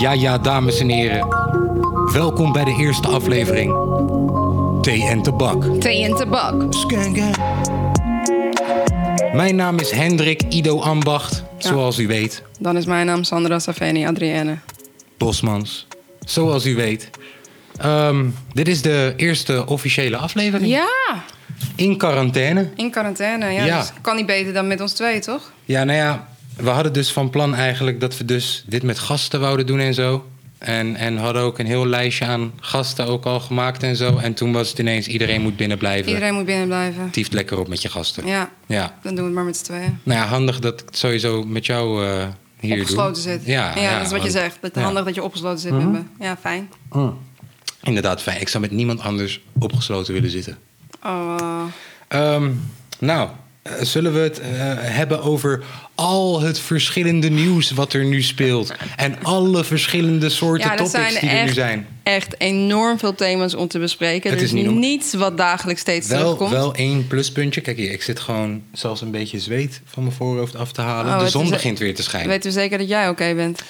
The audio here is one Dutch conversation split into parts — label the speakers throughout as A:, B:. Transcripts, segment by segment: A: Ja, ja, dames en heren. Welkom bij de eerste aflevering. Thee en tabak.
B: Thee en tabak.
A: Mijn naam is Hendrik Ido Ambacht, zoals u weet.
B: Dan is mijn naam Sandra Saveni Adrienne.
A: Bosmans, zoals u weet. Ehm, dit is de eerste officiële aflevering.
B: Ja,
A: In quarantaine.
B: in quarantaine. Ja,
A: Ja.
B: Dus kan niet beter dan met ons twee, toch?
A: Ja, nou ja, we hadden dus van plan eigenlijk dat we dus dit met gasten wouden doen en zo. En, en hadden ook een heel lijstje aan gasten ook al gemaakt en zo. En toen was het ineens, iedereen moet binnen blijven.
B: Iedereen moet binnen blijven.
A: Tieft lekker op met je gasten.
B: Ja,
A: Ja.
B: dan doen we het maar met z'n tweeën.
A: Nou ja, handig dat ik het sowieso met jou eh hier
B: Opgesloten
A: doe.
B: zit.
A: Ja, ja,
B: dat is wat je
A: want-
B: zegt. Dat
A: ja.
B: handig dat je opgesloten zit met me. Ja, fijn.
A: Inderdaad, fijn. Ik zou met niemand anders opgesloten willen zitten.
B: Oh, eh,
A: Ehm, nou, eh, zullen we het eh, hebben over al het verschillende nieuws wat er nu speelt. En alle verschillende soorten
B: ja, dat
A: topics
B: zijn
A: die er nu
B: echt,
A: zijn.
B: echt enorm veel thema's om te bespreken.
A: Het
B: er
A: is
B: is
A: niet normaal.
B: niets wat dagelijks steeds
A: Wel,
B: terugkomt.
A: wel één pluspuntje. Kijk hier, ik zit gewoon zelfs een beetje zweet van mijn voorhoofd af te halen.
B: Oh,
A: de
B: het
A: zon
B: is-
A: begint weer te schijnen.
B: Weten we zeker dat jij oké bent?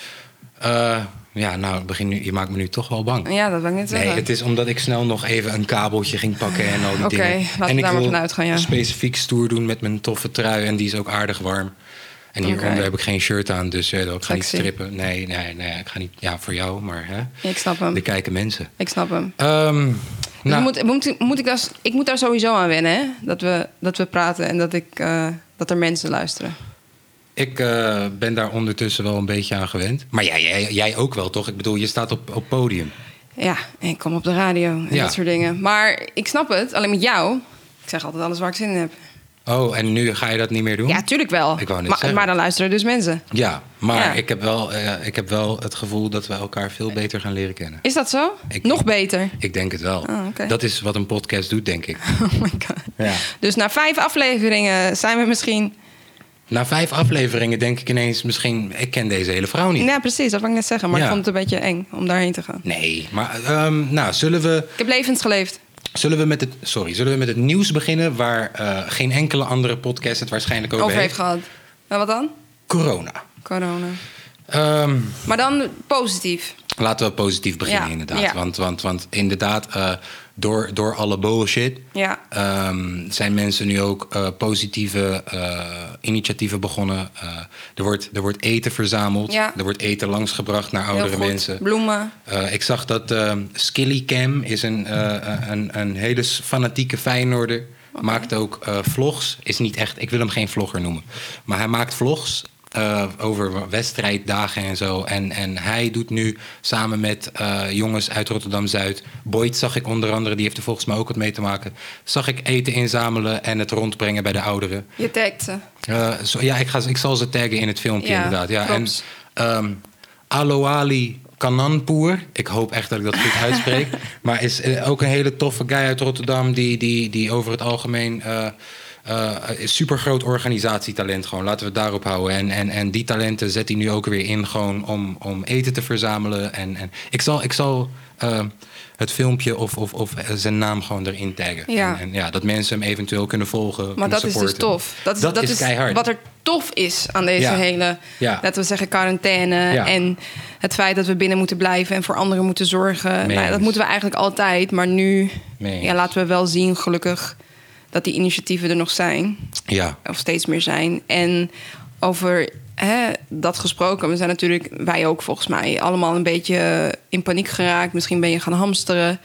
A: Eh, ja, nou, het begint nu, je maakt me nu toch wel bang.
B: Ja, dat wil ik net
A: Nee,
B: zeggen.
A: het is omdat ik snel nog even een kabeltje ging pakken en al die
B: Oké,
A: dingen.
B: laten we
A: en ik
B: daar maar
A: wil
B: vanuit gaan, ja.
A: specifiek stoer doen met mijn toffe trui en die is ook aardig warm. En hieronder
B: Oké.
A: heb ik geen shirt aan, dus eh, ik ga niet
B: Sexy.
A: strippen. Nee, nee, nee, ik ga niet. Ja, voor jou, maar hè.
B: Ik snap hem.
A: Er kijken mensen.
B: Ik snap hem.
A: Ehm,
B: Dus
A: nou,
B: moet, moet, moet ik, daar, ik moet daar sowieso aan wennen, hè? Dat we, dat we praten en dat, ik, eh, dat er mensen luisteren.
A: ik eh, ben daar ondertussen wel een beetje aan gewend. Maar jij, jij, jij ook wel, toch? Ik bedoel, je staat op, op podium.
B: Ja, en ik kom op de radio en
A: Ja.
B: dat soort dingen. Maar ik snap het, alleen met jou... Ik zeg altijd alles waar ik zin in heb.
A: Oh, en nu ga je dat niet meer doen?
B: Ja, tuurlijk wel.
A: Hm? Ik wou net
B: maar,
A: zeggen.
B: maar dan luisteren dus mensen.
A: Ja, maar
B: Ja.
A: Ik, heb wel, eh, ik heb wel het gevoel dat we elkaar veel beter gaan leren kennen.
B: Is dat zo?
A: Ik-
B: Nog beter.
A: Ik denk het wel.
B: Ah, oké.
A: Dat is wat een podcast doet, denk ik.
B: Oh my god.
A: Ja.
B: Dus na vijf afleveringen zijn we misschien...
A: Na vijf afleveringen denk ik ineens misschien... ik ken deze hele vrouw niet.
B: Ja, precies, dat wil ik net zeggen. Maar
A: Ja.
B: ik vond het een beetje eng om daarheen te gaan.
A: Nee, maar ehm, nou, zullen, we,
B: Ik heb levens geleefd.
A: zullen, we met het, sorry, zullen we met het nieuws beginnen... waar eh, geen enkele andere podcast het waarschijnlijk over,
B: Over heeft gehad. En wat dan?
A: Corona.
B: Corona.
A: Ehm,
B: Maar dan positief.
A: laten we positief beginnen,
B: Ja,
A: inderdaad.
B: ja.
A: Want, want, want inderdaad, eh, door, door alle bullshit...
B: Ja.
A: ehm, zijn mensen nu ook eh, positieve eh, initiatieven begonnen. Eh, er, wordt, er wordt eten verzameld.
B: Ja.
A: Er wordt eten langsgebracht naar
B: Heel
A: oudere
B: goed.
A: mensen.
B: Bloemen.
A: Eh, ik zag dat ehm Skilly Cam is een, eh, een, een hele s- fanatieke Feyenoorder. Maakt ook eh, vlogs. Is niet echt, ik wil hem geen vlogger noemen. Maar hij maakt vlogs eh, over wedstrijddagen en zo. En, en hij doet nu samen met eh, jongens uit Rotterdam-Zuid... Boyd zag ik onder andere, die heeft er volgens mij ook wat mee te maken... zag ik eten inzamelen en het rondbrengen bij de ouderen.
B: Je tagt ze.
A: Eh, zo, ja, ik, ga, ze- ik zal ze taggen in het filmpje
B: Ja,
A: inderdaad. Ja, en
B: klopt.
A: ehm Aloali Kananpoer, ik hoop echt dat ik dat goed uitspreek, maar is eh, ook een hele toffe guy uit Rotterdam die, die, die over het algemeen eh super groot organisatietalent gewoon. Laten we het daarop houden. En, en, en die talenten zet hij nu ook weer in gewoon om, om eten te verzamelen. En, en ik zal, ik zal eh, het filmpje of, of, of eh, zijn naam gewoon erin taggen.
B: Ja.
A: En, en ja, dat mensen hem eventueel kunnen volgen.
B: Maar
A: en
B: dat is dus
A: supporten.
B: tof. Dat is, dat is,
A: keihard.
B: wat er tof is aan deze
A: Ja.
B: hele,
A: Ja.
B: laten we zeggen, quarantaine.
A: Ja.
B: En het feit dat we binnen moeten blijven en voor anderen moeten zorgen.
A: Mee
B: Nou, dat
A: eens.
B: moeten we eigenlijk altijd. Maar nu
A: Mee eens.
B: ja, laten we wel zien, gelukkig, dat die initiatieven er nog zijn.
A: Ja,
B: Of steeds meer zijn. En over hè, dat gesproken, we zijn natuurlijk, wij ook volgens mij, allemaal een beetje in paniek geraakt. Misschien ben je gaan hamsteren.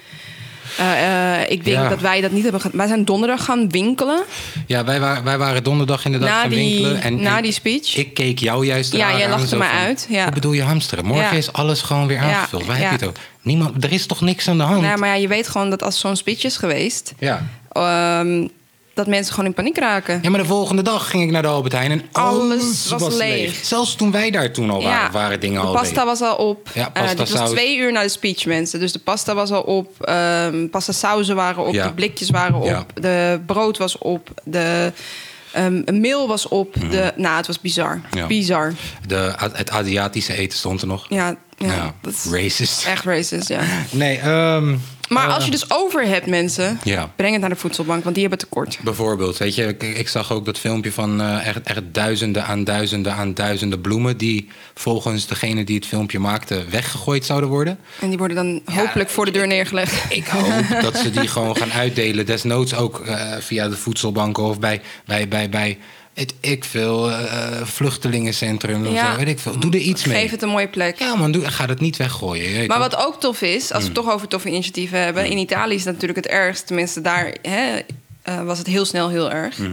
B: Eh, eh, ik denk
A: Ja.
B: dat wij dat niet hebben gedaan. Wij zijn donderdag gaan winkelen.
A: ja wij, waren, wij waren donderdag inderdaad
B: Na
A: gaan
B: die-
A: winkelen. En,
B: na
A: en
B: die speech.
A: Ik keek jou juist
B: Ja,
A: raar
B: jij
A: aan,
B: lachte
A: zo
B: mij
A: van,
B: uit, ja.
A: Hoe bedoel je hamsteren? Morgen
B: Ja.
A: is alles gewoon weer
B: Ja,
A: aangevuld. Waar
B: ja.
A: heb je het over? Niemand, er is toch niks aan de hand?
B: Nou, ja, maar ja, je weet gewoon dat als zo'n speech is geweest,
A: ja.
B: ehm, dat mensen gewoon in paniek raken.
A: ja, maar de volgende dag ging ik naar de Albert Heijn en alles,
B: Alles
A: was,
B: was
A: leeg.
B: leeg.
A: Zelfs toen wij daar toen al waren, waren dingen
B: de
A: al
B: pasta
A: leeg.
B: was al op.
A: Ja,
B: Eh, dit
A: pastasaus.
B: was twee uur na de speech, mensen. Dus de pasta was al op. ehm pasta sauzen waren op.
A: Ja.
B: De blikjes waren op.
A: Ja.
B: De brood was op. De ehm meel was op. De, nou, het was bizar.
A: Hmm. Ja.
B: Bizar.
A: De, het Aziatische eten stond er nog.
B: Ja, ja,
A: Ja,
B: dat is
A: racist.
B: echt racist, ja.
A: Nee, ehm,
B: Maar als je dus over hebt, mensen,
A: Ja.
B: breng het naar de voedselbank, want die hebben tekort.
A: Bijvoorbeeld, weet je, ik, ik zag ook dat filmpje van eh, echt, echt duizenden aan duizenden aan duizenden bloemen... die volgens degene die het filmpje maakte weggegooid zouden worden.
B: En die worden dan hopelijk voor de deur neergelegd.
A: Ik hoop dat ze die gewoon gaan uitdelen. Desnoods ook eh, via de voedselbanken of bij, bij, bij, bij het, ik veel, eh, vluchtelingencentrum of
B: Ja.
A: zo, weet ik veel. Doe er iets mee.
B: Geef het een mooie plek.
A: Ja man, doe, ga het niet weggooien. je weet
B: Maar
A: wel.
B: wat ook tof is, als we
A: Mm.
B: het toch over toffe initiatieven hebben. In Italië is dat natuurlijk het ergst. Tenminste, daar hè, eh, was het heel snel heel erg.
A: Mhm.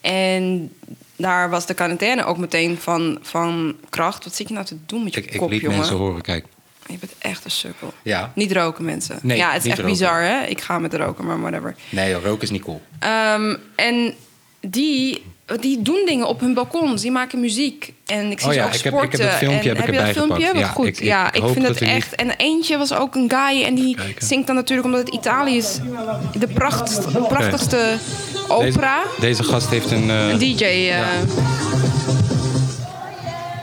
B: En daar was de quarantaine ook meteen van, van kracht. Wat zit je nou te doen met je
A: Ik, ik
B: kop,
A: liet
B: jongen?
A: mensen horen, kijk.
B: Je bent echt een sukkel.
A: Ja.
B: Niet roken, mensen.
A: Nee,
B: ja, het is
A: niet
B: echt
A: roken.
B: bizar, hè? Ik ga met roken, maar whatever.
A: Nee joh, roken is niet cool.
B: Ehm, en die, die doen dingen op hun balkons. Die maken muziek. En ik zie
A: Oh
B: ze
A: ja,
B: ook
A: ik heb- ik heb
B: sporten.
A: dat filmpje
B: en,
A: heb ik
B: je dat
A: erbij
B: filmpje?
A: gepakt.
B: Wat
A: Ja,
B: goed.
A: ik- ik
B: ja, ik
A: hoop
B: vind
A: dat
B: het
A: u die-
B: echt... En eentje was ook een guy. En die
A: kijken.
B: zingt dan natuurlijk, omdat het Italië is... de pracht, de prachtigste opera.
A: Deze, deze gast heeft een... eh,
B: Een DJ... eh,
A: oh ja,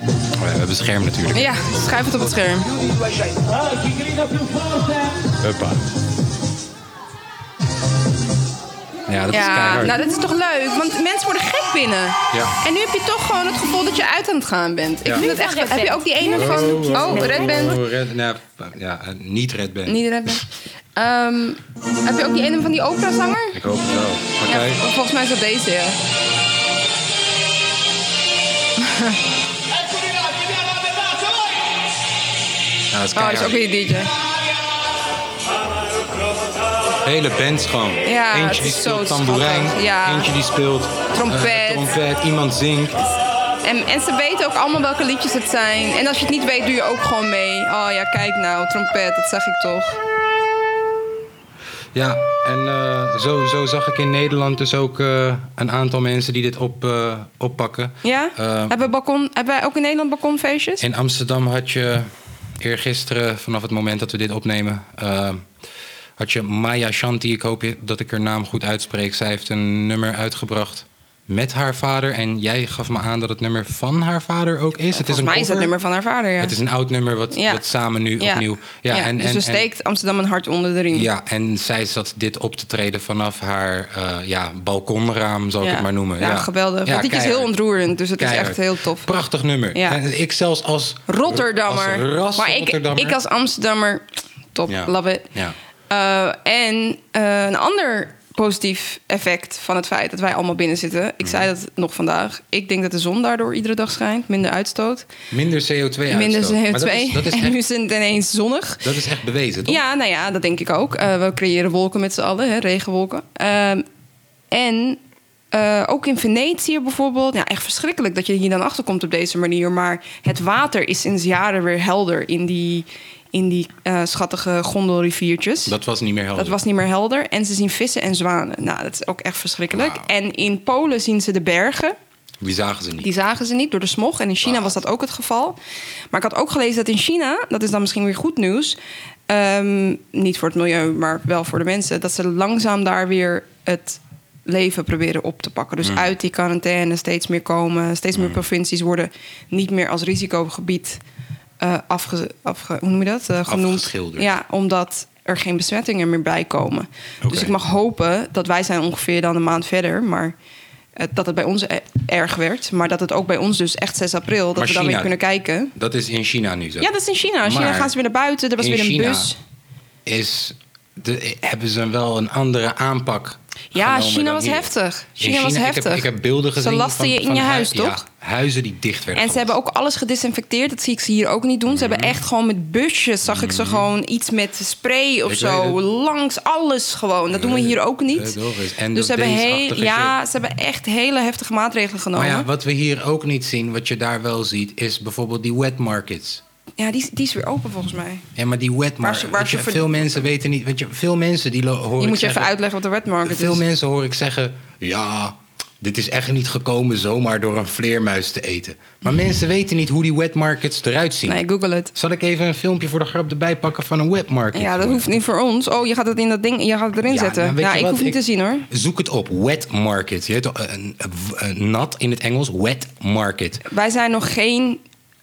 A: we hebben een scherm natuurlijk.
B: ja, schrijf het op het scherm.
C: Ah, chi grida più forte?
A: Huppa. Ja, dat is
B: Ja,
A: keihard.
B: nou dat is toch leuk, want mensen worden gek binnen.
A: Ja.
B: En nu heb je toch gewoon het gevoel dat je uit aan het gaan bent. Ik
A: Ja.
B: vind het echt. Heb je ook die ene van. Oh, Red Band.
A: Oh, Red- nou, ja, eh, niet Red Band.
B: Niet Red Band. Ehm, heb je ook die ene van die operazanger?
A: Ik hoop het wel. Nou, Maar
B: Ja,
A: kijk,
B: volgens mij is dat deze, ja.
C: Eccoli là, chi viene alla pedazza, vai!
A: nou, dat is
B: Oh, dat is
A: keihard.
B: ook weer die DJ.
A: hele band gewoon.
B: Ja, het
A: eentje
B: is
A: die speelt
B: zo
A: tamboerijn,
B: schattig. Ja.
A: eentje die speelt
B: Trompet.
A: eh, trompet, iemand zingt.
B: En, en ze weten ook allemaal welke liedjes het zijn. En als je het niet weet, doe je ook gewoon mee. Oh ja, kijk nou, trompet, dat zag ik toch.
A: Ja, en eh, zo, zo zag ik in Nederland dus ook eh, een aantal mensen die dit op, eh, oppakken.
B: Ja?
A: Eh,
B: hebben, we balkon, hebben wij ook in Nederland balkonfeestjes?
A: in Amsterdam had je eergisteren, vanaf het moment dat we dit opnemen, eh, had je Maya Shanti, ik hoop dat ik haar naam goed uitspreek. Zij heeft een nummer uitgebracht met haar vader. En jij gaf me aan dat het nummer van haar vader ook is. Het is
B: Volgens
A: een
B: mij is dat
A: cover.
B: nummer van haar vader, ja.
A: Het is een oud nummer wat,
B: Ja.
A: wat samen nu opnieuw.
B: Ja,
A: en,
B: dus
A: en-
B: dan
A: en-
B: steekt Amsterdam een hart onder de riem.
A: ja, en zij zat dit op te treden vanaf haar eh, ja, balkonraam, zal
B: Ja.
A: ik het maar noemen.
B: Ja, geweldig. Het liedje is
A: keihard.
B: heel ontroerend, dus het is
A: Keihard.
B: echt heel tof.
A: Prachtig nummer.
B: Ja.
A: En ik zelfs als
B: Rotterdammer.
A: Als ras
B: maar ik,
A: Rotterdammer.
B: ik als Amsterdammer, top,
A: Ja.
B: love it.
A: Ja.
B: Eh, en eh, een ander positief effect van het feit dat wij allemaal binnen zitten.
A: Mhm.
B: Ik zei dat nog vandaag. Ik denk dat de zon daardoor iedere dag schijnt. Minder uitstoot.
A: Minder CO2 uitstoot.
B: Minder CO2.
A: Maar dat, is, dat, is
B: en nu
A: echt,
B: is het ineens zonnig.
A: dat is echt bewezen, toch?
B: Ja, nou ja, dat denk ik ook. Eh, we creëren wolken met z'n allen, hè, regenwolken. Ehm, en eh, ook in Venetië bijvoorbeeld. Ja, echt verschrikkelijk dat je hier dan achterkomt op deze manier. Maar het water is sinds jaren weer helder in die, in die eh, schattige gondelriviertjes.
A: Dat was niet meer helder.
B: Dat was niet meer helder. En ze zien vissen en zwanen. Nou, dat is ook echt verschrikkelijk.
A: Wauw.
B: En in Polen zien ze de bergen.
A: Die zagen ze niet.
B: Die zagen ze niet door de smog. En in China was dat ook het geval. Maar ik had ook gelezen dat in China, dat is dan misschien weer goed nieuws. ehm, niet voor het milieu, maar wel voor de mensen. Dat ze langzaam daar weer het leven proberen op te pakken. Dus
A: Mm.
B: uit die quarantaine steeds meer komen. Steeds meer provincies worden niet meer als risicogebied eh afge, afge, hoe noem je dat? Eh, genoemd.
A: Afgeschilderd.
B: Ja, omdat er geen besmettingen meer bij komen. Dus
A: Oké.
B: ik mag hopen dat wij zijn ongeveer dan een maand verder, maar eh, dat het bij ons e- erg werd, maar dat het ook bij ons dus echt 6 april dat
A: Maar
B: we dan
A: China-
B: weer kunnen kijken.
A: Dat is in China nu zo.
B: Ja, dat is in China. In China
A: Maar
B: gaan ze weer naar buiten. Er was
A: in
B: weer een
A: China
B: bus.
A: Is de, hebben ze wel een andere aanpak?
B: Ja,
A: genomen
B: China
A: dan
B: was
A: hier.
B: heftig.
A: In
B: China was
A: Ik heb,
B: heftig.
A: ik heb beelden
B: Ze
A: gezien.
B: lasten
A: van-
B: je in
A: van
B: je
A: hui-
B: huis,
A: ja,
B: toch?
A: huizen die dicht werden.
B: En ze hebben
A: gelast.
B: ook alles gedesinfecteerd. Dat zie ik ze hier ook niet doen. Ze hebben echt gewoon met busjes, zag ik ze gewoon iets met spray
A: Mm.
B: of
A: Ik weet
B: zo.
A: het.
B: Langs alles gewoon. Dat doen we
A: Nee,
B: hier ook
A: nee,
B: niet.
A: toch is- en
B: dus ze
A: dat
B: hebben, heel,
A: deze-achtige
B: ja, ze hebben echt hele heftige maatregelen genomen.
A: Maar ja, wat we hier ook niet zien, wat je daar wel ziet, is bijvoorbeeld die wet markets.
B: Ja, die, is- die is weer open volgens mij.
A: Ja, maar die wet
B: Waar ze-
A: markets.
B: waar ze
A: veel
B: verd-
A: mensen weten niet. Weet je, veel mensen die lo- hoor
B: Die
A: ik
B: moet je even dus.
A: zeggen-
B: uitleggen wat de wet market
A: Veel
B: is.
A: mensen hoor ik zeggen: ja, dit is echt niet gekomen zomaar door een vleermuis te eten. Maar mensen weten niet hoe die wet markets eruit zien.
B: Mm. Nee, google het.
A: Zal ik even een filmpje voor de grap erbij pakken van een wet market?
B: Ja, dat hoeft niet voor ons. Oh, je gaat het in dat ding, je gaat het erin
A: Ja,
B: zetten.
A: nou, weet
B: ja,
A: je
B: ik
A: wat?
B: hoef niet te zien hoor.
A: Zoek het op, wet market. Je weet, toch, een, een- een nat in het Engels, wet market.
B: Wij zijn nog geen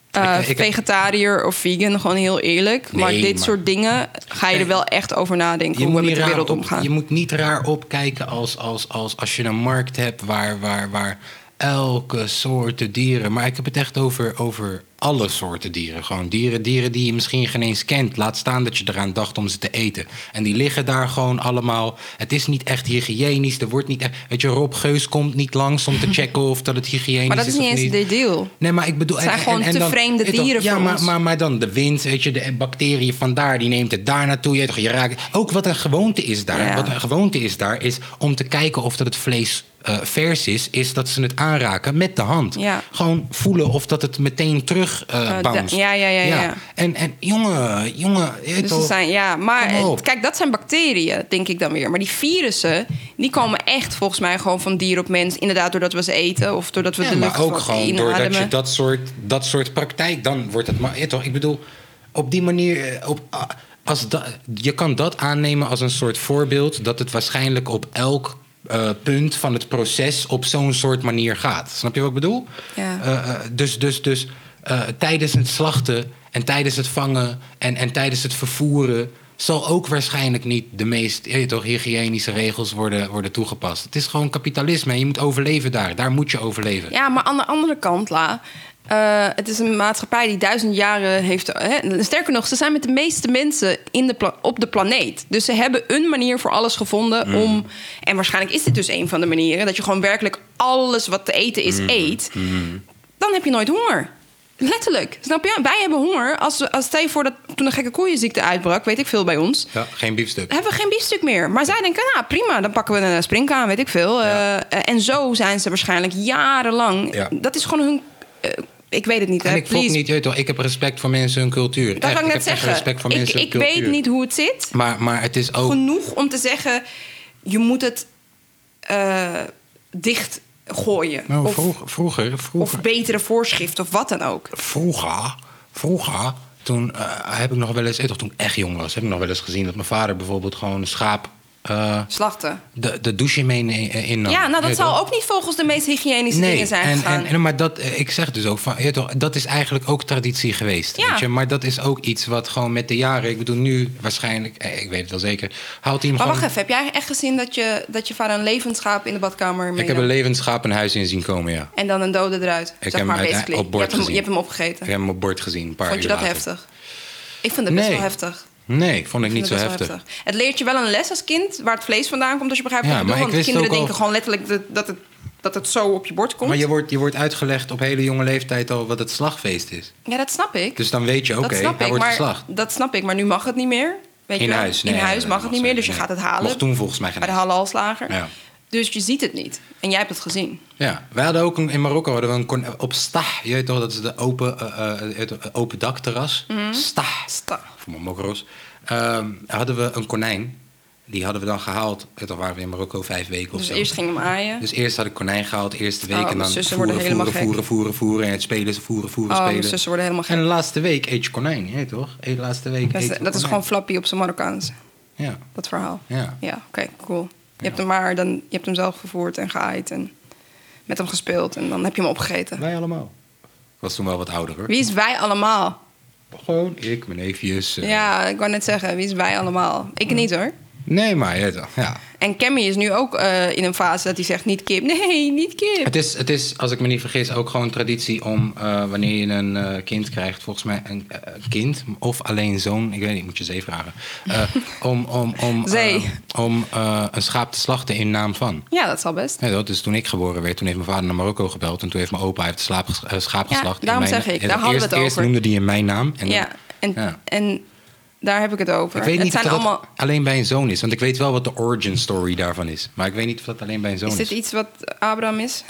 B: eh,
A: Ik- ik-
B: vegetariër of vegan, gewoon heel eerlijk. maar
A: Nee,
B: dit
A: maar-
B: soort dingen ga je er wel echt over nadenken hoe we met
A: niet
B: de
A: raar
B: wereld
A: op-
B: omgaan.
A: je moet niet raar opkijken als, als, als, als je een markt hebt waar, waar, waar elke soorten dieren. Maar ik heb het echt over, over alle soorten dieren. Gewoon dieren, dieren die je misschien geen eens kent. Laat staan dat je eraan dacht om ze te eten. En die liggen daar gewoon allemaal. Het is niet echt hygiënisch. Er wordt niet echt. Weet je, Rob Geus komt niet langs om te checken of dat het hygiënisch
B: maar dat is
A: is.
B: niet
A: of
B: eens de deal.
A: Nee, maar ik bedoel...
B: Het zijn gewoon te vreemde
A: weet je wel,
B: dieren
A: ja,
B: voor
A: maar,
B: ons.
A: Maar, maar dan de wind, weet je, de bacteriën van daar, die neemt het daar naartoe. Je, weet toch, je raakt, ook wat een gewoonte is daar,
B: Ja.
A: wat een gewoonte is daar, is om te kijken of dat het vlees eh, vers is, is dat ze het aanraken met de hand.
B: Ja.
A: Gewoon voelen of dat het meteen terug eh
B: Eh,
A: bounce.
B: da- ja, ja, ja, ja.
A: En, en jongen, jongen, je weet
B: Dus
A: toch,
B: er zijn, ja, maar
A: Kom op.
B: kijk, dat zijn bacteriën, denk ik dan weer. Maar die virussen, die komen echt volgens mij gewoon van dier op mens. Inderdaad, doordat we ze eten of doordat we
A: Ja,
B: de lucht
A: maar ook
B: van-
A: gewoon doordat je
B: inademen.
A: dat soort, dat soort praktijk, dan wordt het maar. Ja, toch, ik bedoel, op die manier. eh, Op, ah, als da- je kan dat aannemen als een soort voorbeeld dat het waarschijnlijk op elk. eh, punt van het proces op zo'n soort manier gaat. Snap je wat ik bedoel?
B: Ja.
A: Eh, eh, dus dus, dus eh, tijdens het slachten en tijdens het vangen en, en tijdens het vervoeren zal ook waarschijnlijk niet de meest je weet toch, hygiënische regels worden, worden toegepast. Het is gewoon kapitalisme en je moet overleven daar. Daar moet je overleven.
B: Ja, maar aan de andere kant, La. eh, het is een maatschappij die duizend jaren heeft. Hè, sterker nog, ze zijn met de meeste mensen in de pla- op de planeet. Dus ze hebben een manier voor alles gevonden om. En waarschijnlijk is dit dus een van de manieren. Dat je gewoon werkelijk alles wat te eten is, eet. Dan heb je nooit honger. Letterlijk. Snap je? Wij hebben honger. Als, we- als stel je voor dat toen de gekke koeienziekte uitbrak, weet ik veel bij ons
A: Ja, geen biefstuk.
B: hebben we geen biefstuk meer. Maar zij denken, nou prima, dan pakken we een eh, springkaan, weet ik veel.
A: Ja.
B: Eh, en zo zijn ze waarschijnlijk jarenlang.
A: Ja.
B: Dat is gewoon hun... eh, ik weet het niet,
A: En
B: hè,
A: ik vond
B: please.
A: niet, je weet toch, ik heb respect voor mensen hun cultuur.
B: dat
A: Echt,
B: kan ik net
A: heb echt
B: zeggen.
A: respect voor
B: ik
A: mensen hun
B: ik
A: cultuur.
B: weet niet hoe het zit.
A: Maar, maar het is ook...
B: Genoeg om te zeggen, je moet het eh, dicht gooien.
A: Nou,
B: of,
A: vroeg- vroeger, vroeger,
B: of betere voorschriften of wat dan ook.
A: vroeger, vroeger, toen eh, heb ik nog wel eens, eh, toch, toen ik echt jong was, heb ik nog wel eens gezien dat mijn vader bijvoorbeeld gewoon een schaap eh,
B: Slachten.
A: de, de douche mee ne- eh, innam.
B: ja, nou
A: Je
B: dat
A: toch?
B: zal ook niet volgens de meest hygiënische dingen zijn
A: en,
B: gegaan.
A: en, en- maar dat, eh, ik zeg dus ook van, je weet toch, dat is eigenlijk ook traditie geweest.
B: Ja.
A: Weet je? Maar dat is ook iets wat gewoon met de jaren, ik bedoel nu waarschijnlijk, eh, ik weet het wel zeker, haalt hij hem
B: maar
A: gewoon
B: wacht even, heb jij echt gezien dat je, dat je vader een levend schaap in de badkamer
A: Ik
B: meenam?
A: heb een levend schaap een huis in zien komen, ja.
B: En dan een dode eruit.
A: Ik
B: zeg
A: heb
B: maar
A: hem uit-
B: basically.
A: op bord
B: je, hebt hem,
A: gezien.
B: je hebt hem opgegeten.
A: Ik heb hem op bord gezien, een paar
B: Vond je
A: uur
B: dat
A: later.
B: heftig? Ik vind het best
A: Nee.
B: wel heftig. Ik
A: Nee, vond ik
B: vind
A: niet
B: het
A: zo
B: best wel
A: heftig.
B: Het leert je wel een les als kind waar het vlees vandaan komt, als je begrijpt
A: Ja,
B: wat ik bedoel.
A: maar ik
B: Want
A: wist
B: kinderen
A: ook al-
B: denken gewoon letterlijk dat, dat, het, dat het zo op je bord komt.
A: Maar je wordt, je wordt uitgelegd op hele jonge leeftijd al wat het slagfeest is.
B: Ja, dat snap ik.
A: Dus dan weet je, oké,
B: dat
A: hij
B: snap
A: wordt
B: ik. Maar,
A: geslacht.
B: dat snap ik, maar nu mag het niet meer. Weet
A: In
B: je wel?
A: huis.
B: In
A: nee,
B: huis
A: dat
B: mag het niet meer,
A: zeker,
B: dus je
A: nee.
B: gaat het halen.
A: Mocht toen volgens mij geen
B: Bij de
A: eens.
B: halalslager.
A: Ja.
B: Dus je ziet het niet. En jij hebt het gezien.
A: Ja, wij hadden ook een, in Marokko hadden we een kon- op stah, je weet toch, dat is de open, eh, eh, je weet toch, open dakterras.
B: Mhm.
A: Stah.
B: Sta.
A: voor mijn mokros. Ehm, hadden we een konijn. Die hadden we dan gehaald. Eh, Dan waren we in Marokko vijf weken of
B: Dus
A: zo.
B: eerst ging je hem aaien.
A: Dus eerst had ik konijn gehaald, eerste week.
B: Oh,
A: en
B: mijn
A: dan
B: zussen
A: voeren,
B: worden helemaal
A: voeren,
B: gek.
A: voeren, voeren, voeren. En het spelen, ze voeren, voeren,
B: Oh, mijn
A: spelen.
B: zussen worden helemaal gek.
A: En de laatste week eet je konijn, je weet toch? Eh, De laatste week
B: Dat
A: eet
B: is,
A: je
B: dat is gewoon
A: konijn.
B: flappy op zijn Marokkaans.
A: Ja.
B: dat verhaal.
A: Ja.
B: oké, cool. Je hebt hem maar dan, je hebt hem zelf gevoerd en geaaid en met hem gespeeld en dan heb je hem opgegeten.
A: Wij allemaal. Ik was toen wel wat ouder, hoor.
B: Wie is wij allemaal?
A: Gewoon ik, mijn neefjes. eh.
B: Ja, ik wou net zeggen, wie is wij allemaal? Ik niet hoor.
A: Nee, maar je weet toch, ja.
B: En Cammy is nu ook eh, in een fase dat hij zegt niet kip. Nee, niet kip.
A: Het is, het is, als ik me niet vergis, ook gewoon traditie om eh, wanneer je een eh, kind krijgt, volgens mij een eh, kind of alleen zoon, ik weet niet, moet je zee vragen. eh, om om, om, eh,
B: Zee.
A: om eh, een schaap te slachten in naam van.
B: Ja, dat zal best.
A: Ja, dat is toen ik geboren werd. Toen heeft mijn vader naar Marokko gebeld. En toen heeft mijn opa hij heeft een slaap, ges- eh, schaap
B: Ja,
A: geslacht. in
B: daarom
A: mijn-
B: zeg ik,
A: en
B: daar hadden we
A: eerst-
B: het
A: Eerst
B: over.
A: noemde die in mijn naam. En
B: Ja, en,
A: ja.
B: en daar heb ik het over.
A: Ik weet niet
B: het
A: of dat
B: zijn allemaal.
A: alleen bij een zoon is. Want ik weet wel wat de origin story daarvan is. Maar ik weet niet of dat alleen bij een zoon
B: Is dit iets wat Abraham is?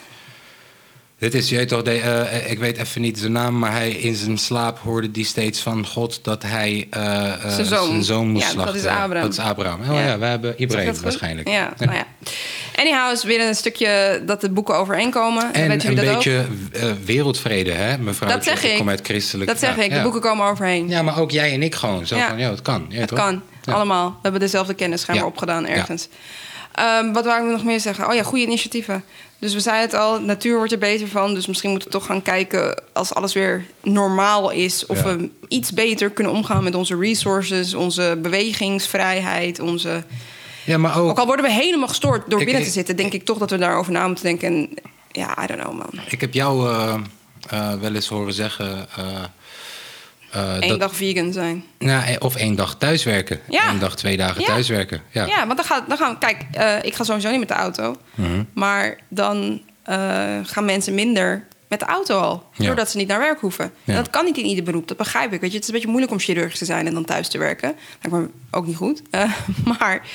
A: Dit is, je weet toch, de, eh, ik weet even niet zijn naam, maar hij in zijn slaap hoorde die steeds van God dat hij eh, eh,
B: Zijn zoon.
A: zijn zoon moest
B: Ja, dat
A: slachten.
B: is Abraham.
A: Dat is Abraham. Oh
B: Ja.
A: ja, wij hebben
B: Zeg ik dat
A: Ibrahim
B: goed?
A: waarschijnlijk.
B: Ja, nou ja. Anyhow is weer een stukje dat de boeken overeenkomen.
A: En
B: Weet
A: een
B: jullie dat ook?
A: beetje eh, wereldvrede, hè, mevrouw?
B: Dat zeg ik.
A: kom uit christelijk.
B: Dat zeg
A: ja,
B: ik, de
A: ja.
B: boeken komen overheen.
A: Ja, maar ook jij en ik gewoon. Zo
B: Ja.
A: van, ja, het kan. Ja,
B: het
A: toch?
B: kan,
A: Ja.
B: allemaal. We hebben dezelfde kennis schijnbaar
A: Ja.
B: opgedaan ergens. Ehm, wat wou ik nog meer zeggen? Oh ja, goede initiatieven. Dus we zeiden het al, natuur wordt er beter van. Dus misschien moeten we toch gaan kijken als alles weer normaal is.
A: Ja.
B: Of we iets beter kunnen omgaan met onze resources, onze bewegingsvrijheid, onze.
A: Ja, maar ook...
B: Ook al worden we helemaal gestoord door
A: Ik-
B: binnen te
A: ik-
B: zitten, denk ik toch dat we daarover na moeten denken. En ja, I don't know man.
A: Ik heb jou eh, eh, wel eens horen zeggen... eh, eh,
B: Eén
A: dat-
B: dag vegan zijn.
A: Nou, eh, of één dag thuiswerken.
B: Ja.
A: Eén dag, twee dagen
B: Ja.
A: thuiswerken. Ja.
B: Ja, want dan, gaat, dan gaan we... Kijk, eh, ik ga sowieso niet met de auto.
A: Mhm.
B: Maar dan eh, gaan mensen minder met de auto al.
A: Ja.
B: Doordat ze niet naar werk hoeven. En
A: Ja.
B: dat kan niet in ieder beroep, dat begrijp ik. Weet je, het is een beetje moeilijk om chirurg te zijn en dan thuis te werken. Lijkt me ook niet goed. Eh, maar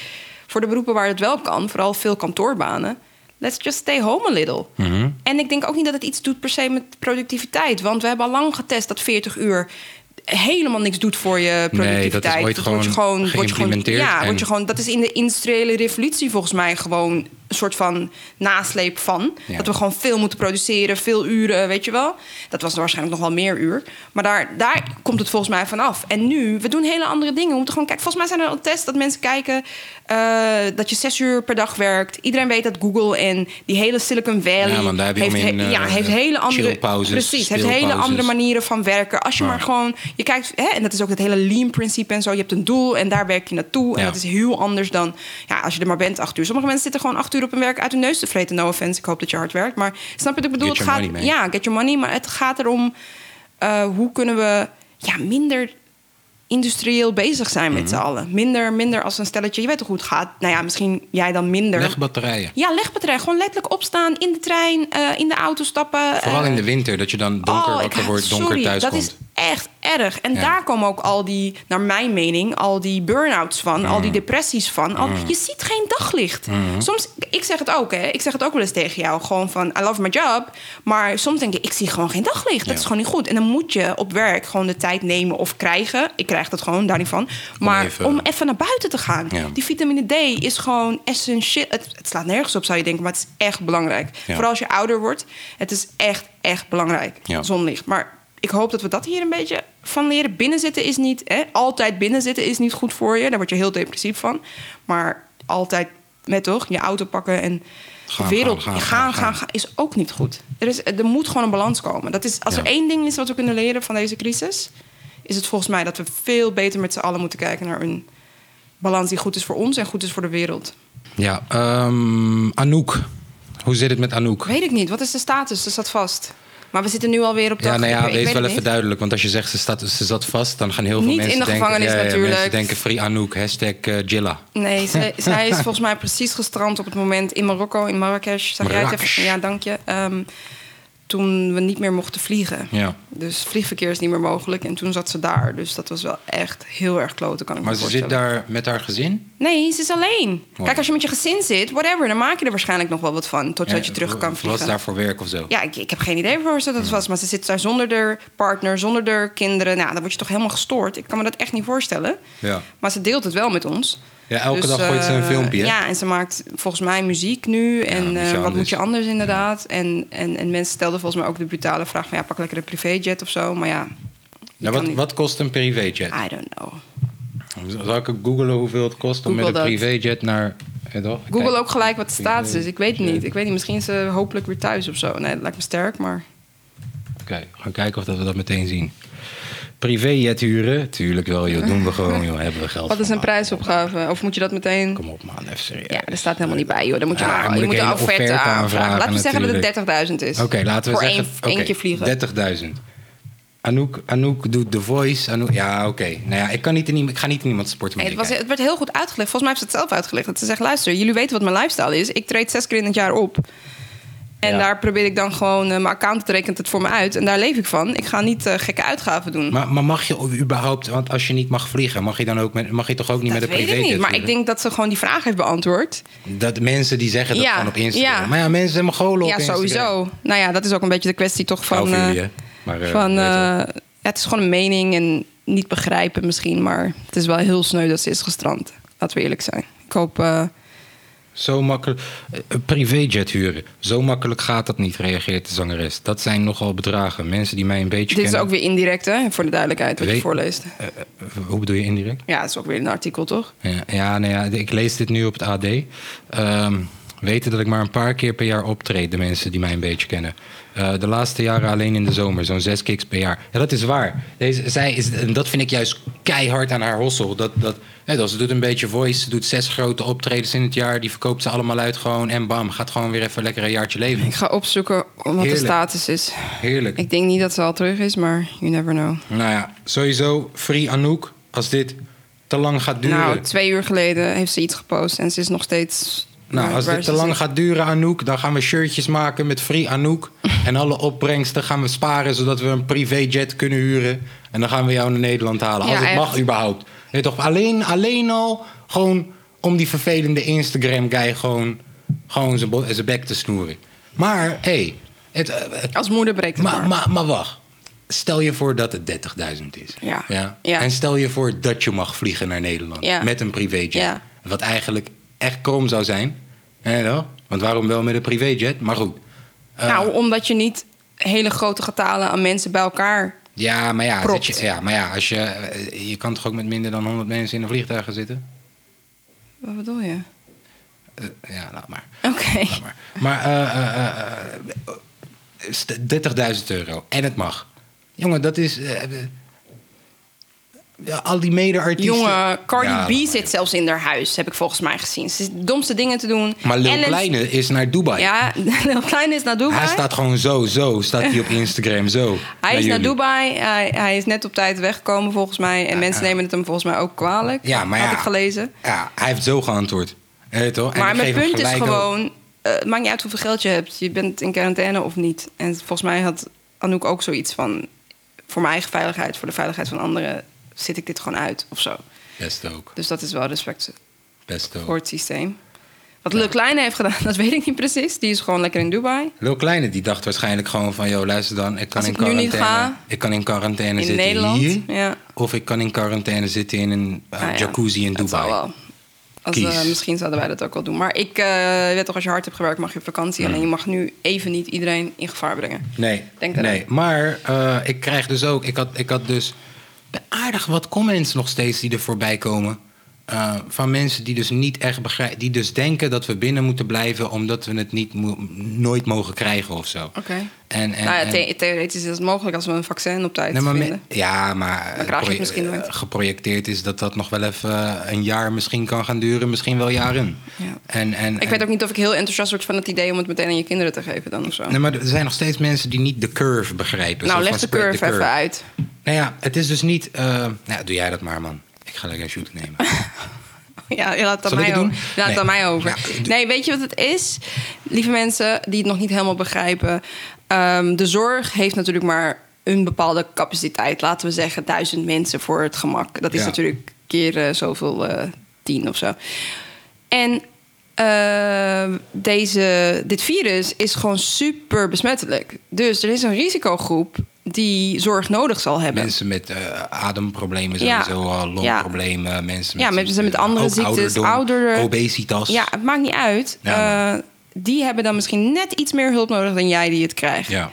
B: voor de beroepen waar het wel kan, vooral veel kantoorbanen... Let's just stay home a little.
A: Mhm.
B: En ik denk ook niet dat het iets doet per se met productiviteit. Want we hebben al lang getest dat 40 uur helemaal niks doet voor je
A: Nee, dat is
B: eh, productiviteit.
A: ooit
B: wordt je
A: gewoon
B: wordt je gewoon,
A: geïmplementeerd
B: ja,
A: en-
B: word je gewoon, dat is in de industriële revolutie volgens mij gewoon een soort van nasleep van.
A: Ja.
B: Dat we gewoon veel moeten produceren, veel uren, weet je wel. Dat was waarschijnlijk nog wel meer uur. Maar daar, daar komt het volgens mij vanaf. En nu, we doen hele andere dingen. We moeten gewoon kijken. Volgens mij zijn er al tests dat mensen kijken eh, dat je zes uur per dag werkt. Iedereen weet dat Google en die hele Silicon Valley
A: Ja, want daar heb je
B: heeft,
A: om in,
B: he- ja,
A: eh,
B: heeft hele andere
A: chillpauzes,
B: precies, heeft hele
A: speelpauzes.
B: andere manieren van werken. Als je
A: Ja.
B: maar gewoon je kijkt, hè, en dat is ook het hele lean principe en zo. Je hebt een doel en daar werk je naartoe. En
A: Ja.
B: dat is heel anders dan ja, als je er maar bent acht uur. Sommige mensen zitten gewoon acht uur op hun werk uit hun neus te vreten. No offense, ik hoop dat je hard werkt. Maar snap je wat ik bedoel?
A: Get
B: het
A: your
B: gaat,
A: money, man.
B: ja, get your money. Maar het gaat erom eh, hoe kunnen we ja, minder industrieel bezig zijn
A: Mhm.
B: met z'n allen. Minder, minder als een stelletje. Je weet toch hoe het gaat? Nou ja, misschien jij dan minder.
A: Legbatterijen.
B: ja, legbatterij. Gewoon letterlijk opstaan, in de trein, eh, in de auto stappen.
A: Vooral
B: eh, Oh,
A: in de winter, dat je dan donker
B: ik
A: wakker
B: haat-
A: wordt, donker
B: sorry,
A: thuis
B: dat
A: komt.
B: is echt erg. En
A: Ja.
B: daar komen ook al die, naar mijn mening, al die burn-outs van, al
A: Mm.
B: die depressies van. Al, Je ziet geen daglicht. Soms, ik zeg het ook, hè. Ik zeg het ook wel eens tegen jou, gewoon van, I love my job. Maar soms denk ik, ik zie gewoon geen daglicht. Dat
A: Ja.
B: is gewoon niet goed. En dan moet je op werk gewoon de tijd nemen of krijgen. Ik krijg dat gewoon, daar niet van. Maar om even,
A: even-
B: naar buiten te gaan.
A: Ja.
B: Die vitamine D is gewoon essentieel. Het, het slaat nergens op, zou je denken, maar het is echt belangrijk.
A: Ja.
B: Vooral als je ouder wordt. Het is echt, echt belangrijk
A: Ja.
B: zonlicht. Maar ik hoop dat we dat hier een beetje van leren. Binnenzitten is niet, hè, altijd binnenzitten is niet goed voor je. Daar word je heel depressief van. Maar altijd met toch je auto pakken en
A: Gaan,
B: de wereld
A: gaan,
B: gaan
A: gaan,
B: gaan,
A: gaan, gaan.
B: is ook niet goed. Er, is, er moet gewoon een balans komen. Dat is, als er
A: Ja.
B: één ding is wat we kunnen leren van deze crisis, is het volgens mij dat we veel beter met z'n allen moeten kijken naar een balans die goed is voor ons en goed is voor de wereld.
A: Ja, ehm, Anouk. Hoe zit het met Anouk?
B: Weet ik niet. Wat is de status? Dat staat vast. Maar we zitten nu alweer op de.
A: Ja, nou ja, wees wel even
B: niet.
A: duidelijk. Want als je zegt ze, staat, ze zat vast, dan gaan heel veel
B: Niet
A: mensen
B: in de
A: denken...
B: gevangenis
A: ja, ja,
B: natuurlijk.
A: mensen denken free Anouk, hashtag eh, Jilla.
B: Nee, zij, zij is volgens mij precies gestrand op het moment in Marokko, in Marrakesh. Zag jij het
A: Marrakesh.
B: even? Ja, dank je. Ehm, toen we niet meer mochten vliegen.
A: Ja.
B: Dus vliegverkeer is niet meer mogelijk. En toen zat ze daar. Dus dat was wel echt heel erg kloten, kan ik
A: Maar
B: me
A: ze zit
B: voorstellen.
A: daar met haar gezin?
B: Nee, ze is alleen.
A: Oh.
B: Kijk, als je met je gezin zit, whatever, dan maak je er waarschijnlijk nog wel wat van. Totdat je
A: Ja,
B: terug kan vliegen.
A: Was daar voor werk of zo? Nou,
B: Ja, ik, ik heb geen idee voor ze dat het was. Maar ze zit daar zonder de partner, zonder de kinderen. Nou, dan word je toch helemaal gestoord. Ik kan me dat echt niet voorstellen.
A: Ja.
B: Maar ze deelt het wel met ons.
A: Ja, elke dag gooit ze een
B: eh,
A: filmpje, hè?
B: Ja, en ze maakt volgens mij muziek nu. en
A: moet je
B: eh, wat
A: anders.
B: moet je anders inderdaad? En, en, en mensen stelden volgens mij ook de brutale vraag van... ja, pak lekker een privéjet of zo. Maar ja,
A: Nou,
B: kan
A: wat,
B: niet. Ah.
A: wat kost een privéjet?
B: I don't know.
A: Zal ik ook googlen hoeveel het kost om
B: Google
A: met een
B: dat.
A: privéjet naar... Ja, toch?
B: Google
A: Kijk.
B: ook gelijk wat de status is. Ik weet het niet.
A: privéjet.
B: Ik weet niet, misschien is ze hopelijk weer thuis of zo. Nee, dat lijkt me sterk, maar...
A: Oké, we gaan kijken of dat we dat meteen zien. Privéjet huren? Tuurlijk wel, joh. Doen we gewoon, joh. Hebben we geld
B: Wat is
A: voor,
B: een
A: man.
B: prijsopgave? Of moet je dat meteen...
A: Kom op, man. Even serieus.
B: Ja, dus daar staat helemaal niet bij, joh. Dan moet je,
A: Ja,
B: maar,
A: Ah, moet
B: je
A: ik
B: moet een
A: hele
B: offerte,
A: offerte
B: aanvragen.
A: aanvragen,
B: Laten we zeggen
A: natuurlijk.
B: dat het 30.000 is.
A: Oké, laten we
B: Voor
A: zeggen...
B: één, één
A: oké,
B: keer vliegen.
A: 30.000. Anouk, Anouk doet The Voice. Anouk, ja, oké. Nou ja, ik, kan niet in, iem- ik ga niet in iemands
B: Nee,
A: sportmanager
B: het, was,
A: kijken.
B: het werd heel goed uitgelegd. Volgens mij heeft ze het zelf uitgelegd. Dat ze zegt, luister, jullie weten wat mijn lifestyle is. Ik treed zes keer in het jaar op. En
A: Ja.
B: daar probeer ik dan gewoon... eh, mijn account rekent het voor me uit. En daar leef ik van. Ik ga niet eh, gekke uitgaven doen.
A: Maar, maar mag je überhaupt... Want als je niet mag vliegen, mag je, dan ook met, mag je toch ook niet
B: dat
A: met een
B: weet
A: privéjet
B: ik niet. Maar ik
A: vliegen?
B: denk dat ze gewoon die vraag heeft beantwoord.
A: Dat mensen die zeggen dat
B: Ja,
A: gewoon op Instagram.
B: ja.
A: Maar ja, mensen zijn mogolen op
B: ja,
A: Instagram.
B: sowieso. Nou ja, dat is ook een beetje de kwestie toch van...
A: Hou van
B: eh,
A: jullie, hè. Maar, eh,
B: van
A: je weet
B: eh, ja, het is gewoon een mening en niet begrijpen misschien. Maar het is wel heel sneu dat ze is gestrand. Laten we eerlijk zijn. Ik hoop eh,
A: Zo makkelijk. eh, Een privéjet huren. Zo makkelijk gaat dat niet, reageert de zangeres. Dat zijn nogal bedragen. Mensen die mij een beetje
B: Dit is
A: kennen.
B: ook weer indirect, hè? Voor de duidelijkheid wat je
A: Weet-
B: voorleest.
A: Eh, Hoe bedoel je indirect?
B: Ja, dat is ook weer een artikel, toch?
A: Ja, ja, nou ja, ik lees dit nu op het AD. Ehm, weten dat ik maar een paar keer per jaar optreed, de mensen die mij een beetje kennen. Eh, de laatste jaren alleen in de zomer, zo'n zes kicks per jaar. Ja, dat is waar. Deze, zij is, en dat vind ik juist keihard aan haar hossel. Dat, dat, net als ze doet een beetje voice, ze doet zes grote optredens in het jaar, die verkoopt ze allemaal uit gewoon en bam, gaat gewoon weer even lekker een jaartje leven.
B: Ik ga opzoeken wat de
A: Heerlijk.
B: status is.
A: Heerlijk.
B: Ik denk niet dat ze al terug is, maar you never know.
A: Nou ja, sowieso, free Anouk, als dit te lang gaat duren.
B: Nou, twee uur geleden heeft ze iets gepost en ze is nog steeds.
A: Nou,
B: waar-
A: als
B: waar
A: dit
B: ze
A: te lang
B: zit.
A: gaat duren, Anouk, dan gaan we shirtjes maken met Free Anouk. En alle opbrengsten gaan we sparen, zodat we een privéjet kunnen huren. En dan gaan we jou naar Nederland halen.
B: Ja,
A: als het
B: echt.
A: mag, überhaupt. Nee, toch, alleen, alleen al gewoon om die vervelende Instagram-guy gewoon, gewoon zijn, bo- zijn bek te snoeren. Maar, hé, hey, het, eh, het-
B: Als moeder breekt het
A: maar,
B: maar.
A: maar, maar wacht. Stel je voor dat het 30.000 is.
B: Ja. Ja.
A: En stel je voor dat je mag vliegen naar Nederland.
B: Ja.
A: Met een privéjet.
B: Ja.
A: Wat eigenlijk echt krom zou zijn. Hè, wel? Want waarom wel met een privéjet? Maar goed. Eh,
B: nou, omdat je niet hele grote getalen aan mensen bij elkaar.
A: ja, maar ja,
B: propt.
A: zit je, ja, maar ja als je, eh, je kan toch ook met minder dan 100 mensen in een vliegtuig gaan zitten?
B: Wat bedoel je?
A: Eh, ja, laat maar.
B: Oké.
A: Laat maar maar eh, eh, eh, eh, eh, 30.000 euro. En het mag. Jongen, dat is... eh, eh, ja, al die mede-artiesten...
B: Jonge, Cardi
A: Ja,
B: B
A: laat maar,
B: zit zelfs in haar huis, heb ik volgens mij gezien. Ze is de domste dingen te doen.
A: Maar Lil
B: Ellen-
A: Kleine is naar Dubai.
B: Ja, Lil Kleine is naar Dubai.
A: Hij staat gewoon zo, zo staat hij op Instagram, zo.
B: Hij is
A: jullie.
B: naar Dubai. Hij, hij is net op tijd weggekomen volgens mij. En mensen nemen het hem volgens mij ook kwalijk.
A: Ja, maar ja.
B: Had ik gelezen.
A: Ja, hij heeft zo geantwoord. Hé, toch? En
B: maar
A: ik
B: mijn
A: geef hem
B: punt is
A: gelijk ook-
B: gewoon... eh, het maakt niet uit hoeveel geld je hebt. Je bent in quarantaine of niet. En volgens mij had Anouk ook zoiets van... voor mijn eigen veiligheid, voor de veiligheid van anderen... zit ik dit gewoon uit of zo.
A: Best ook,
B: Dus dat is wel respect
A: best
B: voor
A: ook.
B: het systeem. Wat Lil Kleine heeft gedaan, dat weet ik niet precies. Die is gewoon lekker in Dubai.
A: Lil Kleine die dacht waarschijnlijk gewoon van... joh, luister dan, ik kan
B: Als
A: in
B: ik nu niet
A: quarantaine...
B: ga,
A: ik kan in quarantaine
B: in
A: zitten
B: Nederland,
A: hier.
B: ja.
A: Of ik kan in quarantaine zitten in een eh,
B: Nou ja,
A: jacuzzi in
B: dat zal
A: Dubai.
B: wel. Als,
A: Kies.
B: eh, misschien zouden wij dat ook wel doen. Maar ik eh, je weet toch, als je hard hebt gewerkt, mag je op vakantie. Alleen je mag nu even niet iedereen in gevaar brengen.
A: Hmm. Nee,
B: Denk eraan.
A: nee. maar eh, ik krijg dus ook... Ik had, ik had dus aardig wat comments nog steeds die er voorbij komen... eh, van mensen die dus niet echt begrijpen... die dus denken dat we binnen moeten blijven... omdat we het niet mo- nooit mogen krijgen of zo.
B: Oké.
A: En, en,
B: nou ja,
A: en-
B: the- theoretisch is het mogelijk als we een vaccin op tijd
A: Nee, maar me-
B: vinden.
A: ja, maar
B: Dan krijg je het
A: eh,
B: misschien nooit.
A: eh, geprojecteerd is dat dat nog wel even eh, een jaar misschien kan gaan duren, misschien wel jaren.
B: Ja.
A: En, en,
B: Ik weet ook niet of ik heel enthousiast word van het idee om het meteen aan je kinderen te geven dan of zo.
A: Nee, maar er zijn nog steeds mensen die niet de curve begrijpen.
B: nou,
A: Zo
B: leg
A: van
B: de
A: spread
B: curve
A: the
B: even uit.
A: Nou ja, het is dus niet. eh, nou, ja, doe jij dat maar, man. Ik ga lekker een shoot nemen.
B: Ja, je laat het aan
A: Zal ik het
B: mij
A: doen?
B: over. Je Laat het
A: Nee.
B: aan mij over.
A: Ja, d-
B: nee, weet je wat het is? Lieve mensen die het nog niet helemaal begrijpen. ehm, de zorg heeft natuurlijk maar een bepaalde capaciteit. Laten we zeggen duizend mensen voor het gemak. Dat is
A: Ja.
B: natuurlijk keer eh, zoveel eh, tien of zo. En eh, deze, dit virus is gewoon super besmettelijk. Dus er is een risicogroep die zorg nodig zal hebben.
A: mensen met eh, ademproblemen
B: Ja.
A: sowieso al, longproblemen, mensen met, eh,
B: Ja, mensen met andere
A: ook
B: ziektes,
A: ouderdom,
B: ouderen.
A: obesitas.
B: Ja, het maakt niet uit.
A: Ja,
B: Eh, die hebben dan misschien net iets meer hulp nodig dan jij die het krijgt.
A: Ja.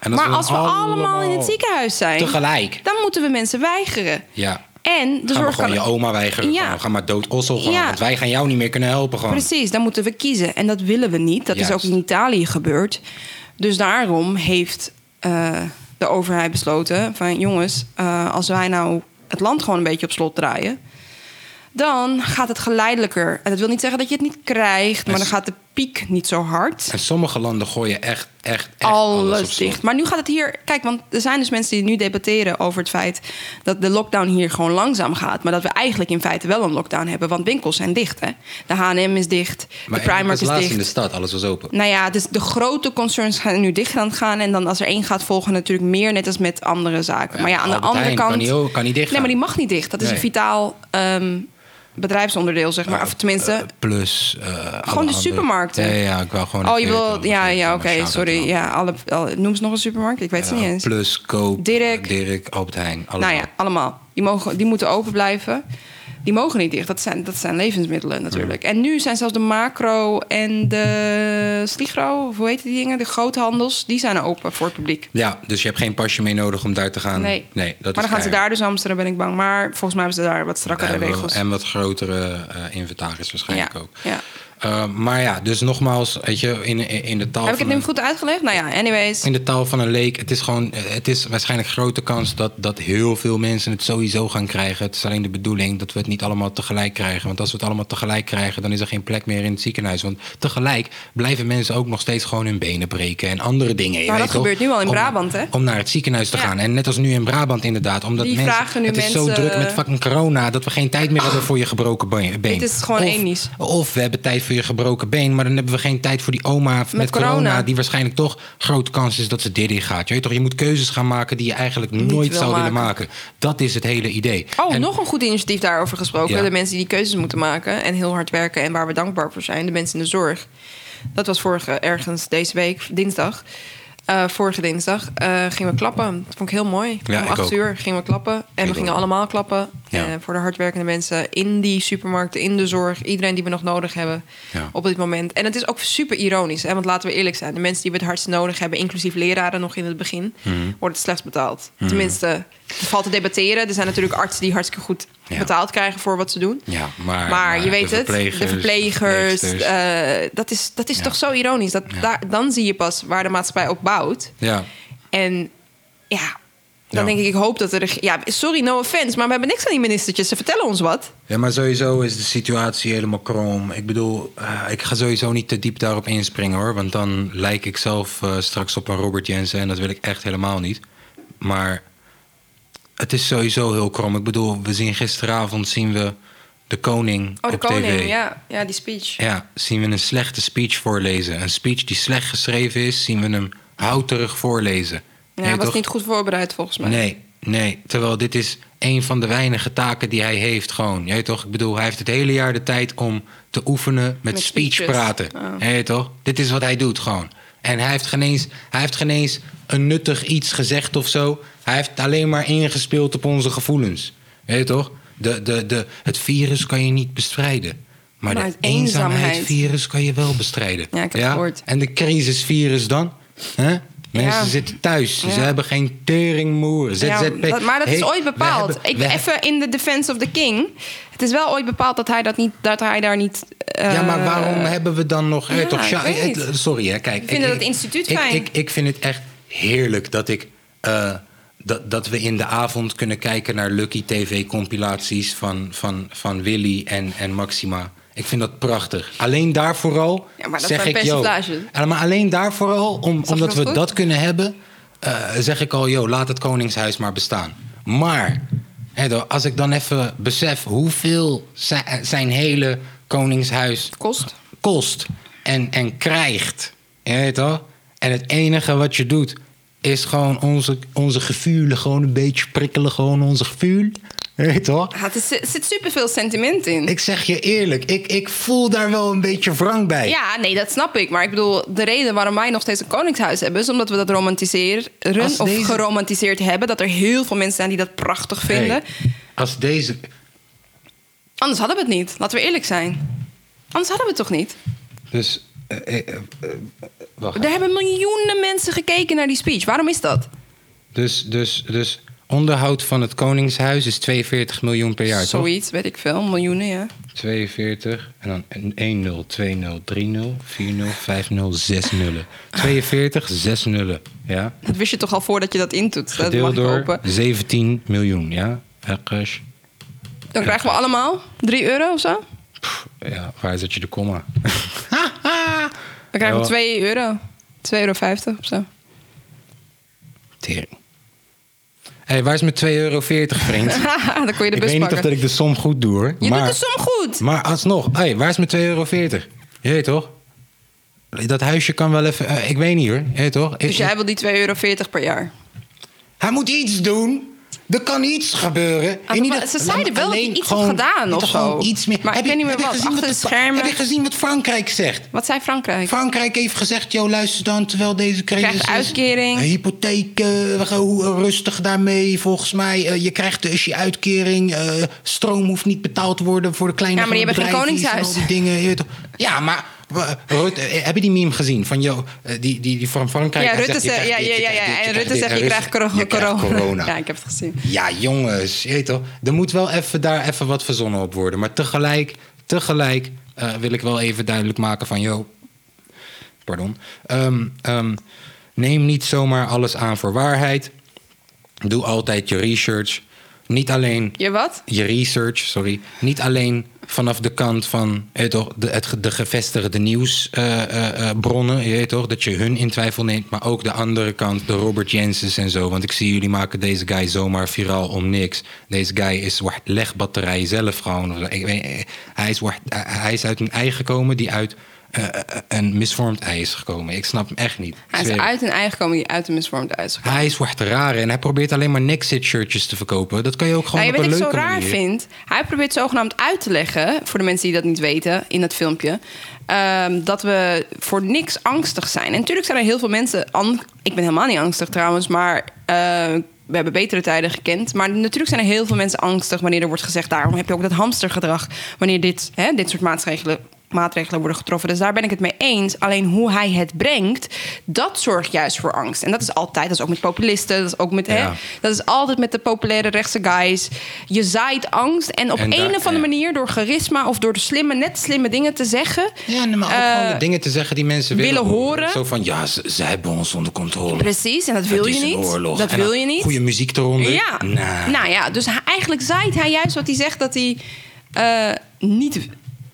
A: En
B: maar
A: dan
B: als we allemaal in het ziekenhuis zijn,
A: tegelijk.
B: dan moeten we mensen weigeren.
A: Ja.
B: En de
A: Gaan we
B: zorg
A: gewoon
B: kan.
A: je oma weigeren.
B: Dus Ja.
A: Gewoon. Ga maar dood ossel gewoon.
B: Ja.
A: Want wij gaan jou niet meer kunnen helpen gewoon.
B: Precies, dan moeten we kiezen. En dat willen we niet. Dat is ook
A: Juist.
B: in Italië gebeurd. Dus daarom heeft eh, de overheid besloten: van jongens, eh, als wij nou het land gewoon een beetje op slot draaien. Dan gaat het geleidelijker. En dat wil niet zeggen dat je het niet krijgt, maar dan gaat de piek niet zo hard.
A: En sommige landen gooien echt, echt, echt
B: alles,
A: alles, op slot.
B: dicht. Maar nu gaat het hier. Kijk, want er zijn dus mensen die nu debatteren over het feit dat de lockdown hier gewoon langzaam gaat. Maar dat we eigenlijk in feite wel een lockdown hebben. Want winkels zijn dicht. Hè? De HM is dicht.
A: Maar
B: de
A: ik
B: Primark
A: was
B: is
A: laatst in de
B: dicht.
A: stad, alles was open.
B: Nou ja, dus de grote concerns gaan nu dicht aan het gaan. En dan als er één gaat, volgen natuurlijk meer. Net als met andere zaken.
A: Ja,
B: maar ja, aan de
A: Albert
B: andere
A: Heijn
B: kant.
A: kan niet ook- kan niet dicht
B: Nee, maar die
A: gaan.
B: mag niet dicht. Dat is
A: Nee.
B: een vitaal ehm, bedrijfsonderdeel, zeg maar. of tenminste.
A: Eh, plus. eh, alle
B: Gewoon de
A: andere-
B: supermarkten.
A: Ja, ja, ik wou gewoon.
B: Oh, je wil.
A: wil
B: Ja, ja oké, sorry. Ja, alle, alle- noem eens nog een supermarkt. Ik weet ze niet eens.
A: Plus, Koop,
B: Dirk.
A: Dirk Albert Heijn.
B: Nou
A: allemaal.
B: ja, allemaal. Die, mogen, die moeten open blijven. Die mogen niet dicht. Dat zijn, dat zijn levensmiddelen natuurlijk.
A: Mm.
B: En nu zijn zelfs de macro en de sligro, of hoe heet die dingen? De groothandels, die zijn open voor het publiek.
A: Ja, dus je hebt geen pasje mee nodig om daar te gaan.
B: Nee.
A: nee dat
B: maar
A: is
B: dan gaan ze
A: keihard.
B: daar dus Amsterdam, ben ik bang. Maar volgens mij hebben ze daar wat strakkere
A: en,
B: regels.
A: en wat grotere eh, inventaris waarschijnlijk
B: Ja,
A: ook.
B: ja.
A: Eh, maar ja, dus nogmaals, weet je, in, in in de taal
B: Heb ik
A: van
B: het nu
A: een-
B: goed uitgelegd? Nou ja, anyways.
A: in de taal van een leek, het is gewoon, eh, het is waarschijnlijk grote kans dat, dat heel veel mensen het sowieso gaan krijgen. Het is alleen de bedoeling dat we het niet allemaal tegelijk krijgen. Want als we het allemaal tegelijk krijgen, dan is er geen plek meer in het ziekenhuis. Want tegelijk blijven mensen ook nog steeds gewoon hun benen breken en andere dingen.
B: Maar
A: weet
B: Nou, dat
A: toch?
B: gebeurt nu al in
A: Om-
B: Brabant, hè?
A: Om naar het ziekenhuis te
B: Ja.
A: gaan. En net als nu in Brabant inderdaad. Omdat
B: Die
A: mensen,
B: vragen nu
A: het is zo
B: mensen-
A: druk met fucking corona dat we geen tijd meer hebben voor je gebroken been.
B: Dit is gewoon
A: of,
B: één nies.
A: Of we hebben tijd voor je gebroken been, maar dan hebben we geen tijd voor die oma met, corona.
B: corona.
A: die waarschijnlijk toch grote kans is dat ze dit in gaat. Je, weet toch, je moet keuzes gaan maken die je eigenlijk nooit
B: wil
A: zou willen
B: maken.
A: maken. Dat is het hele idee.
B: Oh,
A: En-
B: nog een goed initiatief daarover gesproken.
A: Ja.
B: De mensen die keuzes moeten maken en heel hard werken en waar we dankbaar voor zijn. De mensen in de zorg. Dat was vorige, ergens deze week, dinsdag. Eh, vorige dinsdag eh, gingen we klappen. Dat vond ik heel mooi.
A: Ja,
B: Om
A: ik
B: acht
A: ook.
B: uur gingen we klappen. En
A: Ik
B: we gingen
A: ook.
B: allemaal klappen.
A: Ja.
B: Eh, voor de hardwerkende mensen in die supermarkten, in de zorg. Iedereen die we nog nodig hebben
A: Ja.
B: op dit moment. En het is ook super ironisch. Hè? Want laten we eerlijk zijn. De mensen die we het hardst nodig hebben, inclusief leraren nog in het begin...
A: Hmm.
B: wordt het slechts betaald. Tenminste, er valt te debatteren. Er zijn natuurlijk artsen die hartstikke goed
A: Ja.
B: betaald krijgen voor wat ze doen.
A: Ja, maar-
B: maar,
A: maar
B: je weet
A: de
B: het, de
A: verplegers,
B: verplegers...
A: verpleegsters.
B: eh, dat is, dat is
A: Ja.
B: toch zo ironisch. Dat,
A: Ja.
B: daar, dan zie je pas waar de maatschappij op bouwt.
A: Ja.
B: En ja... Dan
A: Ja.
B: denk ik, ik hoop dat er... Ja, sorry, no offense, maar we hebben niks aan die ministertjes. Ze vertellen ons wat.
A: Ja, maar sowieso is de situatie helemaal krom. Ik bedoel, eh, ik ga sowieso niet te diep daarop inspringen hoor. Want dan lijk ik zelf eh, straks op een Robert Jensen en dat wil ik echt helemaal niet. Maar het is sowieso heel krom. Ik bedoel, we zien gisteravond zien we de koning
B: Oh, de
A: op
B: koning,
A: tv.
B: ja. Ja, die speech.
A: Ja, zien we een slechte speech voorlezen. Een speech die slecht geschreven is, zien we hem houterig voorlezen.
B: Ja,
A: Nee,
B: hij was
A: toch?
B: niet goed voorbereid volgens mij.
A: Nee, nee. Terwijl dit is een van de weinige taken die hij heeft gewoon. Je weet toch? Ik bedoel, hij heeft het hele jaar de tijd om te oefenen met,
B: Met
A: speech
B: speeches.
A: praten.
B: Oh.
A: Je weet toch? Dit is wat hij doet gewoon. En hij heeft, geen eens, hij heeft geen eens een nuttig iets gezegd of zo. Hij heeft alleen maar ingespeeld op onze gevoelens. Je weet toch? De, de, de, het virus kan je niet bestrijden. Maar,
B: Maar
A: het
B: het eenzaamheid-
A: eenzaamheidsvirus kan je wel bestrijden.
B: Ja, ik heb het gehoord.
A: En de crisisvirus dan? Hè? Mensen
B: Ja.
A: zitten thuis. Ze
B: Ja.
A: hebben geen teringmoer.
B: Ja,
A: ZZP.
B: dat- maar dat is
A: Hey,
B: ooit
A: we
B: bepaald.
A: hebben-
B: Ik
A: we
B: ben
A: hebben-
B: even in de defense of the king. Het is wel ooit bepaald dat hij, dat niet, dat hij daar niet... eh,
A: ja, maar waarom hebben we dan nog... eh,
B: ja,
A: toch,
B: ik
A: ja,
B: weet
A: eh,
B: niet.
A: sorry, hè, kijk.
B: Ik vind dat instituut
A: ik,
B: fijn.
A: Ik, ik vind het echt heerlijk dat ik... eh, dat, dat we in de avond kunnen kijken naar Lucky TV-compilaties van, van, van Willy en, en Maxima. Ik vind dat prachtig. Alleen daarvoor al
B: Ja, maar dat
A: zeg
B: zijn
A: ik, yo,
B: percentages.
A: Ja, maar alleen daarvoor al, om,
B: je
A: omdat
B: dat
A: we
B: goed?
A: dat kunnen hebben, eh, zeg ik al, joh, laat het Koningshuis maar bestaan. Maar, hè, do- als ik dan even besef hoeveel zi- zijn hele Koningshuis
B: Kost.
A: kost en, en krijgt. Je weet toch? En het enige wat je doet, is gewoon onze, onze gevuurlen gewoon een beetje prikkelen. Gewoon onze gevuur. Je Weet toch?
B: Ah, het is- er zit superveel sentiment in.
A: Ik zeg je eerlijk, ik, ik voel daar wel een beetje wrang bij.
B: Ja, nee, dat snap ik. Maar ik bedoel, de reden waarom wij nog steeds een koningshuis hebben... is omdat we dat romantiseren
A: Als
B: of
A: deze-
B: geromantiseerd hebben. Dat er heel veel mensen zijn die dat prachtig vinden.
A: Hey, als deze.
B: Anders hadden we het niet. Laten we eerlijk zijn. Anders hadden we het toch niet?
A: Dus. eh, eh, eh, eh, wacht.
B: Er hebben miljoenen mensen gekeken naar die speech. Waarom is dat?
A: Dus, dus, dus onderhoud van het Koningshuis is 42 miljoen per jaar, toch?
B: Zoiets, weet ik veel. Miljoenen, ja.
A: 42 en dan 1 0, 2 0, 3 0, 4 0, 5 0, 6 0. 42, 6 0. Ja?
B: Dat wist je toch al voordat je dat intoet. Dat mag
A: Gedeeld
B: ik
A: door
B: hopen.
A: 17 miljoen, ja? Ergens.
B: Dan krijgen we allemaal 3 euro of zo. Dan
A: Pff, Ja, waar zet je de komma?
B: krijgen
A: Ja.
B: we 2 euro. 2,50 euro of zo.
A: Tering. Hé, hey, waar is mijn 2,40 euro, vriend?
B: dan kon je de
A: ik
B: bus
A: weet niet of
B: pakken.
A: dat ik de som goed doe, hoor.
B: Je
A: maar...
B: doet de som goed.
A: Maar alsnog, hey, waar is mijn 2,40 euro? Je weet toch? Dat huisje kan wel even. eh, ik weet niet hoor. Je weet toch? Ik-
B: Dus jij wil die 2,40 euro per jaar.
A: Hij moet iets doen. Er kan iets gebeuren.
B: Ah,
A: En
B: maar
A: dat-
B: ze zeiden wel dat hij
A: alleen
B: iets had gedaan
A: dat
B: of
A: er gewoon
B: zo.
A: Iets meer.
B: Maar ik
A: Heb
B: weet niet meer
A: heb
B: wat.
A: gezien
B: Achter
A: wat
B: de
A: Fa-
B: schermen.
A: Heb je gezien wat Frankrijk zegt?
B: Wat zei Frankrijk?
A: Frankrijk heeft gezegd, joh, luister dan, terwijl deze crisis
B: krijgt
A: is,
B: uitkering.
A: eh, hypotheek, eh, we gaan hoe- eh, rustig daarmee, volgens mij. eh, je krijgt dus je uitkering. eh, stroom hoeft niet betaald te worden voor de kleine
B: Ja, maar die hebben geen
A: bedrijfjes en
B: koningshuis.
A: al die dingen, je weet toch. ja, maar... we- Rutte, eh, heb je die meme gezien van joh, eh, die, die, die van Frankrijk?
B: Ja,
A: Hij
B: Rutte
A: zegt, je
B: zegt, ja,
A: krijgt
B: ja,
A: dit, je
B: ja,
A: krijgt dit,
B: ja. En
A: krijgt
B: Rutte
A: dit.
B: zegt, je krijgt coro-
A: je krijgt corona.
B: Ja, ik heb het gezien.
A: Ja, jongens, je weet toch, er moet wel even daar even wat verzonnen op worden. Maar tegelijk, tegelijk eh, wil ik wel even duidelijk maken van, joh, pardon, ehm, ehm, neem niet zomaar alles aan voor waarheid. Doe altijd je research. Niet alleen
B: Je wat?
A: je research, sorry. Niet alleen vanaf de kant van je weet toch, de, het, ge- de gevestigde nieuwsbronnen, eh, je weet toch, dat je hun in twijfel neemt, maar ook de andere kant, de Robert Jensens en zo. Want ik zie jullie maken deze guy zomaar viraal om niks. Deze guy is wa- legbatterij zelf gewoon. Ik weet, eh, hij, is, wa- eh, hij is uit een ei gekomen die uit eh, eh, een misvormd ei is gekomen. Ik snap hem echt niet. Ik
B: Hij is
A: zweer het.
B: uit een eigen komen die uit een misvormd huis is
A: Hij is wat raar en hij probeert alleen maar Nexit shirtjes te verkopen. Dat kan je ook gewoon
B: Nou,
A: op
B: je
A: een
B: weet wat
A: leuke
B: ik zo raar
A: manier.
B: vind? Hij probeert zogenaamd uit te leggen, voor de mensen die dat niet weten in dat filmpje, ehm, dat we voor niks angstig zijn. En natuurlijk zijn er heel veel mensen. an- Ik ben helemaal niet angstig trouwens, maar eh, we hebben betere tijden gekend. Maar natuurlijk zijn er heel veel mensen angstig wanneer er wordt gezegd: daarom heb je ook dat hamstergedrag. Wanneer dit, hè, dit soort maatregelen maatregelen worden getroffen. Dus daar ben ik het mee eens. Alleen hoe hij het brengt, dat zorgt juist voor angst. En dat is altijd, dat is ook met populisten, dat is ook met, hè,
A: Ja.
B: dat is altijd met de populaire rechtse guys. Je zaait angst en op
A: En
B: een
A: daar-
B: of andere
A: ja.
B: manier door charisma of door de slimme, net slimme dingen te zeggen.
A: Ja, nee, maar ook
B: eh,
A: gewoon de dingen te zeggen die mensen willen,
B: willen horen.
A: Zo van, ja, ze, ze hebben ons onder controle.
B: Precies, en dat wil
A: Het
B: je
A: is een
B: niet.
A: oorlog.
B: Dat
A: En dan
B: wil je niet.
A: Goede muziek eronder.
B: Ja.
A: Nah.
B: Nou ja, dus hij- eigenlijk zaait hij juist wat hij zegt dat hij eh, niet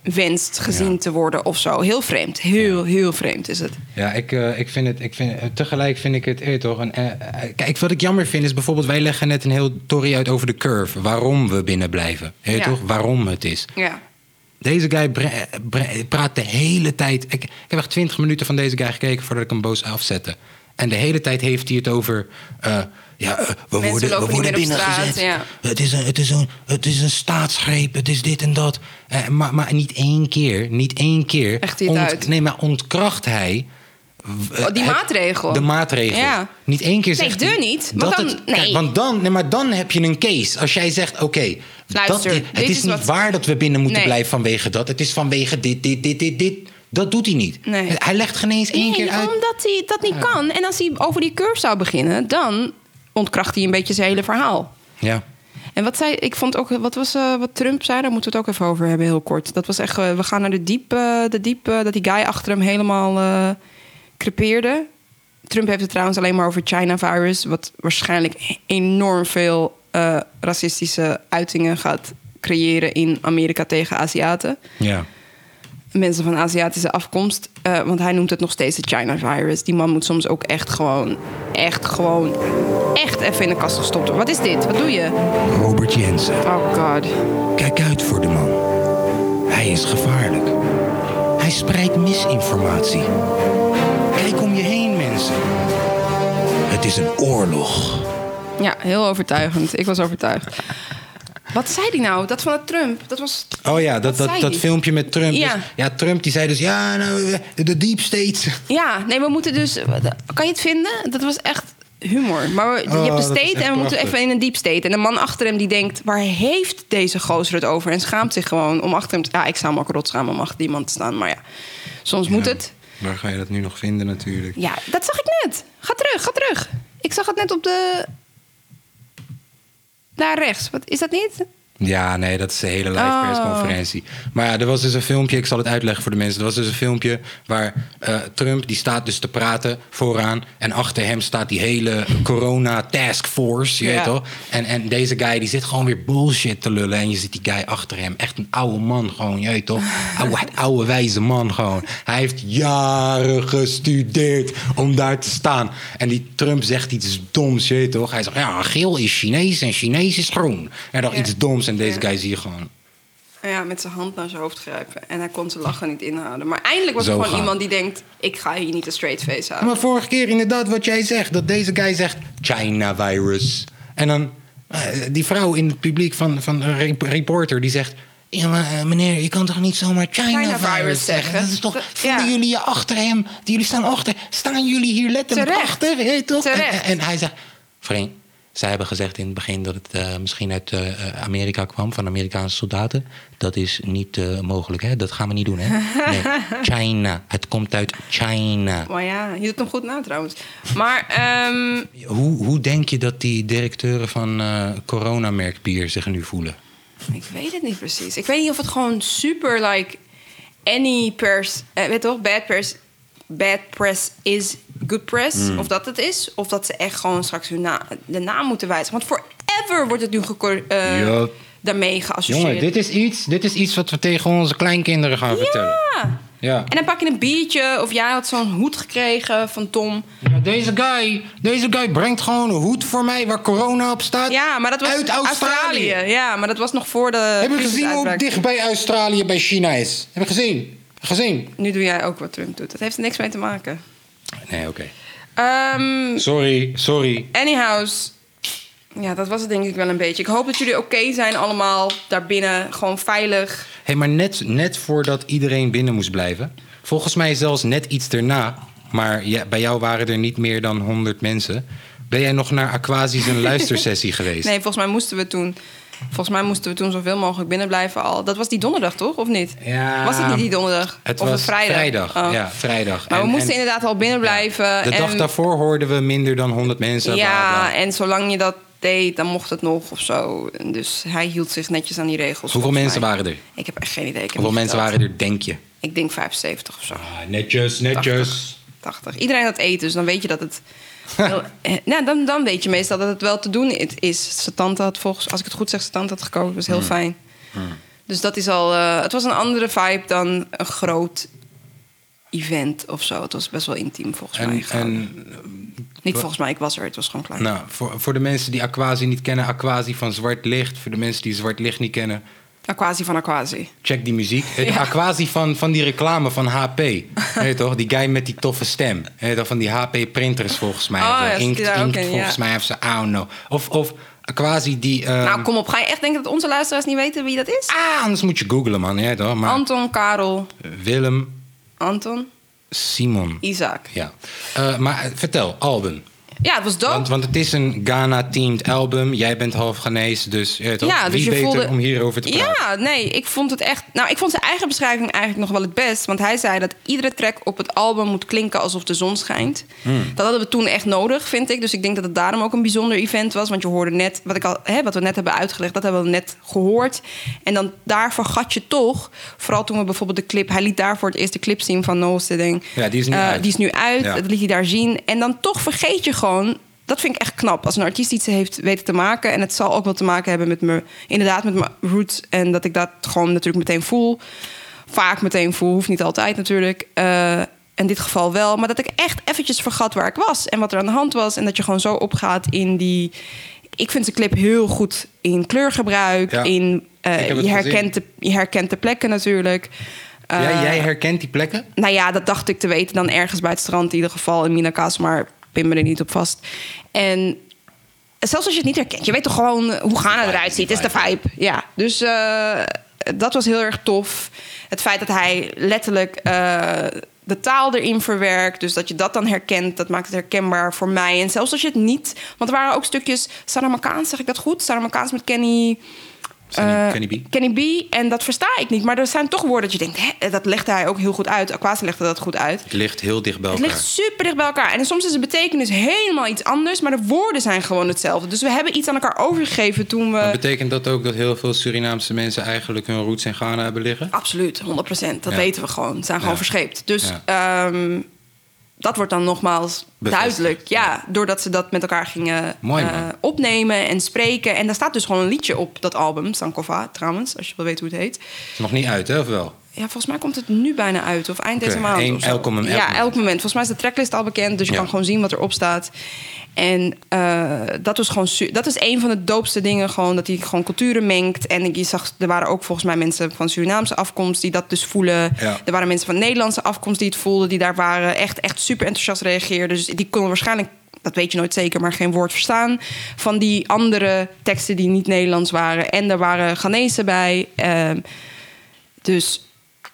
B: wenst gezien
A: Ja.
B: te worden of zo. Heel vreemd. Heel, heel vreemd is het.
A: Ja, ik, eh, ik vind het, ik vind, eh, tegelijk vind ik het, eh, toch, een, eh, eh, kijk, wat ik jammer vind is bijvoorbeeld, wij leggen net een heel tory uit over de curve. Waarom we binnen blijven. Eh,
B: Ja.
A: toch? Waarom het is.
B: Ja.
A: Deze guy bre- bre- praat de hele tijd. Ik, ik heb echt 20 minuten van deze guy gekeken voordat ik hem boos afzette. En de hele tijd heeft hij het over. eh, ja, eh, we
B: Mensen
A: worden,
B: lopen
A: we
B: niet
A: worden
B: meer op straat,
A: binnengezet.
B: ja.
A: het, is een, het, is een, het is een staatsgreep. Het is dit en dat. Eh, maar, maar niet één keer. Niet één keer.
B: Legt hij het uit? Oh,
A: Nee, maar ontkracht hij. eh,
B: die
A: het-
B: maatregel.
A: De maatregel.
B: Ja.
A: Niet één keer
B: Nee,
A: zegt
B: de
A: hij
B: niet, want
A: dat
B: dan-
A: het- kijk,
B: nee.
A: want dan, nee, maar dan heb je een case. Als jij zegt, oké, dat
B: Luister,
A: is-
B: dit
A: het is,
B: is
A: niet
B: wat-
A: waar dat we binnen moeten
B: Nee.
A: blijven vanwege dat. Het is vanwege dit, dit, dit, dit, dit. Dat doet hij niet.
B: Nee.
A: Hij legt geen eens één
B: Nee,
A: keer uit.
B: omdat hij dat niet kan. En als hij over die curve zou beginnen, dan ontkracht hij een beetje zijn hele verhaal.
A: Ja.
B: En wat zei, ik vond ook, wat was eh, wat Trump zei, daar moeten we het ook even over hebben, heel kort. Dat was echt, eh, we gaan naar de diep, eh, de diep, eh, dat die guy achter hem helemaal eh crepeerde. Trump heeft het trouwens alleen maar over China virus, wat waarschijnlijk enorm veel eh, racistische uitingen gaat creëren in Amerika tegen Aziaten
A: ja.
B: mensen van Aziatische afkomst. eh, want hij noemt het nog steeds de China virus. Die man moet soms ook echt gewoon, echt gewoon, echt even in de kast gestopt worden. Wat is dit? Wat doe je?
A: Robert Jensen,
B: Oh god.
A: kijk uit voor de man. Hij is gevaarlijk. Hij spreidt misinformatie. Kijk om je heen, mensen. Het is een oorlog.
B: Ja, heel overtuigend. Ik was overtuigd. Wat zei die nou? Dat van het Trump. Dat was.
A: Oh ja, dat,
B: Wat
A: dat,
B: zei
A: dat
B: die?
A: filmpje met Trump. Dus-
B: Ja.
A: Ja. Trump die zei dus, ja, nou, eh, de deep state.
B: Ja, nee, we moeten dus. Kan je het vinden? Dat was echt humor. Maar we- je
A: Oh,
B: hebt een
A: dat is
B: state en
A: echt
B: we moeten
A: prachtig.
B: even in een deep state. En de man achter hem die denkt: waar heeft deze gozer het over? En schaamt zich gewoon om achter hem te. Ja, ik zou hem ook rot schamen om achter iemand te staan. Maar ja, soms moet het.
A: Waar ga je dat nu nog vinden natuurlijk?
B: Ja, dat zag ik net. Ga terug, ga terug. Ik zag het net op de. Daar rechts. Wat is dat niet?
A: Ja, nee, dat is de hele live
B: Oh.
A: persconferentie. Maar ja, er was dus een filmpje, ik zal het uitleggen voor de mensen. Er was dus een filmpje waar eh, Trump, die staat dus te praten vooraan. En achter hem staat die hele corona task force, je
B: Ja.
A: weet toch? En, en deze guy, die zit gewoon weer bullshit te lullen. En je ziet die guy achter hem, echt een oude man gewoon, je weet toch? Oude, oude wijze man gewoon. Hij heeft jaren gestudeerd om daar te staan. En die Trump zegt iets doms, je weet toch? Hij zegt, ja, geel is Chinees en Chinees is groen. En dan
B: Ja.
A: iets doms en deze
B: Ja.
A: guy zie je gewoon.
B: Ja, met zijn hand naar zijn hoofd grijpen. En hij kon zijn lachen niet inhouden. Maar eindelijk was
A: Zo
B: er gewoon
A: gaan.
B: iemand die denkt: ik ga hier niet een straight face houden.
A: Maar vorige keer inderdaad wat jij zegt, dat deze guy zegt China virus. En dan, Eh, die vrouw in het publiek van, van een re- reporter die zegt... Ja, maar eh, meneer, je kan toch niet zomaar China,
B: China
A: virus,
B: virus
A: zeggen?
B: zeggen?
A: Dat is toch,
B: Dat-
A: vinden
B: ja.
A: jullie je achter hem? Jullie staan achter. Staan jullie hier letterlijk
B: Terecht.
A: achter? Weet je toch? En-
B: Terecht.
A: En, hij zei... Vriend, zij hebben gezegd in het begin dat het eh, misschien uit eh, eh, Amerika kwam... van Amerikaanse soldaten. Dat is niet eh, mogelijk, hè? Dat gaan we niet doen, hè? Nee, China. Het komt uit China.
B: Maar ja, je doet hem goed na trouwens. Maar ehm,
A: Hoe, hoe denk je dat die directeuren van eh coronamerkbier zich nu voelen?
B: ik weet het niet precies. Ik weet niet of het gewoon super like any pers, eh, weet toch, bad pers, bad press is good press.
A: Hmm.
B: Of dat het is, of dat ze echt gewoon straks hun na, de naam moeten wijzigen. Want forever wordt het nu gecor- eh,
A: Ja.
B: daarmee geassocieerd.
A: Jongen, dit is, iets, dit is iets wat we tegen onze kleinkinderen gaan vertellen.
B: Ja.
A: Ja.
B: En dan pak je een biertje, of jij had zo'n hoed gekregen van Tom.
A: Ja, Deze guy, deze guy brengt gewoon een hoed voor mij waar corona op staat.
B: Ja, maar dat was
A: uit Australië.
B: Ja, maar dat dus was nog voor de.
A: Heb je gezien hoe
B: crisisuitbraak.
A: dicht bij Australië bij China is? Heb je gezien? Gezien?
B: Nu doe jij ook wat Trump doet. Dat heeft er niks mee te maken.
A: Nee, oké.
B: Ehm
A: Sorry, sorry.
B: anyhows. Ja, dat was het denk ik wel een beetje. Ik hoop dat jullie oké zijn allemaal daarbinnen. Gewoon veilig.
A: Hé, hey, maar net, net voordat iedereen binnen moest blijven. Volgens mij zelfs net iets daarna. Maar ja, bij jou waren er niet meer dan 100 mensen. Ben jij nog naar Aquasi's een luistersessie geweest?
B: Nee, volgens mij moesten we toen... Volgens mij moesten we toen zoveel mogelijk binnen blijven al. Dat was die donderdag, toch? Of niet?
A: Ja.
B: was het niet die donderdag?
A: Het
B: of
A: was
B: een vrijdag? Oh.
A: ja, vrijdag.
B: Maar we
A: En-
B: moesten
A: en
B: inderdaad al binnen blijven.
A: De
B: en,
A: dag daarvoor hoorden we minder dan 100 mensen.
B: Ja,
A: bla, Dus bla.
B: en zolang je dat deed, dan mocht het nog of zo. En Dus hij hield zich netjes aan die regels.
A: Hoeveel
B: volgens
A: mensen
B: mij.
A: waren er?
B: Ik heb echt geen idee. Ik heb
A: Hoeveel
B: niet
A: mensen
B: geteld.
A: waren er, denk je?
B: Ik denk 75 of zo.
A: Ah, netjes,
B: 80. 80. Iedereen had eten, dus dan weet je dat het. Heel, eh, nou, dan, dan weet je meestal dat het wel te doen i- is. Zijn tante had volgens, als ik het goed zeg, zijn tante had gekookt. was heel
A: Hmm.
B: fijn. Dus dat is al. eh, het was een andere vibe dan een groot event of zo. Het was best wel intiem volgens mij.
A: En,
B: gehouden.
A: en
B: Niet volgens mij, ik was er. Het was gewoon klein.
A: nou, voor, voor de mensen die Aquasi niet kennen, Aquasi van Zwart Licht. Voor de mensen die Zwart Licht niet kennen,
B: Aquasi Nou, van Aquasi.
A: check die muziek. Het Aquasi van, van die reclame van HP. Weet je toch? Die guy met die toffe stem. Weet je toch? Van die HP printers volgens mij.
B: Oh,
A: Of, eh,
B: ja, zit
A: inkt,
B: hij daar ook
A: inkt
B: in, ja.
A: volgens mij. Of ze, I don't know. Of, of Aquasi die... eh,
B: nou, kom op. Ga je echt denken dat onze luisteraars niet weten wie dat is?
A: Ah, anders moet je googlen, man. Ja, toch? Maar eh,
B: Anton, Karel,
A: Willem
B: Anton,
A: Simon.
B: Isaac.
A: Ja. Eh, maar eh, vertel, album.
B: Ja, het was dope.
A: Want, want het is een Ghana-themed album. Jij bent half Ghanese, dus, ja, toch?
B: Ja, dus
A: wie
B: je
A: beter
B: voelde...
A: om hierover te praten?
B: Ja, nee, ik vond het echt... Nou, ik vond zijn eigen beschrijving eigenlijk nog wel het best. Want hij zei dat iedere track op het album moet klinken alsof de zon schijnt.
A: Hmm.
B: Dat hadden we toen echt nodig, vind ik. Dus ik denk dat het daarom ook een bijzonder event was. Want je hoorde net, wat, ik al, hè, wat we net hebben uitgelegd, dat hebben we net gehoord. En dan daarvoor gat je toch, vooral toen we bijvoorbeeld de clip... Hij liet daarvoor het eerste clip zien van No Sitting.
A: Ja, die is nu
B: Eh,
A: uit.
B: Die is nu uit,
A: Ja.
B: dat liet hij daar zien. En dan toch vergeet je gewoon... Dat vind ik echt knap. Als een artiest iets heeft weten te maken. En het zal ook wel te maken hebben met me. Inderdaad, met mijn roots. En dat ik dat gewoon natuurlijk meteen voel. Vaak meteen voel. Hoeft niet altijd natuurlijk. Eh, in dit geval wel. Maar dat ik echt eventjes vergat waar ik was. En wat er aan de hand was. En dat je gewoon zo opgaat in die. Ik vind de clip heel goed in kleurgebruik.
A: Ja.
B: In, eh,
A: Ik heb het
B: je,
A: gezien.
B: herkent de, je herkent de plekken natuurlijk. Eh,
A: Jij, jij herkent die plekken?
B: nou ja, dat dacht ik te weten dan ergens bij het strand in ieder geval in Minakas, maar pin me er niet op vast. En zelfs als je het niet herkent, je weet toch gewoon hoe Ghana eruit ziet. Het is de vibe. Ja, dus eh, dat was heel erg tof. Het feit dat hij letterlijk eh, de taal erin verwerkt, dus dat je dat dan herkent, dat maakt het herkenbaar voor mij. En zelfs als je het niet, want er waren ook stukjes Saramakaans, zeg ik dat goed? Saramakaans met Kenny.
A: Kenny-
B: Eh,
A: Kenny B?
B: Kenny B. En dat versta ik niet. Maar er zijn toch woorden dat je denkt... Hè, dat legde hij ook heel goed uit. Aquasi legde dat goed uit.
A: Het ligt heel dicht bij
B: Het
A: elkaar.
B: ligt super dicht bij elkaar. En soms is de betekenis helemaal iets anders... maar de woorden zijn gewoon hetzelfde. Dus we hebben iets aan elkaar overgegeven toen
A: Maar
B: we...
A: Betekent dat ook dat heel veel Surinaamse mensen eigenlijk hun roots in Ghana hebben liggen?
B: Absoluut, 100%. Dat
A: Ja.
B: weten we gewoon. Ze zijn gewoon
A: Ja.
B: verscheept. Dus ehm, dat wordt dan nogmaals
A: Bevestigd.
B: duidelijk. Ja, doordat ze dat met elkaar gingen
A: Mooi,
B: eh,
A: man.
B: opnemen en spreken. En daar staat dus gewoon een liedje op dat album. Sankova trouwens, als je wil weten hoe het heet.
A: Is nog niet uit, hè? Of wel?
B: Ja, volgens mij komt het nu bijna uit. Of eind deze
A: Oké,
B: maand.
A: één-
B: of zo.
A: elk moment, elk
B: ja,
A: moment.
B: elk moment. Volgens mij is de tracklist al bekend. Dus je
A: Ja.
B: kan gewoon zien wat erop staat. En eh, dat was gewoon... su- Dat is een van de doopste dingen. Gewoon dat hij gewoon culturen mengt. En ik- je zag... Er waren ook volgens mij mensen van Surinaamse afkomst... die dat dus voelen.
A: Ja.
B: Er waren mensen van Nederlandse afkomst die het voelden. Die daar waren. Echt, echt super enthousiast reageerden. Dus die konden waarschijnlijk dat weet je nooit zeker, maar geen woord verstaan. Van die andere teksten die niet Nederlands waren. En daar waren Ghanese bij. Ehm, dus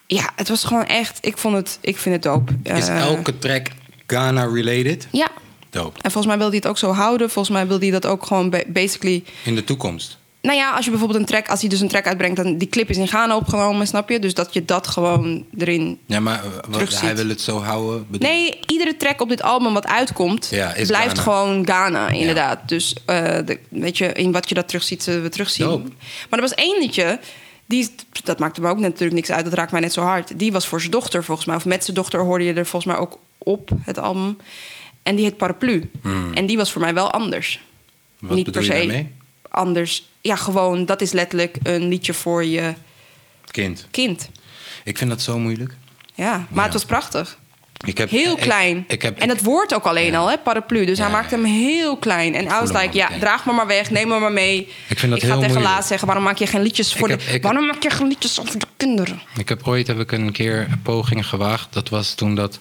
B: ja, het was gewoon echt. Ik, vond het, ik vind het dope.
A: Is
B: Eh,
A: elke track Ghana-related?
B: Ja.
A: Dope.
B: En volgens mij wil hij het ook zo houden. Volgens mij wil hij dat ook gewoon ba- basically.
A: In de toekomst.
B: Nou ja, als je bijvoorbeeld een track, als hij dus een track uitbrengt, dan die clip is in Ghana opgenomen, snap je? Dus dat je dat gewoon erin
A: Ja, maar eh, wat-
B: Terugziet.
A: hij wil het zo houden. bedoel-
B: Nee, iedere track op dit album wat uitkomt,
A: Ja, is
B: blijft
A: Ghana.
B: gewoon Ghana, inderdaad. Dus eh, de- weet je, in wat je dat terugziet, zullen we terugzien.
A: Dope.
B: Maar er was eentje, die, is- dat maakte me ook natuurlijk niks uit, dat raakt mij net zo hard. Die was voor zijn dochter volgens mij, of met zijn dochter hoorde je er volgens mij ook op, het album. En die heet Paraplu. En die was voor mij wel anders.
A: Hmm. Wat
B: Niet
A: bedoel
B: per se
A: je daarmee?
B: anders. Ja, gewoon, dat is letterlijk een liedje voor je
A: Kind.
B: kind.
A: Ik vind dat zo moeilijk.
B: Ja, maar
A: Ja.
B: het was prachtig.
A: Ik heb,
B: Heel
A: ik-
B: klein.
A: Ik heb,
B: en dat woord ook alleen al, hè, paraplu. Dus
A: Ja,
B: hij
A: ja,
B: maakte hem heel klein. En I was
A: hem al
B: like, ja,
A: meteen.
B: draag me maar weg, neem me maar mee.
A: Ik vind dat
B: ga
A: heel
B: tegen
A: moeilijk.
B: Laat zeggen, waarom maak je geen liedjes voor
A: Ik
B: de...
A: heb- ik-
B: waarom maak je geen liedjes over de kinderen?
A: Ik heb ooit heb ik een keer een poging gewaagd. Dat was toen dat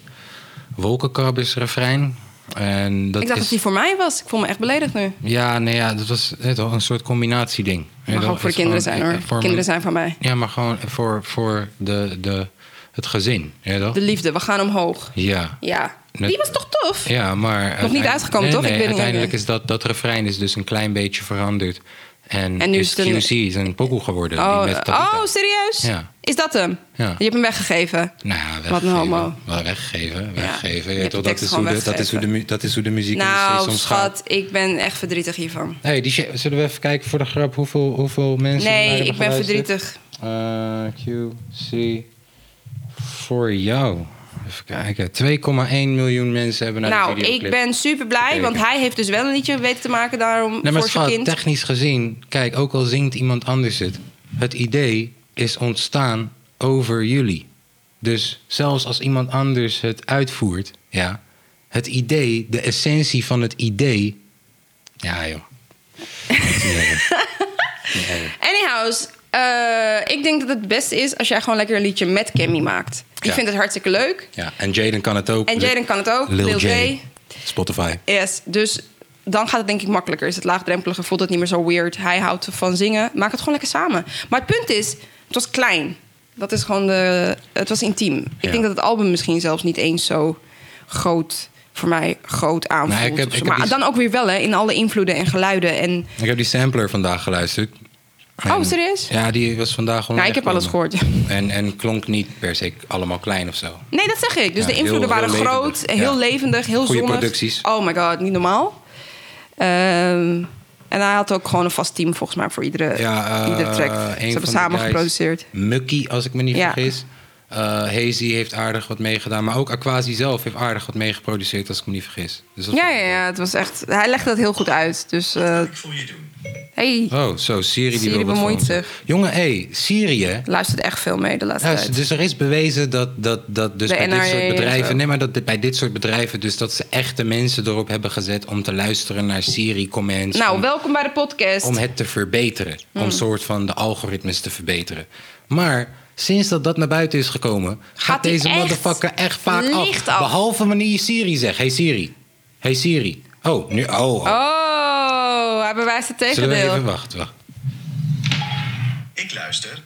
A: Wolkenkrabbers refrein. En dat
B: ik dacht
A: is,
B: dat die voor mij was. Ik voel me echt beledigd nu.
A: Ja, nee, ja, dat was weet je wel, een soort combinatieding. Weet je
B: Mag
A: wel,
B: ook voor de
A: is
B: kinderen
A: gewoon,
B: zijn hoor.
A: eh, voor
B: kinderen
A: mijn-
B: zijn van mij.
A: Ja, maar gewoon voor, voor de, de, het gezin. weet je wel?
B: De liefde, we gaan omhoog.
A: Ja.
B: Ja.
A: Net-
B: Die was toch tof?
A: Ja, maar... uiteindelijk-
B: uitgekomen,
A: nee,
B: toch?
A: Nee,
B: Ik weet niet
A: uiteindelijk
B: meer.
A: is dat, dat refrein is dus een klein beetje veranderd. En,
B: En nu
A: is
B: is het een-
A: QC is een pokoe geworden. die
B: Oh,
A: met Talita.
B: oh, serieus?
A: Ja.
B: Is dat hem?
A: Ja.
B: Je hebt hem weggegeven.
A: Nou ja, weggeven.
B: Wat een homo.
A: Wel weggeven,
B: Ja,
A: weggeven.
B: je
A: Ja, toch,
B: hebt de
A: dat,
B: tekst
A: is hoe
B: gewoon
A: de, dat, is hoe de, mu- dat is hoe de muziek
B: Nou,
A: soms gaat.
B: schat, ik ben echt verdrietig hiervan.
A: Hey, die shit- zullen we even kijken voor de grap hoeveel, hoeveel mensen
B: Nee,
A: er naar
B: ik ben
A: hebben
B: verdrietig.
A: geluisterd? Eh, QC voor jou. Even kijken. 2,1 miljoen mensen hebben naar
B: nou,
A: de videoclip.
B: ik ben super blij,
A: gekeken.
B: want hij heeft dus wel een liedje weten te maken daarom
A: Nee, maar
B: voor zijn
A: schat,
B: kind.
A: technisch gezien... Kijk, ook al zingt iemand anders het... Het idee is ontstaan over jullie. Dus zelfs als iemand anders het uitvoert... Ja, het idee, de essentie van het idee... Ja, joh.
B: Anyhows, eh, ik denk dat het beste is als jij gewoon lekker een liedje met Cammy maakt. Ik
A: Ja.
B: vind het hartstikke leuk.
A: Ja, en Jaden kan het ook.
B: En Jaden kan het ook.
A: Lil,
B: Lil
A: J.
B: J.
A: Spotify.
B: Yes, dus dan gaat het denk ik makkelijker. Is het laagdrempeliger, voelt het niet meer zo weird. Hij houdt van zingen, maak het gewoon lekker samen. Maar het punt is, het was klein. Dat is gewoon de... Het was intiem.
A: Ja.
B: Ik denk dat het album misschien zelfs niet eens zo groot voor mij groot aanvoelt.
A: Nou, ik heb-
B: of zo.
A: ik heb
B: maar
A: die-
B: dan ook weer wel, hè, in alle invloeden en geluiden. En
A: Ik heb die sampler vandaag geluisterd.
B: Oh, serieus?
A: Ja, die was vandaag online.
B: Nou, ik heb alles
A: gekomen.
B: gehoord,
A: En, en klonk niet per se allemaal klein of zo.
B: Nee, dat zeg ik. Dus
A: Ja,
B: de invloeden
A: heel- heel
B: waren groot,
A: levendig.
B: heel
A: Ja.
B: levendig, heel
A: Goeie
B: zonnig.
A: producties.
B: Oh my god, niet normaal. Ehm, en hij had ook gewoon een vast team volgens mij voor iedere,
A: Ja, eh,
B: iedere track.
A: een
B: Ze
A: van de
B: hebben samen
A: guys,
B: geproduceerd.
A: Mucky, als ik me niet
B: Ja.
A: vergis. Eh, Hazy heeft aardig wat meegedaan. Maar ook Aquasi zelf heeft aardig wat meegeproduceerd, als ik me niet vergis. Dus dat
B: Ja,
A: vond
B: ja,
A: ik
B: ja, het was echt. Hij legde dat heel goed uit. Dus. eh hey,
A: wel- Oh, zo, Siri die
B: Siri
A: wil wat
B: bemoeit
A: van ons.
B: zich.
A: Jongen, hé, Syrië.
B: luistert echt veel mee de laatste
A: Ja,
B: tijd.
A: dus er is bewezen dat, dat, dat dus
B: De
A: bij dit
B: NRA
A: soort
B: en zo.
A: bedrijven. Nee, maar dat dit- bij dit soort bedrijven, dus dat ze echte mensen erop hebben gezet om te luisteren naar Siri-comments.
B: Nou, Hmm.
A: om,
B: welkom bij de podcast.
A: om het te verbeteren. Om soort van de algoritmes te verbeteren. Maar sinds dat dat naar buiten is gekomen, gaat,
B: Gaat die
A: deze
B: echt
A: motherfucker echt vaak af.
B: licht af.
A: Behalve wanneer je Siri zegt. Hey Siri. Hey Siri. Oh, nu. Oh, oh.
B: Oh, hij bewijst het
A: Zullen we even
B: tegendeel.
A: wachten? wacht.
D: Ik luister.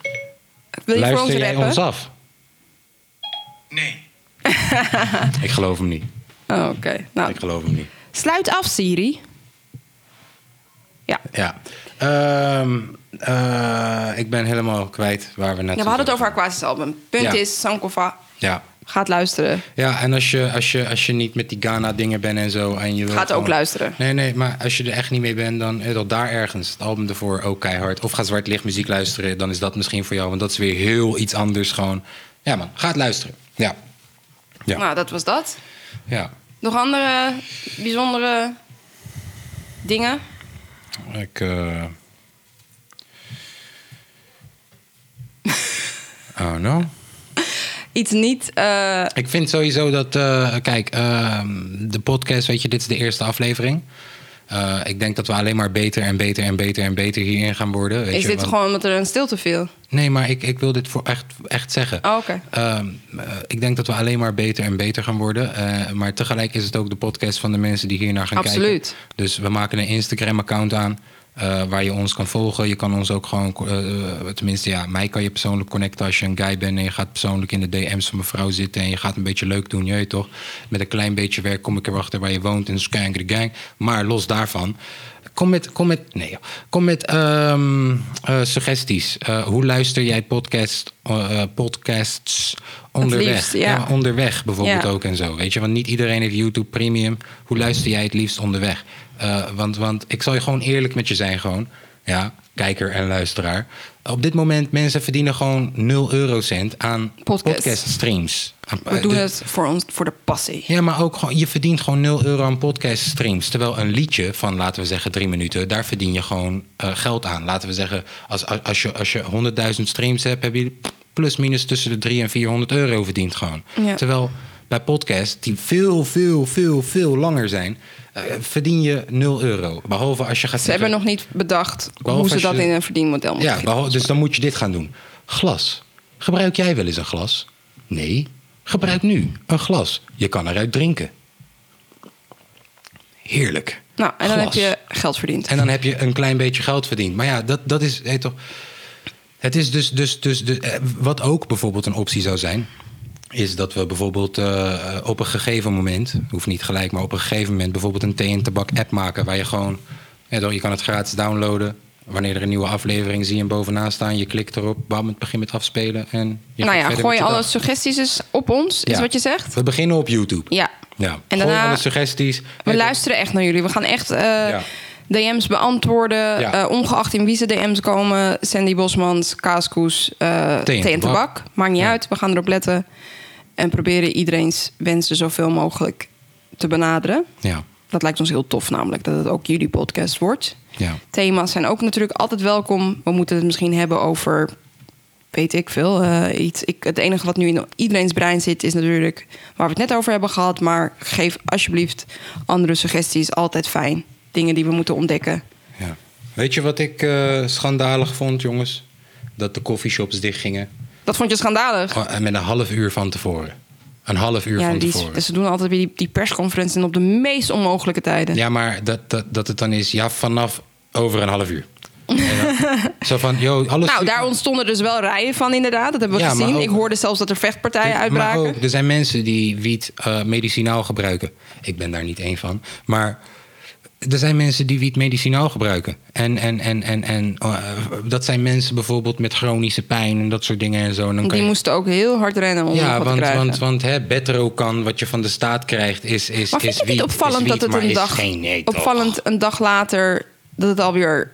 B: Wil je voor ons
A: Luister jij
B: rappen?
A: ons af?
D: Nee.
A: Ik geloof hem niet.
B: Oh, Oké, nou.
A: Ik geloof hem niet.
B: Sluit af, Siri. Ja.
A: Ja. Ehm, eh, ik ben helemaal kwijt waar we naartoe
B: Ja, we hadden het over
A: gaan.
B: Aquasis album. Punt
A: Ja.
B: is, Sankova
A: Ja.
B: gaat luisteren.
A: Ja, en als je, als, je, als je niet met die Ghana-dingen bent en zo. En je wilt
B: Gaat ook
A: gewoon-
B: luisteren.
A: Nee, nee, maar als je er echt niet mee bent, dan eh, dat daar ergens. Het album ervoor ook keihard. Of ga zwart licht muziek luisteren, dan is dat misschien voor jou. Want dat is weer heel iets anders gewoon. Ja, man, ga het luisteren. Ja. Ja.
B: Nou, dat was dat.
A: ja.
B: Nog andere bijzondere dingen?
A: Ik. eh Oh no.
B: Iets niet. eh,
A: Ik vind sowieso dat, eh, kijk, ehm, de podcast, weet je, dit is de eerste aflevering. Eh, ik denk dat we alleen maar beter en beter en beter en beter hierin gaan worden. Weet
B: Is
A: je,
B: dit
A: want-
B: gewoon omdat er een stilte viel?
A: Nee, maar ik, ik wil dit voor echt, echt zeggen.
B: Oh, oké.
A: Ehm, eh, ik denk dat we alleen maar beter en beter gaan worden. Eh, maar tegelijk is het ook de podcast van de mensen die hier naar gaan kijken.
B: Absoluut.
A: Dus we maken een Instagram-account aan. eh, waar je ons kan volgen. Je kan ons ook gewoon, eh, eh, tenminste, ja, mij kan je persoonlijk connecten als je een guy bent en je gaat persoonlijk in de DM's van mevrouw zitten en je gaat een beetje leuk doen, je weet toch? Met een klein beetje werk kom ik erachter waar je woont in Skank de Gang. Maar los daarvan, kom met, kom met, nee, joh. kom met ehm, eh, suggesties. Eh, hoe luister jij podcast, eh, eh, podcasts onderweg?
B: liefst, ja.
A: onderweg bijvoorbeeld
B: Ja.
A: ook en zo. Weet je, want niet iedereen heeft YouTube Premium. Hoe luister jij het liefst onderweg? Eh, want, want ik zal je gewoon eerlijk met je zijn, gewoon. Ja, kijker en luisteraar. Op dit moment, mensen verdienen gewoon 0 eurocent aan
B: Podcast.
A: podcaststreams. Aan-
B: We
A: eh,
B: doen
A: de-
B: het voor, ons, voor de passie.
A: ja, maar ook gewoon, je verdient gewoon 0 euro aan podcaststreams. Terwijl een liedje van, laten we zeggen, drie minuten, daar verdien je gewoon eh, geld aan. Laten we zeggen, als, als, als je, als je 100.000 streams hebt, heb je plus minus tussen de 300 en 400 euro verdiend gewoon.
B: Ja.
A: Terwijl bij podcasts, die veel, veel, veel, veel langer zijn, eh, verdien je 0 euro. Behalve als je gaat
B: Ze hebben
A: zeggen-
B: nog niet bedacht
A: Behalve
B: hoe ze
A: als je
B: dat
A: de-
B: in een verdienmodel moeten
A: ja,
B: gieten.
A: behal- dus dan moet je dit gaan doen. Glas. Gebruik jij wel eens een glas? Nee. Gebruik nu een glas. Je kan eruit drinken. Heerlijk.
B: Nou, en dan
A: Glas.
B: heb je geld verdiend.
A: En dan heb je een klein beetje geld verdiend. Maar ja, dat, dat is. Hey, toch, het is dus. dus, dus de, eh, wat ook bijvoorbeeld een optie zou zijn. Is dat we bijvoorbeeld eh, op een gegeven moment. Hoeft niet gelijk, maar op een gegeven moment. Bijvoorbeeld een thee- en tabak-app maken. Waar je gewoon. eh, dan- je kan het gratis downloaden. Wanneer er een nieuwe aflevering zie je hem bovenaan staan. Je klikt erop. Bam, het begint met afspelen. En je gaat
B: nou ja,
A: verder
B: gooi
A: met je
B: alle
A: dag.
B: suggesties eens op ons, is
A: Ja.
B: wat je zegt.
A: We beginnen op YouTube.
B: Ja.
A: Ja.
B: En
A: gooi
B: daarna-
A: alle suggesties.
B: We
A: Hey,
B: luisteren echt naar jullie. We gaan echt eh,
A: Ja.
B: DM's beantwoorden.
A: Ja.
B: eh, ongeacht in wie ze DM's komen. Sandy Bosmans, Kaaskoes, eh
A: Thee
B: Thee
A: en
B: en
A: Tabak.
B: Tabak. Maakt niet
A: Ja.
B: uit, we gaan erop letten. En proberen iedereen's wensen zoveel mogelijk te benaderen.
A: Ja.
B: Dat lijkt ons heel tof namelijk, dat het ook jullie podcast wordt.
A: Ja.
B: Thema's zijn ook natuurlijk altijd welkom. We moeten het misschien hebben over, weet ik veel, eh, iets. Ik, het enige wat nu in iedereen's brein zit is natuurlijk waar we het net over hebben gehad. Maar geef alsjeblieft andere suggesties, altijd fijn. Dingen die we moeten ontdekken.
A: Ja. Weet je wat ik eh, schandalig vond, jongens? Dat de coffeeshops dichtgingen.
B: Dat vond je schandalig.
A: Oh, en Met een half uur van tevoren. Een half uur
B: Ja,
A: van
B: die, dus-
A: tevoren.
B: ze doen altijd weer die, die persconferenties op de meest onmogelijke tijden.
A: Ja, maar dat, dat, dat het dan is, ja, vanaf over een half uur. En dan- zo van, yo, alles.
B: Nou, daar ontstonden dus wel rijen van inderdaad. Dat hebben we
A: Ja, maar
B: gezien.
A: ook-
B: Ik hoorde zelfs dat er vechtpartijen
A: Kijk,
B: uitbraken.
A: Eh, Maar ook, er zijn mensen die wiet eh, medicinaal gebruiken. Ik ben daar niet één van. Maar er zijn mensen die wiet medicinaal gebruiken. En, en, en, en, en eh, dat zijn mensen bijvoorbeeld met chronische pijn en dat soort dingen en zo. En dan kan
B: Die
A: je-
B: moesten ook heel hard rennen om
A: Ja,
B: ja, te
A: want,
B: krijgen.
A: want, want hè, bedrocan, wat je van de staat krijgt, is, is,
B: maar
A: is
B: vind je het niet
A: wiet,
B: opvallend
A: is wiet,
B: dat het
A: maar
B: een
A: is
B: dag,
A: geen, nee, toch?
B: opvallend een dag later dat het alweer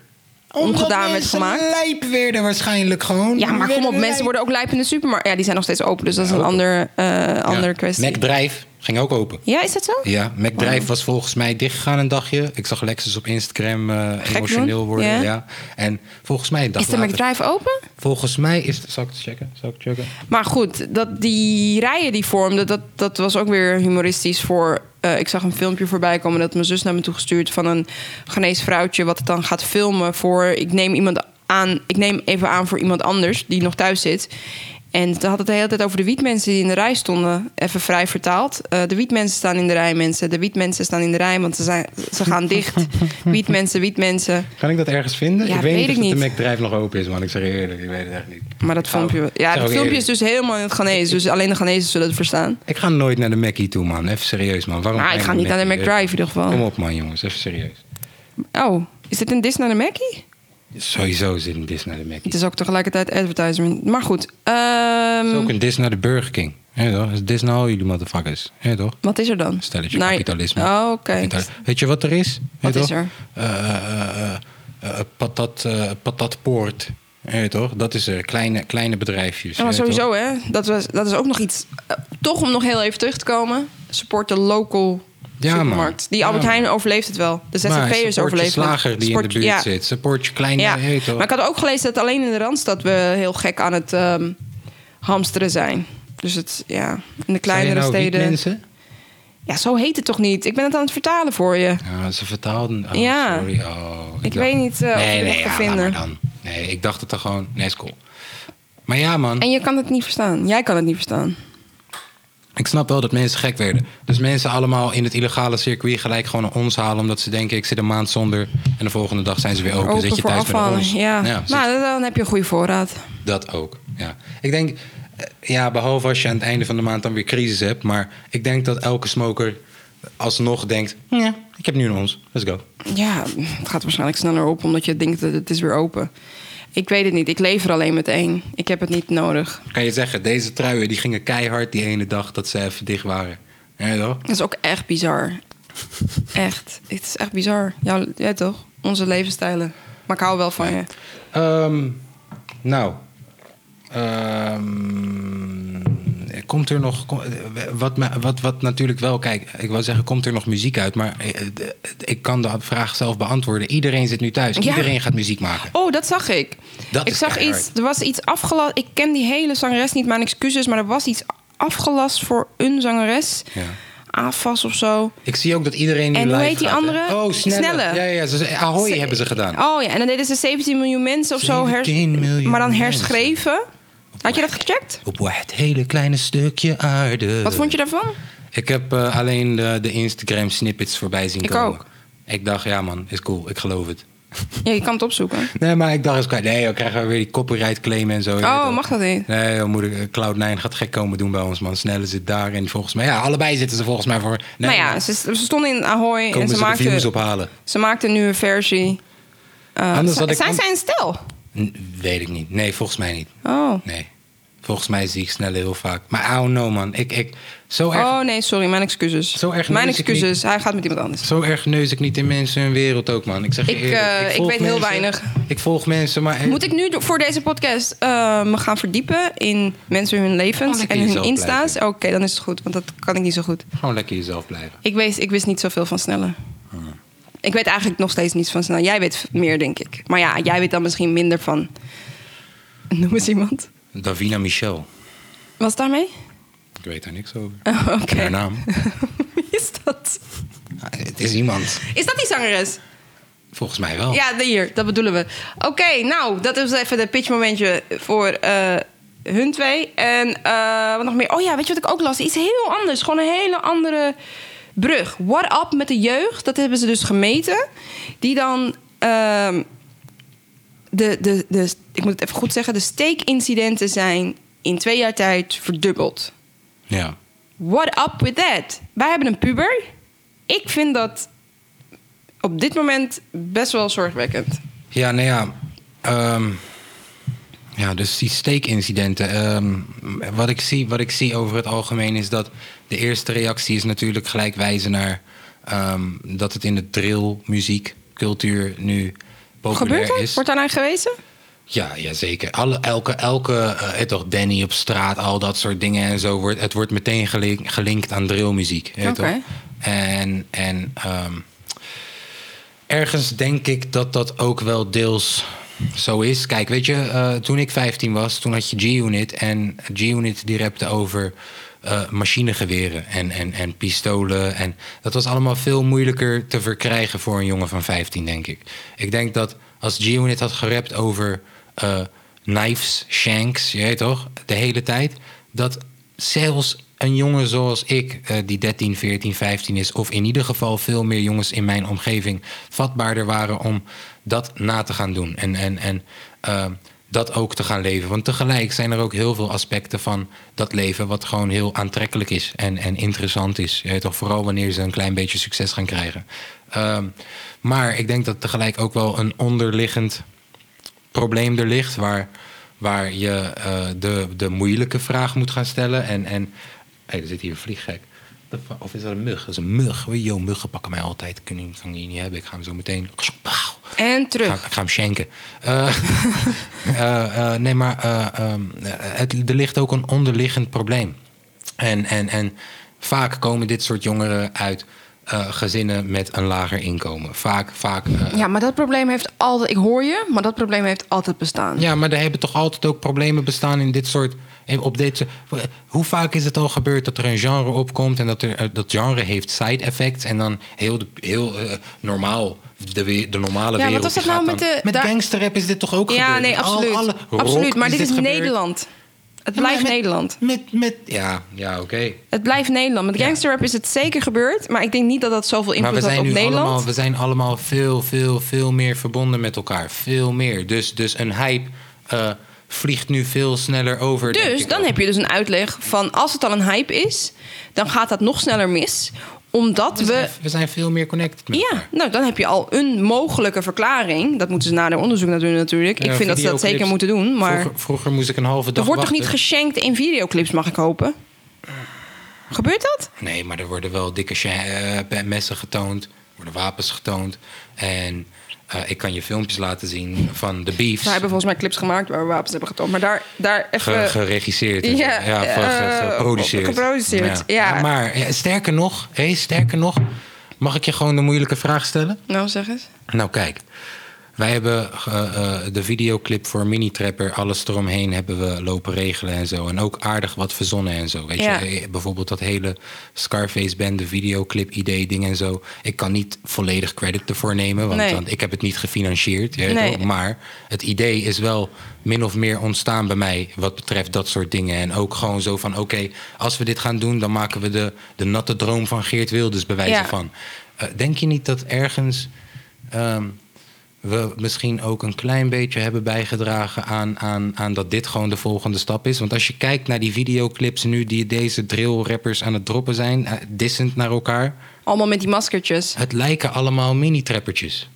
B: omgedaan werd gemaakt?
A: lijp werden waarschijnlijk gewoon.
B: Ja, maar kom op, mensen worden ook lijp in de supermarkt. Ja, die zijn nog steeds open, dus dat is
A: Ja,
B: een
A: ook.
B: ander, eh andere kwestie.
A: McDrijf ging ook open.
B: ja, is dat zo?
A: Ja, McDrijf was volgens mij dichtgegaan een dagje. Ik zag Lexus op Instagram eh,
B: Gek
A: emotioneel
B: doen,
A: worden.
B: ja.
A: Ja. En volgens mij een dag
B: Is de
A: later-
B: McDrive open?
A: Volgens mij is... Zal ik het checken? Zal ik het checken?
B: Maar goed, dat die rijen die vormden, dat, dat was ook weer humoristisch voor. eh, ik zag een filmpje voorbij komen dat mijn zus naar me toe gestuurd van een Ghanese vrouwtje wat het dan gaat filmen voor. Ik neem iemand aan, ik neem even aan voor iemand anders die nog thuis zit. En ze had het de hele tijd over de wietmensen die in de rij stonden. Even vrij vertaald. Eh, de wietmensen staan in de rij, mensen. De wietmensen staan in de rij, want ze, zijn, ze gaan dicht. Wietmensen, wietmensen.
A: Kan ik dat ergens vinden?
B: Ja,
A: ik weet
B: weet
A: niet
B: ik
A: of het
B: niet.
A: de McDrijf nog open is, man. Ik zeg je eerlijk, ik weet het echt niet.
B: Maar dat
A: Ik ga ook-
B: filmpje...
A: ik
B: Ja,
A: zeg
B: dat
A: ook
B: filmpje is
A: eerlijk.
B: dus helemaal in het Ghanese. Dus alleen de Ghanezen zullen het verstaan.
A: Ik ga nooit naar de Mackie toe, man. Even serieus, man. Waarom
B: Maar Ah, ik
A: je
B: ga niet naar de McDrive in ieder
A: Kom
B: geval.
A: op, man, jongens. Even serieus.
B: Oh, is dit een dis naar de Mackie?
A: Sowieso zit een dis naar de Mackie.
B: Het is ook tegelijkertijd advertisement. Maar goed,
A: Het
B: ehm,
A: is ook een dis naar de Burger King. Ja, toch? Het is dis naar al jullie motherfuckers. Ja, toch?
B: wat is er dan?
A: Stelletje
B: Nou,
A: kapitalisme.
B: Oh, oké.
A: Kapitaal- Weet je wat er is?
B: Wat
A: Weet
B: is
A: toch?
B: er?
A: Eh, eh, eh, eh, patat, eh, patatpoort. Ja, toch? Dat is er. Kleine, kleine bedrijfjes.
B: Ja, maar
A: Ja, toch?
B: sowieso, hè. Dat, was, dat is ook nog iets... eh, toch om nog heel even terug te komen. Support de local
A: Ja, man.
B: supermarkt. Die
A: Ja,
B: Albert
A: man.
B: Heijn overleeft het wel. De
A: Maar
B: ZZP'ers
A: support je
B: overleven
A: slager die in de buurt
B: ja.
A: zit. Support je kleine...
B: Ja,
A: ja, toch?
B: maar ik had ook gelezen dat alleen in de Randstad we heel gek aan het ehm, hamsteren zijn. Dus het, ja, in de
A: Zijn je
B: kleinere
A: nou
B: steden...
A: wietmensen?
B: Ja, zo heet het toch niet? Ik ben het aan het vertalen voor je.
A: Ja, ze vertaalden. Oh,
B: Ja.
A: Sorry. Oh,
B: Ik
A: dacht-
B: weet niet, eh, of je
A: nee,
B: dat
A: nee,
B: kan
A: ja, laat
B: vinden.
A: maar dan. Nee, ik dacht het er gewoon. Nee, is cool. Maar ja, man.
B: En je kan het niet verstaan. Jij kan het niet verstaan.
A: Ik snap wel dat mensen gek werden. Dus mensen allemaal in het illegale circuit gelijk gewoon naar ons halen. Omdat ze denken, ik zit een maand zonder. En de volgende dag zijn ze weer open.
B: Open
A: zit je
B: voor
A: thuis met
B: afvallen.
A: ons.
B: Ja.
A: zit-
B: maar dan heb je een goede voorraad.
A: dat ook. Ja. Ik denk, eh, ja, behalve als je aan het einde van de maand dan weer crisis hebt. Maar ik denk dat elke smoker alsnog denkt, ja, ik heb nu een ons. Let's go.
B: Ja, het gaat waarschijnlijk sneller op omdat je denkt dat het is weer open. Ik weet het niet. Ik leef er alleen met één. Ik heb het niet nodig.
A: Kan je zeggen, deze truien die gingen keihard die ene dag dat ze even dicht waren. Ja, toch?
B: Dat is ook echt bizar. Echt. Het is echt bizar. Ja, ja toch? Onze levensstijlen. Maar ik hou wel van je.
A: Ehm, nou. Ehm, komt er nog. kom- Wat, me- wat, wat natuurlijk wel. Kijk, ik wil zeggen, komt er nog muziek uit? Maar eh, de- ik kan de vraag zelf beantwoorden. Iedereen zit nu thuis.
B: Ja.
A: Iedereen gaat muziek maken.
B: Oh, dat zag ik.
A: Dat
B: ik
A: is
B: zag
A: keihard.
B: iets. Er was iets afgelast. Ik ken die hele zangeres niet. Mijn excuses. Maar er was iets afgelast voor een zangeres.
A: Ja.
B: AFAS of zo.
A: Ik zie ook dat iedereen nu
B: En hoe
A: live
B: heet die
A: gaat, hè?
B: andere?
A: Oh, snelle.
B: Snelle.
A: Ja, ja, ja, ze, ze- Ahoy hebben ze gedaan.
B: Oh ja, en dan deden ze 17 miljoen mensen of zo. her-
A: 17 miljoen
B: maar dan herschreven. Had je dat gecheckt?
A: Op het hele kleine stukje aarde.
B: Wat vond je daarvan?
A: Ik heb eh, alleen de, de Instagram snippets voorbij zien
B: Ik
A: komen.
B: ook.
A: Ik dacht, ja man, is cool. Ik geloof het.
B: Ja, je kan het opzoeken.
A: Nee, maar ik dacht eens kwijt. Nee, we krijgen we weer die copyright claim en zo.
B: Oh, mag dat niet?
A: Nee, joh, moeder, eh, Cloud9 gaat gek komen doen bij ons, man. Snelle zit daar en volgens mij... Ja, allebei zitten ze volgens mij voor... Nee,
B: nou ja,
A: maar
B: ze, ze stonden in Ahoy
A: komen
B: en ze,
A: ze de views
B: maakten,
A: ophalen?
B: ze maakten nu een versie. Eh,
A: Anders had
B: zijn
A: ik
B: zijn
A: an-
B: zij een stel?
A: N- weet ik niet. Nee, volgens mij niet.
B: Oh.
A: Nee. Volgens mij zie ik Snelle heel vaak. Maar I don't know, man. Ik, ik, zo, erg,
B: Oh nee, sorry, mijn excuses.
A: Zo erg
B: mijn
A: neus ik niet.
B: excuses, hij gaat met iemand anders.
A: zo erg neus ik niet in mensen hun wereld ook, man. Ik zeg je
B: Ik,
A: eerlijk,
B: eh, ik
A: volg
B: weet heel
A: mensen.
B: weinig.
A: Ik volg mensen, maar...
B: Moet ik nu do- voor deze podcast eh, me gaan verdiepen in mensen hun
A: Oh,
B: levens
A: lekker
B: en hun
A: jezelf
B: insta's? Oké,
A: blijven.
B: dan is het goed, want dat kan ik niet zo goed.
A: Gewoon lekker jezelf blijven.
B: Ik, weet, ik wist niet zoveel van snellen. Ik weet eigenlijk nog steeds niets van snellen. Jij weet meer, denk ik. Maar ja, jij weet dan misschien minder van. Noem eens iemand.
A: Davina Michel.
B: Was daarmee?
A: Ik weet daar niks over.
B: Oh, Oké.
A: Haar naam.
B: Wie is dat?
A: Ah, Het is iemand.
B: Is dat die zangeres?
A: Volgens mij wel.
B: Ja, hier, dat bedoelen we. Oké, nou, dat is even de pitchmomentje voor eh, hun twee. En eh, wat nog meer? Oh ja, weet je wat ik ook las? Iets heel anders. Gewoon een hele andere brug. What up met de jeugd? Dat hebben ze dus gemeten. Die dan. ehm, de, de, de, ik moet het even goed zeggen. De steekincidenten zijn in twee jaar tijd verdubbeld.
A: Ja.
B: What up with that? Wij hebben een puber. Ik vind dat op dit moment best wel zorgwekkend.
A: Ja, nou ja. ehm, ja, dus die steekincidenten. ehm, wat, ik zie, wat ik zie over het algemeen is dat de eerste reactie is natuurlijk gelijk wijzen naar ehm, dat het in de drill, muziek, cultuur nu populair
B: Gebeurt dat?
A: is.
B: Wordt daar naar gewezen?
A: Ja, ja zeker. Alle, elke, elke eh, eh, toch Danny op straat, al dat soort dingen en zo. Wordt, het wordt meteen gelink- gelinkt aan drillmuziek. weet je
B: Oké.
A: toch? En, en ehm, ergens denk ik dat dat ook wel deels zo is. Kijk, weet je, eh, toen ik 15 was, toen had je G-Unit. En G-Unit die rapte over eh, machinegeweren en, en, en pistolen. En dat was allemaal veel moeilijker te verkrijgen voor een jongen van 15, denk ik. Ik denk dat als G-Unit had gerapt over eh, knives, shanks, je weet toch, de hele tijd, dat zelfs een jongen zoals ik, eh, die 13, 14, 15 is, of in ieder geval veel meer jongens in mijn omgeving, vatbaarder waren om dat na te gaan doen. En, en, en eh, dat ook te gaan leven. Want tegelijk zijn er ook heel veel aspecten van dat leven wat gewoon heel aantrekkelijk is en, en interessant is. Je weet toch, vooral wanneer ze een klein beetje succes gaan krijgen. Ehm, maar ik denk dat tegelijk ook wel een onderliggend probleem er ligt. Waar, waar je eh, de, de moeilijke vraag moet gaan stellen. En, en hé, er zit hier een vlieggek. The fu- Of is dat een mug? Dat is een mug. Weet je, Yo, muggen pakken mij altijd. Ik kan die kan die niet hebben. Ik ga hem zo meteen... Pauw.
B: En
A: Ik ga,
B: terug.
A: ik ga hem schenken. Eh, eh, eh, nee, maar eh, ehm, eh, het, er ligt ook een onderliggend probleem. En, en, en vaak komen dit soort jongeren uit eh, gezinnen met een lager inkomen. Vaak, vaak. eh, ja.
B: Ja, maar dat probleem heeft altijd... Ik hoor je, maar dat probleem heeft altijd bestaan.
A: maar er hebben toch altijd ook problemen bestaan in dit soort. in- Op dit, hoe vaak is het al gebeurd dat er een genre opkomt en dat er, eh, dat genre heeft side effects en dan heel, de- heel eh, normaal de, we- de normale
B: Ja, wat
A: wereld.
B: was dat
A: die gaat
B: nou met
A: dan-
B: de- daar-
A: gangsterrap is dit toch ook
B: Ja,
A: gebeurd?
B: nee,
A: Met al-
B: absoluut.
A: alle
B: absoluut,
A: rock
B: maar dit is
A: gebeurd.
B: Nederland. Het
A: Ja, maar
B: blijft
A: met-
B: Nederland.
A: Met, met, ja, ja oké.
B: Het blijft Nederland. Met gangsterrap is het zeker gebeurd. Maar ik denk niet dat dat zoveel
A: Maar
B: invloed
A: we
B: had
A: zijn
B: op
A: nu
B: Nederland.
A: allemaal, we zijn allemaal veel, veel, veel meer verbonden met elkaar. Veel meer. Dus, dus een hype eh, vliegt nu veel sneller over. denk
B: Dus
A: ik
B: dan
A: ook.
B: heb je dus een uitleg van als het al een hype is, dan gaat dat nog sneller mis. Omdat
A: we zijn,
B: we.
A: we zijn veel meer connected met
B: Ja,
A: elkaar.
B: nou dan heb je al een mogelijke verklaring. Dat moeten ze nader onderzoek naar doen natuurlijk.
A: Ja,
B: ik vind dat ze dat
A: videoclips.
B: zeker moeten doen. Maar
A: Vroeger, vroeger moest ik een halve dag
B: er wordt toch niet
A: wachten.
B: geschenkt in videoclips, mag ik hopen? Gebeurt dat?
A: Nee, maar er worden wel dikke cha- eh, messen getoond. Er worden wapens getoond. En eh, ik kan je filmpjes laten zien van de beefs.
B: Ze hebben volgens mij clips gemaakt waar we wapens hebben getoond. Maar daar, daar even...
A: Ge- geregisseerd. en zo.
B: Ja,
A: ja van- ge-
B: eh,
A: geproduceerd.
B: geproduceerd, ja.
A: maar eh, sterker nog, hé, sterker nog, mag ik je gewoon de moeilijke vraag stellen?
B: Nou, zeg eens.
A: Nou, kijk. Wij hebben eh, eh, de videoclip voor Mini Trapper, alles eromheen hebben we lopen regelen en zo. En ook aardig wat verzonnen en zo. Weet
B: Ja.
A: je, Eh, bijvoorbeeld dat hele Scarface Band, de videoclip idee ding en zo. Ik kan niet volledig credit ervoor nemen, want
B: Nee.
A: dan- ik heb het niet gefinancierd. je weet
B: Nee.
A: wel. Maar het idee is wel min of meer ontstaan bij mij wat betreft dat soort dingen. En ook gewoon zo van, oké, als we dit gaan doen, dan maken we de, de natte droom van Geert Wilders bij wijze
B: Ja.
A: van. Eh, denk je niet dat ergens ehm, we misschien ook een klein beetje hebben bijgedragen aan, aan, aan dat dit gewoon de volgende stap is? Want als je kijkt naar die videoclips nu die deze drillrappers aan het droppen zijn, eh, dissend naar elkaar,
B: Allemaal met die maskertjes.
A: het lijken allemaal mini-trappertjes.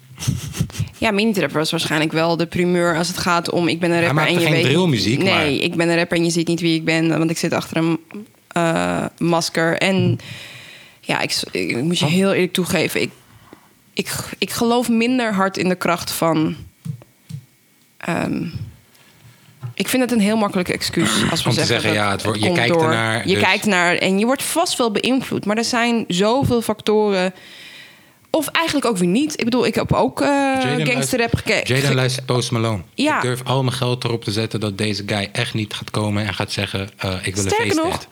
B: Ja, Minitrap was waarschijnlijk wel de primeur als het gaat om ik ben een rapper
A: maakte
B: en je
A: geen
B: weet...
A: drillmuziek,
B: Nee,
A: maar-
B: ik ben een rapper en je ziet niet wie ik ben, want ik zit achter een eh, masker. En ja, ik, ik, moet
A: Oh.
B: je heel eerlijk toegeven, ik, ik, ik geloof minder hard in de kracht van... ehm, ik vind het een heel makkelijke excuus als we
A: Om te
B: zeggen,
A: zeggen,
B: dat
A: ja, het wordt- je
B: komt
A: kijkt
B: door.
A: ernaar,
B: Je
A: dus-
B: kijkt naar en je wordt vast wel beïnvloed, maar er zijn zoveel factoren. Of eigenlijk ook weer niet. Ik bedoel, ik heb ook eh
A: Jaden
B: gangsterrap
A: luistert-
B: gekeken.
A: Jaden luistert Post Malone.
B: Ja.
A: Ik durf al mijn geld erop te zetten dat deze guy echt niet gaat komen en gaat zeggen: eh, Ik wil een
B: Sterker
A: feest.
B: nog,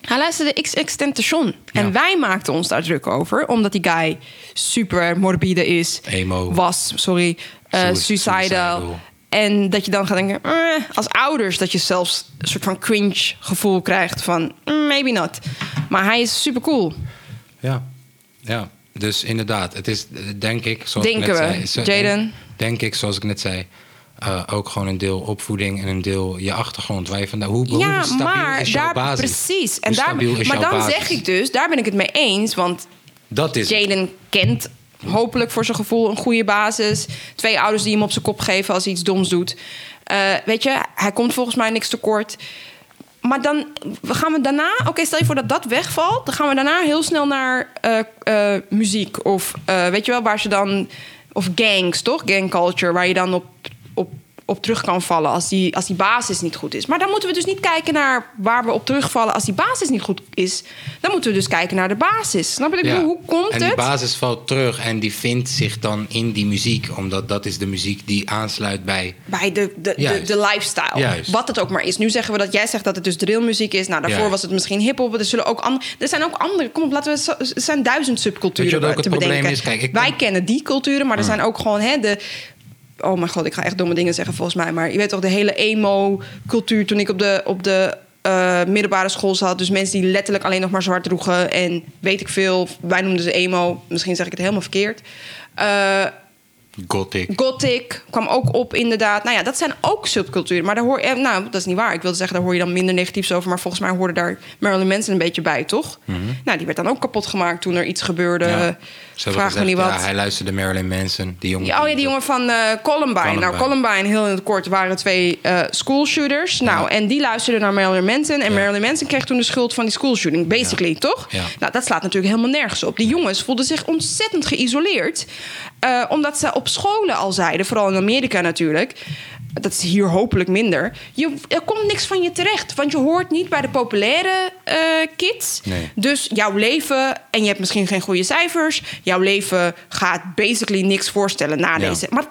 B: hij luisterde X Tentation. En wij maakten ons daar druk over. Omdat die guy super morbide is.
A: Emo.
B: Was, sorry. eh,
A: Sui-
B: suicidal.
A: suicidal.
B: En dat je dan gaat denken, eh, als ouders, dat je zelfs een soort van cringe gevoel krijgt van mm, maybe not. Maar hij is super cool.
A: Ja. ja, dus inderdaad. Het is eh, denk ik, zoals ik
B: Denken
A: net
B: we,
A: zei. zo-
B: Jaden.
A: Denk ik, zoals ik net zei. eh, ook gewoon een deel opvoeding en een deel je achtergrond. Waar je vandaan, hoe,
B: ja,
A: hoe stabiel
B: maar
A: is jouw
B: daar
A: basis?
B: precies. En
A: Hoe
B: daar,
A: stabiel is
B: maar
A: jouw
B: dan
A: basis?
B: zeg ik dus, daar ben ik het mee eens. Want
A: Dat is het.
B: Jaden kent hopelijk voor zijn gevoel een goede basis. Twee ouders die hem op zijn kop geven als hij iets doms doet. Eh, weet je, hij komt volgens mij niks tekort. Maar dan we gaan we daarna... Oké, stel je voor dat dat wegvalt. Dan gaan we daarna heel snel naar eh, eh, muziek. Of eh, weet je wel, waar ze dan... Of gangs, toch? Gang culture, waar je dan op, op, op terug kan vallen als die, als die basis niet goed is. Maar dan moeten we dus niet kijken naar waar we op terugvallen als die basis niet goed is. Dan moeten we dus kijken naar de basis. Snap je? Ik
A: Ja.
B: bedoel, hoe komt
A: en
B: het?
A: die basis valt terug en die vindt zich dan in die muziek. Omdat dat is de muziek die aansluit bij
B: bij de, de, de,
A: Juist.
B: de lifestyle.
A: Juist.
B: Wat het ook maar is. Nu zeggen we dat jij zegt dat het dus drillmuziek is. Nou, daarvoor
A: Juist.
B: was het misschien hiphop. Er, zullen ook an- er zijn ook andere. Kom op, laten we. zo- Er zijn duizend subculturen eh,
A: Weet je wat ook
B: te
A: het probleem
B: bedenken.
A: is? Kijk, ik Hmm.
B: Wij
A: kom-
B: kennen die culturen, maar er zijn ook gewoon hè, de. Oh mijn god, ik ga echt domme dingen zeggen volgens mij. Maar je weet toch, de hele emo-cultuur toen ik op de, op de eh, middelbare school zat. Dus mensen die letterlijk alleen nog maar zwart droegen. En weet ik veel. Wij noemden ze emo. Misschien zeg ik het helemaal verkeerd. Eh,
A: gothic.
B: Gothic kwam ook op, inderdaad. Nou ja, dat zijn ook subculturen. Maar daar hoor eh, Nou, dat is niet waar. Ik wilde zeggen, daar hoor je dan minder negatiefs over. Maar volgens mij hoorde daar Marilyn Manson een beetje bij, toch? Nou, die werd dan ook kapot gemaakt toen er iets gebeurde.
A: Mhm. Ja. Ze
B: Eh,
A: hebben
B: Vraag me
A: gezegd,
B: niet wat.
A: ja, hij luisterde Marilyn Manson. Die jongen,
B: Ja, oh ja, die jongen van eh, Columbine. Nou,
A: Columbine.
B: Columbine, heel in het kort, waren twee eh schoolshooters. Nou, en die luisterden naar Marilyn Manson. En
A: Ja.
B: Marilyn Manson kreeg toen de schuld van die schoolshooting, basically, toch?
A: Ja.
B: Nou, dat slaat natuurlijk helemaal nergens op. Die jongens voelden zich ontzettend geïsoleerd. eh, omdat ze op scholen al zeiden, vooral in Amerika natuurlijk... dat is hier hopelijk minder. Je, er komt niks van je terecht. Want je hoort niet bij de populaire eh, kids.
A: Nee.
B: Dus jouw leven, en je hebt misschien geen goede cijfers. Jouw leven gaat basically niks voorstellen na
A: Ja.
B: deze. Maar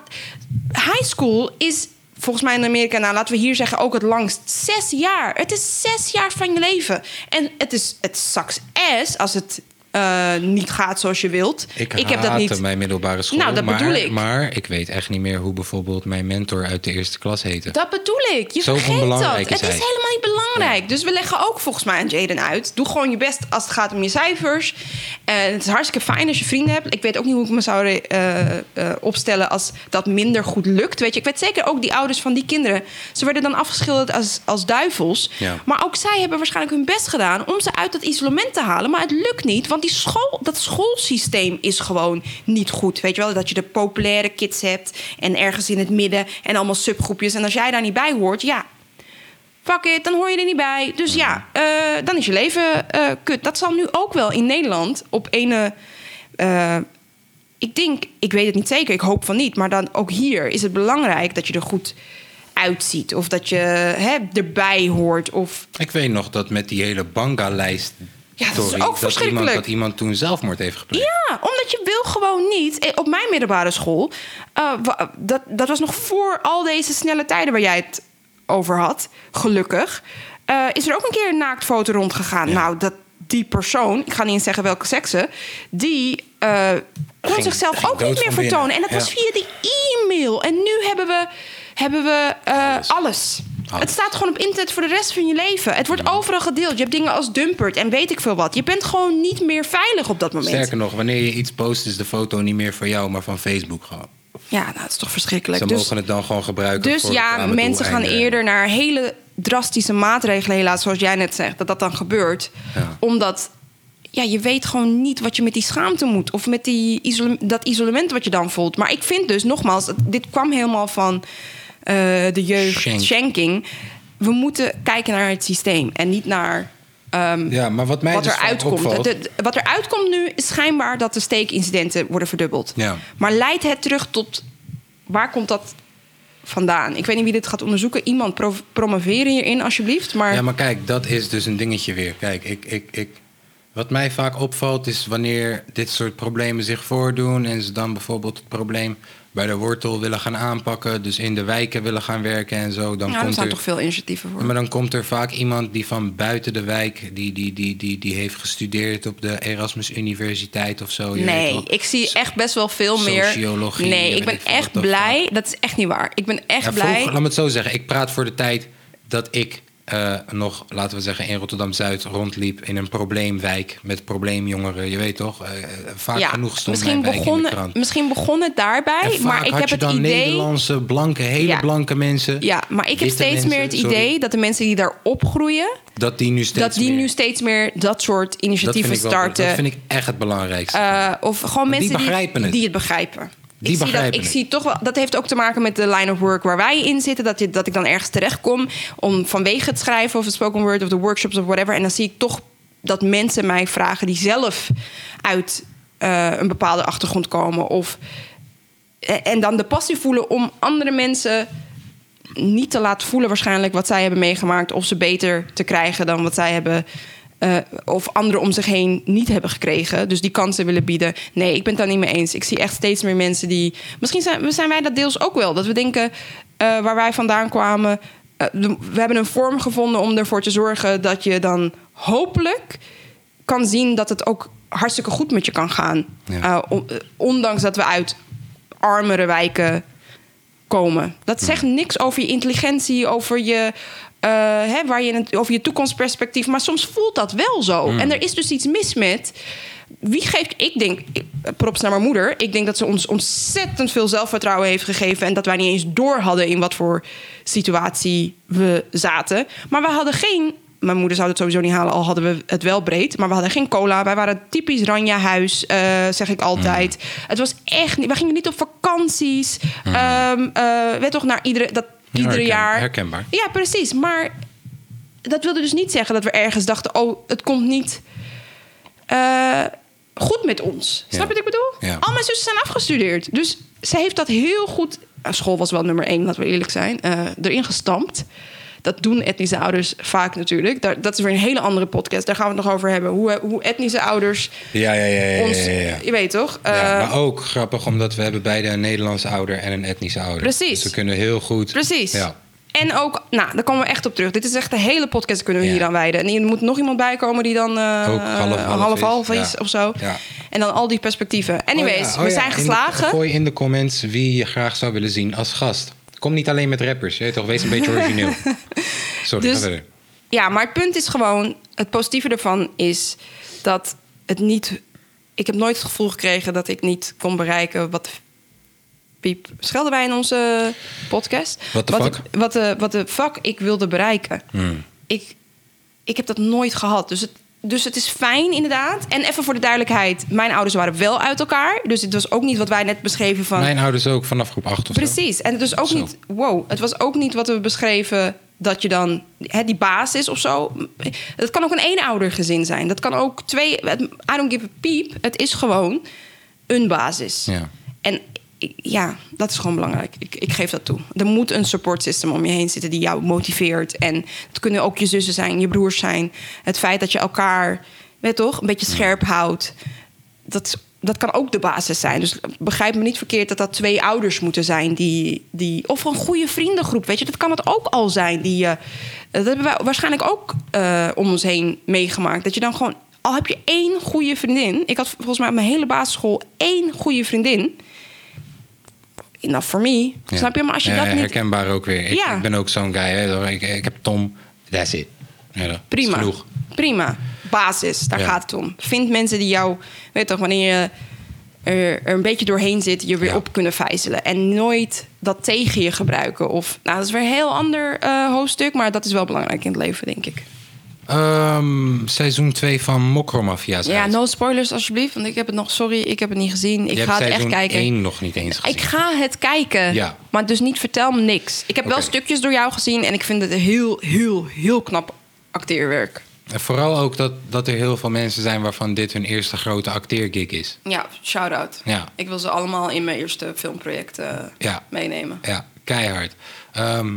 B: high school is volgens mij in Amerika, nou laten we hier zeggen, ook het langst zes jaar. Het is zes jaar van je leven. En het is het sucks ass als het eh, niet gaat zoals je wilt.
A: Ik,
B: heb dat niet.
A: mijn middelbare school.
B: Nou, dat
A: maar,
B: bedoel ik.
A: Maar ik weet echt niet meer hoe bijvoorbeeld mijn mentor uit de eerste klas heette.
B: Dat bedoel ik. Je
A: Zo
B: vergeet dat.
A: onbelangrijk
B: Het
A: is
B: is
A: hij.
B: helemaal niet belangrijk. Dus we leggen ook volgens mij aan Jaden uit. Doe gewoon je best als het gaat om je cijfers. En het is hartstikke fijn als je vrienden hebt. Ik weet ook niet hoe ik me zou eh, eh, opstellen als dat minder goed lukt. Weet je, ik weet zeker ook die ouders van die kinderen. Ze werden dan afgeschilderd als, als duivels.
A: Ja.
B: Maar ook zij hebben waarschijnlijk hun best gedaan om ze uit dat isolement te halen. Maar het lukt niet, want die school, dat schoolsysteem is gewoon niet goed. Weet je wel, dat je de populaire kids hebt en ergens in het midden en allemaal subgroepjes. En als jij daar niet bij hoort, ja, fuck it, dan hoor je er niet bij. Dus ja, eh, dan is je leven eh, kut. Dat zal nu ook wel in Nederland op ene... eh, ik denk, ik weet het niet zeker, ik hoop van niet. Maar dan ook hier is het belangrijk dat je er goed uitziet. Of dat je hè, erbij hoort. Of
A: Ik weet nog dat met die hele banga-lijst.
B: Ja, dat is
A: sorry,
B: ook
A: Iemand,
B: verschrikkelijk.
A: dat iemand toen zelfmoord heeft gepleegd.
B: Ja, omdat je wil gewoon niet. Eh, Op mijn middelbare school, eh, wa- dat, dat was nog voor al deze snelle tijden waar jij het over had, gelukkig. eh, is er ook een keer een naaktfoto rondgegaan. Nou, dat die persoon, ik ga niet eens zeggen welke sekse, die eh, kon
A: Ging-
B: zichzelf
A: ging
B: ook niet
A: dood
B: meer
A: van binnen.
B: vertonen. En dat
A: Ja.
B: was via die e-mail. En nu hebben we, hebben we eh, alles.
A: Alles.
B: Het staat gewoon op internet voor de rest van je leven. Het wordt overal gedeeld. Je hebt dingen als Dumpert en weet ik veel wat. Je bent gewoon niet meer veilig op dat moment.
A: Sterker nog, wanneer je iets post, is de foto niet meer van jou, maar van Facebook gewoon.
B: Ja, nou, dat is toch
A: Ze
B: verschrikkelijk. Dus,
A: mogen het dan gewoon gebruiken.
B: dus
A: voor
B: ja,
A: reclame
B: mensen gaan
A: doeleinden.
B: eerder naar hele drastische maatregelen, helaas, zoals jij net zegt, dat dat dan gebeurt.
A: Ja.
B: Omdat ja, je weet gewoon niet wat je met die schaamte moet. Of met die isole- dat isolement wat je dan voelt. Maar ik vind dus, nogmaals, dat- dit kwam helemaal van eh, de jeugd,
A: Shank.
B: shanking. We moeten kijken naar het systeem en niet naar ehm,
A: Ja, maar wat mij
B: wat
A: dus
B: er
A: vaak
B: uitkomt.
A: opvalt-
B: Het- het- wat er uitkomt nu is schijnbaar dat de steekincidenten worden verdubbeld.
A: Ja.
B: Maar leidt het terug tot waar komt dat vandaan? Ik weet niet wie dit gaat onderzoeken. Iemand pro promoveren hierin alsjeblieft. Maar,
A: Ja, maar kijk, dat is dus een dingetje weer. Kijk, ik, ik, ik, wat mij vaak opvalt is wanneer dit soort problemen zich voordoen en ze dan bijvoorbeeld het probleem bij de wortel willen gaan aanpakken, dus in de wijken willen gaan werken en zo, dan
B: Nou, er
A: komt
B: staan
A: er.
B: toch veel initiatieven voor.
A: Maar dan komt er vaak iemand die van buiten de wijk, die, die, die, die, die heeft gestudeerd op de Erasmus Universiteit of zo. je weet
B: Nee,
A: wel.
B: ik zie echt best wel veel meer.
A: Sociologie,
B: Nee,
A: weet
B: ik ben
A: ik veel
B: echt
A: wat dat
B: blij. Dat is echt niet waar. Ik ben echt
A: Ja,
B: blij.
A: vroeger- laat me het zo zeggen. Ik praat voor de tijd dat ik eh, nog, laten we zeggen, in Rotterdam-Zuid rondliep... in een probleemwijk met probleemjongeren. Je weet toch? eh, eh, vaak genoeg stond
B: misschien
A: mijn wijk
B: begon,
A: in de krant.
B: misschien begon het
A: En
B: daarbij,
A: vaak
B: maar ik
A: had
B: heb
A: je
B: het
A: dan
B: idee.
A: Nederlandse, blanke, hele
B: Ja.
A: blanke mensen...
B: Ja, maar ik heb
A: witte
B: steeds meer het
A: mensen,
B: idee
A: sorry,
B: dat de mensen die daar opgroeien,
A: dat die nu steeds
B: dat die
A: meer-
B: nu steeds meer dat soort
A: dat vind
B: initiatieven
A: ik wel-
B: starten.
A: Dat vind ik echt het belangrijkste.
B: Eh, of gewoon
A: die
B: mensen
A: begrijpen
B: die,
A: het.
B: die het begrijpen.
A: Die
B: ik zie
A: begrijpen
B: dat, ik
A: het.
B: zie toch wel, dat heeft ook te maken met de line of work waar wij in zitten. Dat, je, dat ik dan ergens terechtkom om vanwege het schrijven of het spoken word of de workshops of whatever. En dan zie ik toch dat mensen mij vragen die zelf uit eh, een bepaalde achtergrond komen. Of, en- en dan de passie voelen om andere mensen niet te laten voelen waarschijnlijk wat zij hebben meegemaakt. Of ze beter te krijgen dan wat zij hebben. eh, of anderen om zich heen niet hebben gekregen. Dus die kansen willen bieden. Nee, ik ben het daar niet mee eens. Ik zie echt steeds meer mensen die. Misschien zijn, zijn wij dat deels ook wel. Dat we denken eh, waar wij vandaan kwamen. eh, de- we hebben een vorm gevonden om ervoor te zorgen dat je dan hopelijk kan zien dat het ook hartstikke goed met je kan gaan.
A: Ja.
B: Eh, on- eh, ondanks dat we uit armere wijken komen. Dat zegt niks over je intelligentie, over je. eh, hè, waar je in het, over je toekomstperspectief. Maar soms voelt dat wel zo. En er is dus iets mis met. Wie geeft. Ik denk. ik- Props naar mijn moeder. Ik denk dat ze ons ontzettend veel zelfvertrouwen heeft gegeven. En dat wij niet eens door hadden in wat voor situatie we zaten. Maar we hadden geen. Mijn moeder zou het sowieso niet halen, al hadden we het wel breed. Maar we hadden geen cola. Wij waren typisch Ranja-huis, eh, zeg ik altijd.
A: Mm.
B: Het was echt niet. We gingen niet op vakanties. Ehm eh, werd toch naar iedere. Dat,
A: Ja,
B: iedere
A: herken-
B: jaar.
A: herkenbaar.
B: Ja, precies. Maar dat wilde dus niet zeggen dat we ergens dachten: oh, het komt niet eh, goed met ons. Snap je
A: Ja.
B: wat ik bedoel?
A: Ja.
B: Al mijn zussen zijn afgestudeerd. Dus ze heeft dat heel goed eh, school was wel nummer één, laten we eerlijk zijn, eh, erin gestampt. Dat doen etnische ouders vaak natuurlijk. Daar, dat is weer een hele andere podcast. Daar gaan we het nog over hebben. Hoe, eh, hoe etnische ouders
A: Ja, ja, ja. ja,
B: ons...
A: ja, ja, ja.
B: Je weet toch?
A: Ja,
B: Eh,
A: maar ook grappig, omdat we hebben beide een Nederlandse ouder en een etnische ouder.
B: Precies.
A: Dus we kunnen heel goed...
B: Precies.
A: Ja.
B: En ook, nou, daar komen we echt op terug. Dit is echt de hele podcast kunnen we
A: Ja.
B: hier aan wijden. En er moet nog iemand bij komen die dan eh,
A: Ook half-half
B: half-half
A: is,
B: is,
A: ja.
B: of zo.
A: Ja.
B: En dan al die perspectieven. Anyways,
A: Oh ja, oh
B: we
A: ja,
B: zijn
A: in de-
B: geslagen.
A: gooi in de comments wie je graag zou willen zien als gast. Kom niet alleen met rappers, je weet toch? Wees een beetje origineel. Sorry,
B: Dus-
A: ga verder.
B: Ja, maar het punt is gewoon... Het positieve ervan is dat het niet... Ik heb nooit het gevoel gekregen dat ik niet kon bereiken wat... Piep, schelden wij in onze podcast?
A: What the
B: wat,
A: fuck? Hmm.
B: Wat de, wat de fuck ik wilde bereiken. Ik, ik heb dat nooit gehad. Dus het, dus het is fijn inderdaad. En even voor de duidelijkheid. Mijn ouders waren wel uit elkaar. Dus het was ook niet wat wij net beschreven van...
A: Mijn ouders ook, vanaf groep 8 of zo.
B: Precies. En het is ook
A: Zo.
B: niet. Wow, het was ook niet wat we beschreven dat je dan hè, die baas is of zo. Het kan ook een eenoudergezin zijn. Dat kan ook twee. het- I don't give a peep. Het is gewoon een basis.
A: Ja.
B: En ik- ja, dat is gewoon belangrijk. Ik, ik geef dat toe. Er moet een support system om je heen zitten die jou motiveert. En het kunnen ook je zussen zijn, je broers zijn. Het feit dat je elkaar, weet toch, een beetje scherp houdt. Dat, dat kan ook de basis zijn. Dus begrijp me niet verkeerd dat dat twee ouders moeten zijn. Die, die, of een goede vriendengroep, weet je. Dat kan het ook al zijn. Die, eh, dat hebben wij waarschijnlijk ook eh, om ons heen meegemaakt. Dat je dan gewoon... Al heb je één goede vriendin. Ik had volgens mij op mijn hele basisschool één goede vriendin enough for me.
A: Ja.
B: Snap je? Maar als je
A: Ja,
B: dat
A: ja,
B: niet...
A: Herkenbaar ook weer. Ik,
B: Ja.
A: ik ben ook zo'n guy. Hè. Ik, ik heb Tom, that's it. Ja, dat is
B: Prima.
A: genoeg.
B: Prima. Basis, daar
A: Ja.
B: gaat het om. Vind mensen die jou, weet toch, wanneer je er, er een beetje doorheen zit, je weer
A: Ja.
B: op kunnen vijzelen. En nooit dat tegen je gebruiken. Of, nou, dat is weer een heel ander eh, hoofdstuk, maar dat is wel belangrijk in het leven, denk ik.
A: Ehm, seizoen 2 van Mokromafia.
B: Ja, no spoilers alsjeblieft, want ik heb het nog, sorry, ik heb het niet gezien. Ik
A: Je
B: ga
A: hebt
B: het echt
A: seizoen
B: kijken.
A: één nog niet eens gezien.
B: Ik ga het kijken.
A: Ja.
B: Maar dus niet vertel me niks. Ik heb wel
A: Oké.
B: stukjes door jou gezien en ik vind het heel, heel, heel knap acteerwerk.
A: En vooral ook dat, dat er heel veel mensen zijn waarvan dit hun eerste grote acteergig is.
B: Ja, shout-out.
A: Ja.
B: Ik wil ze allemaal in mijn eerste filmproject eh,
A: Ja.
B: meenemen.
A: Ja, keihard. Ehm,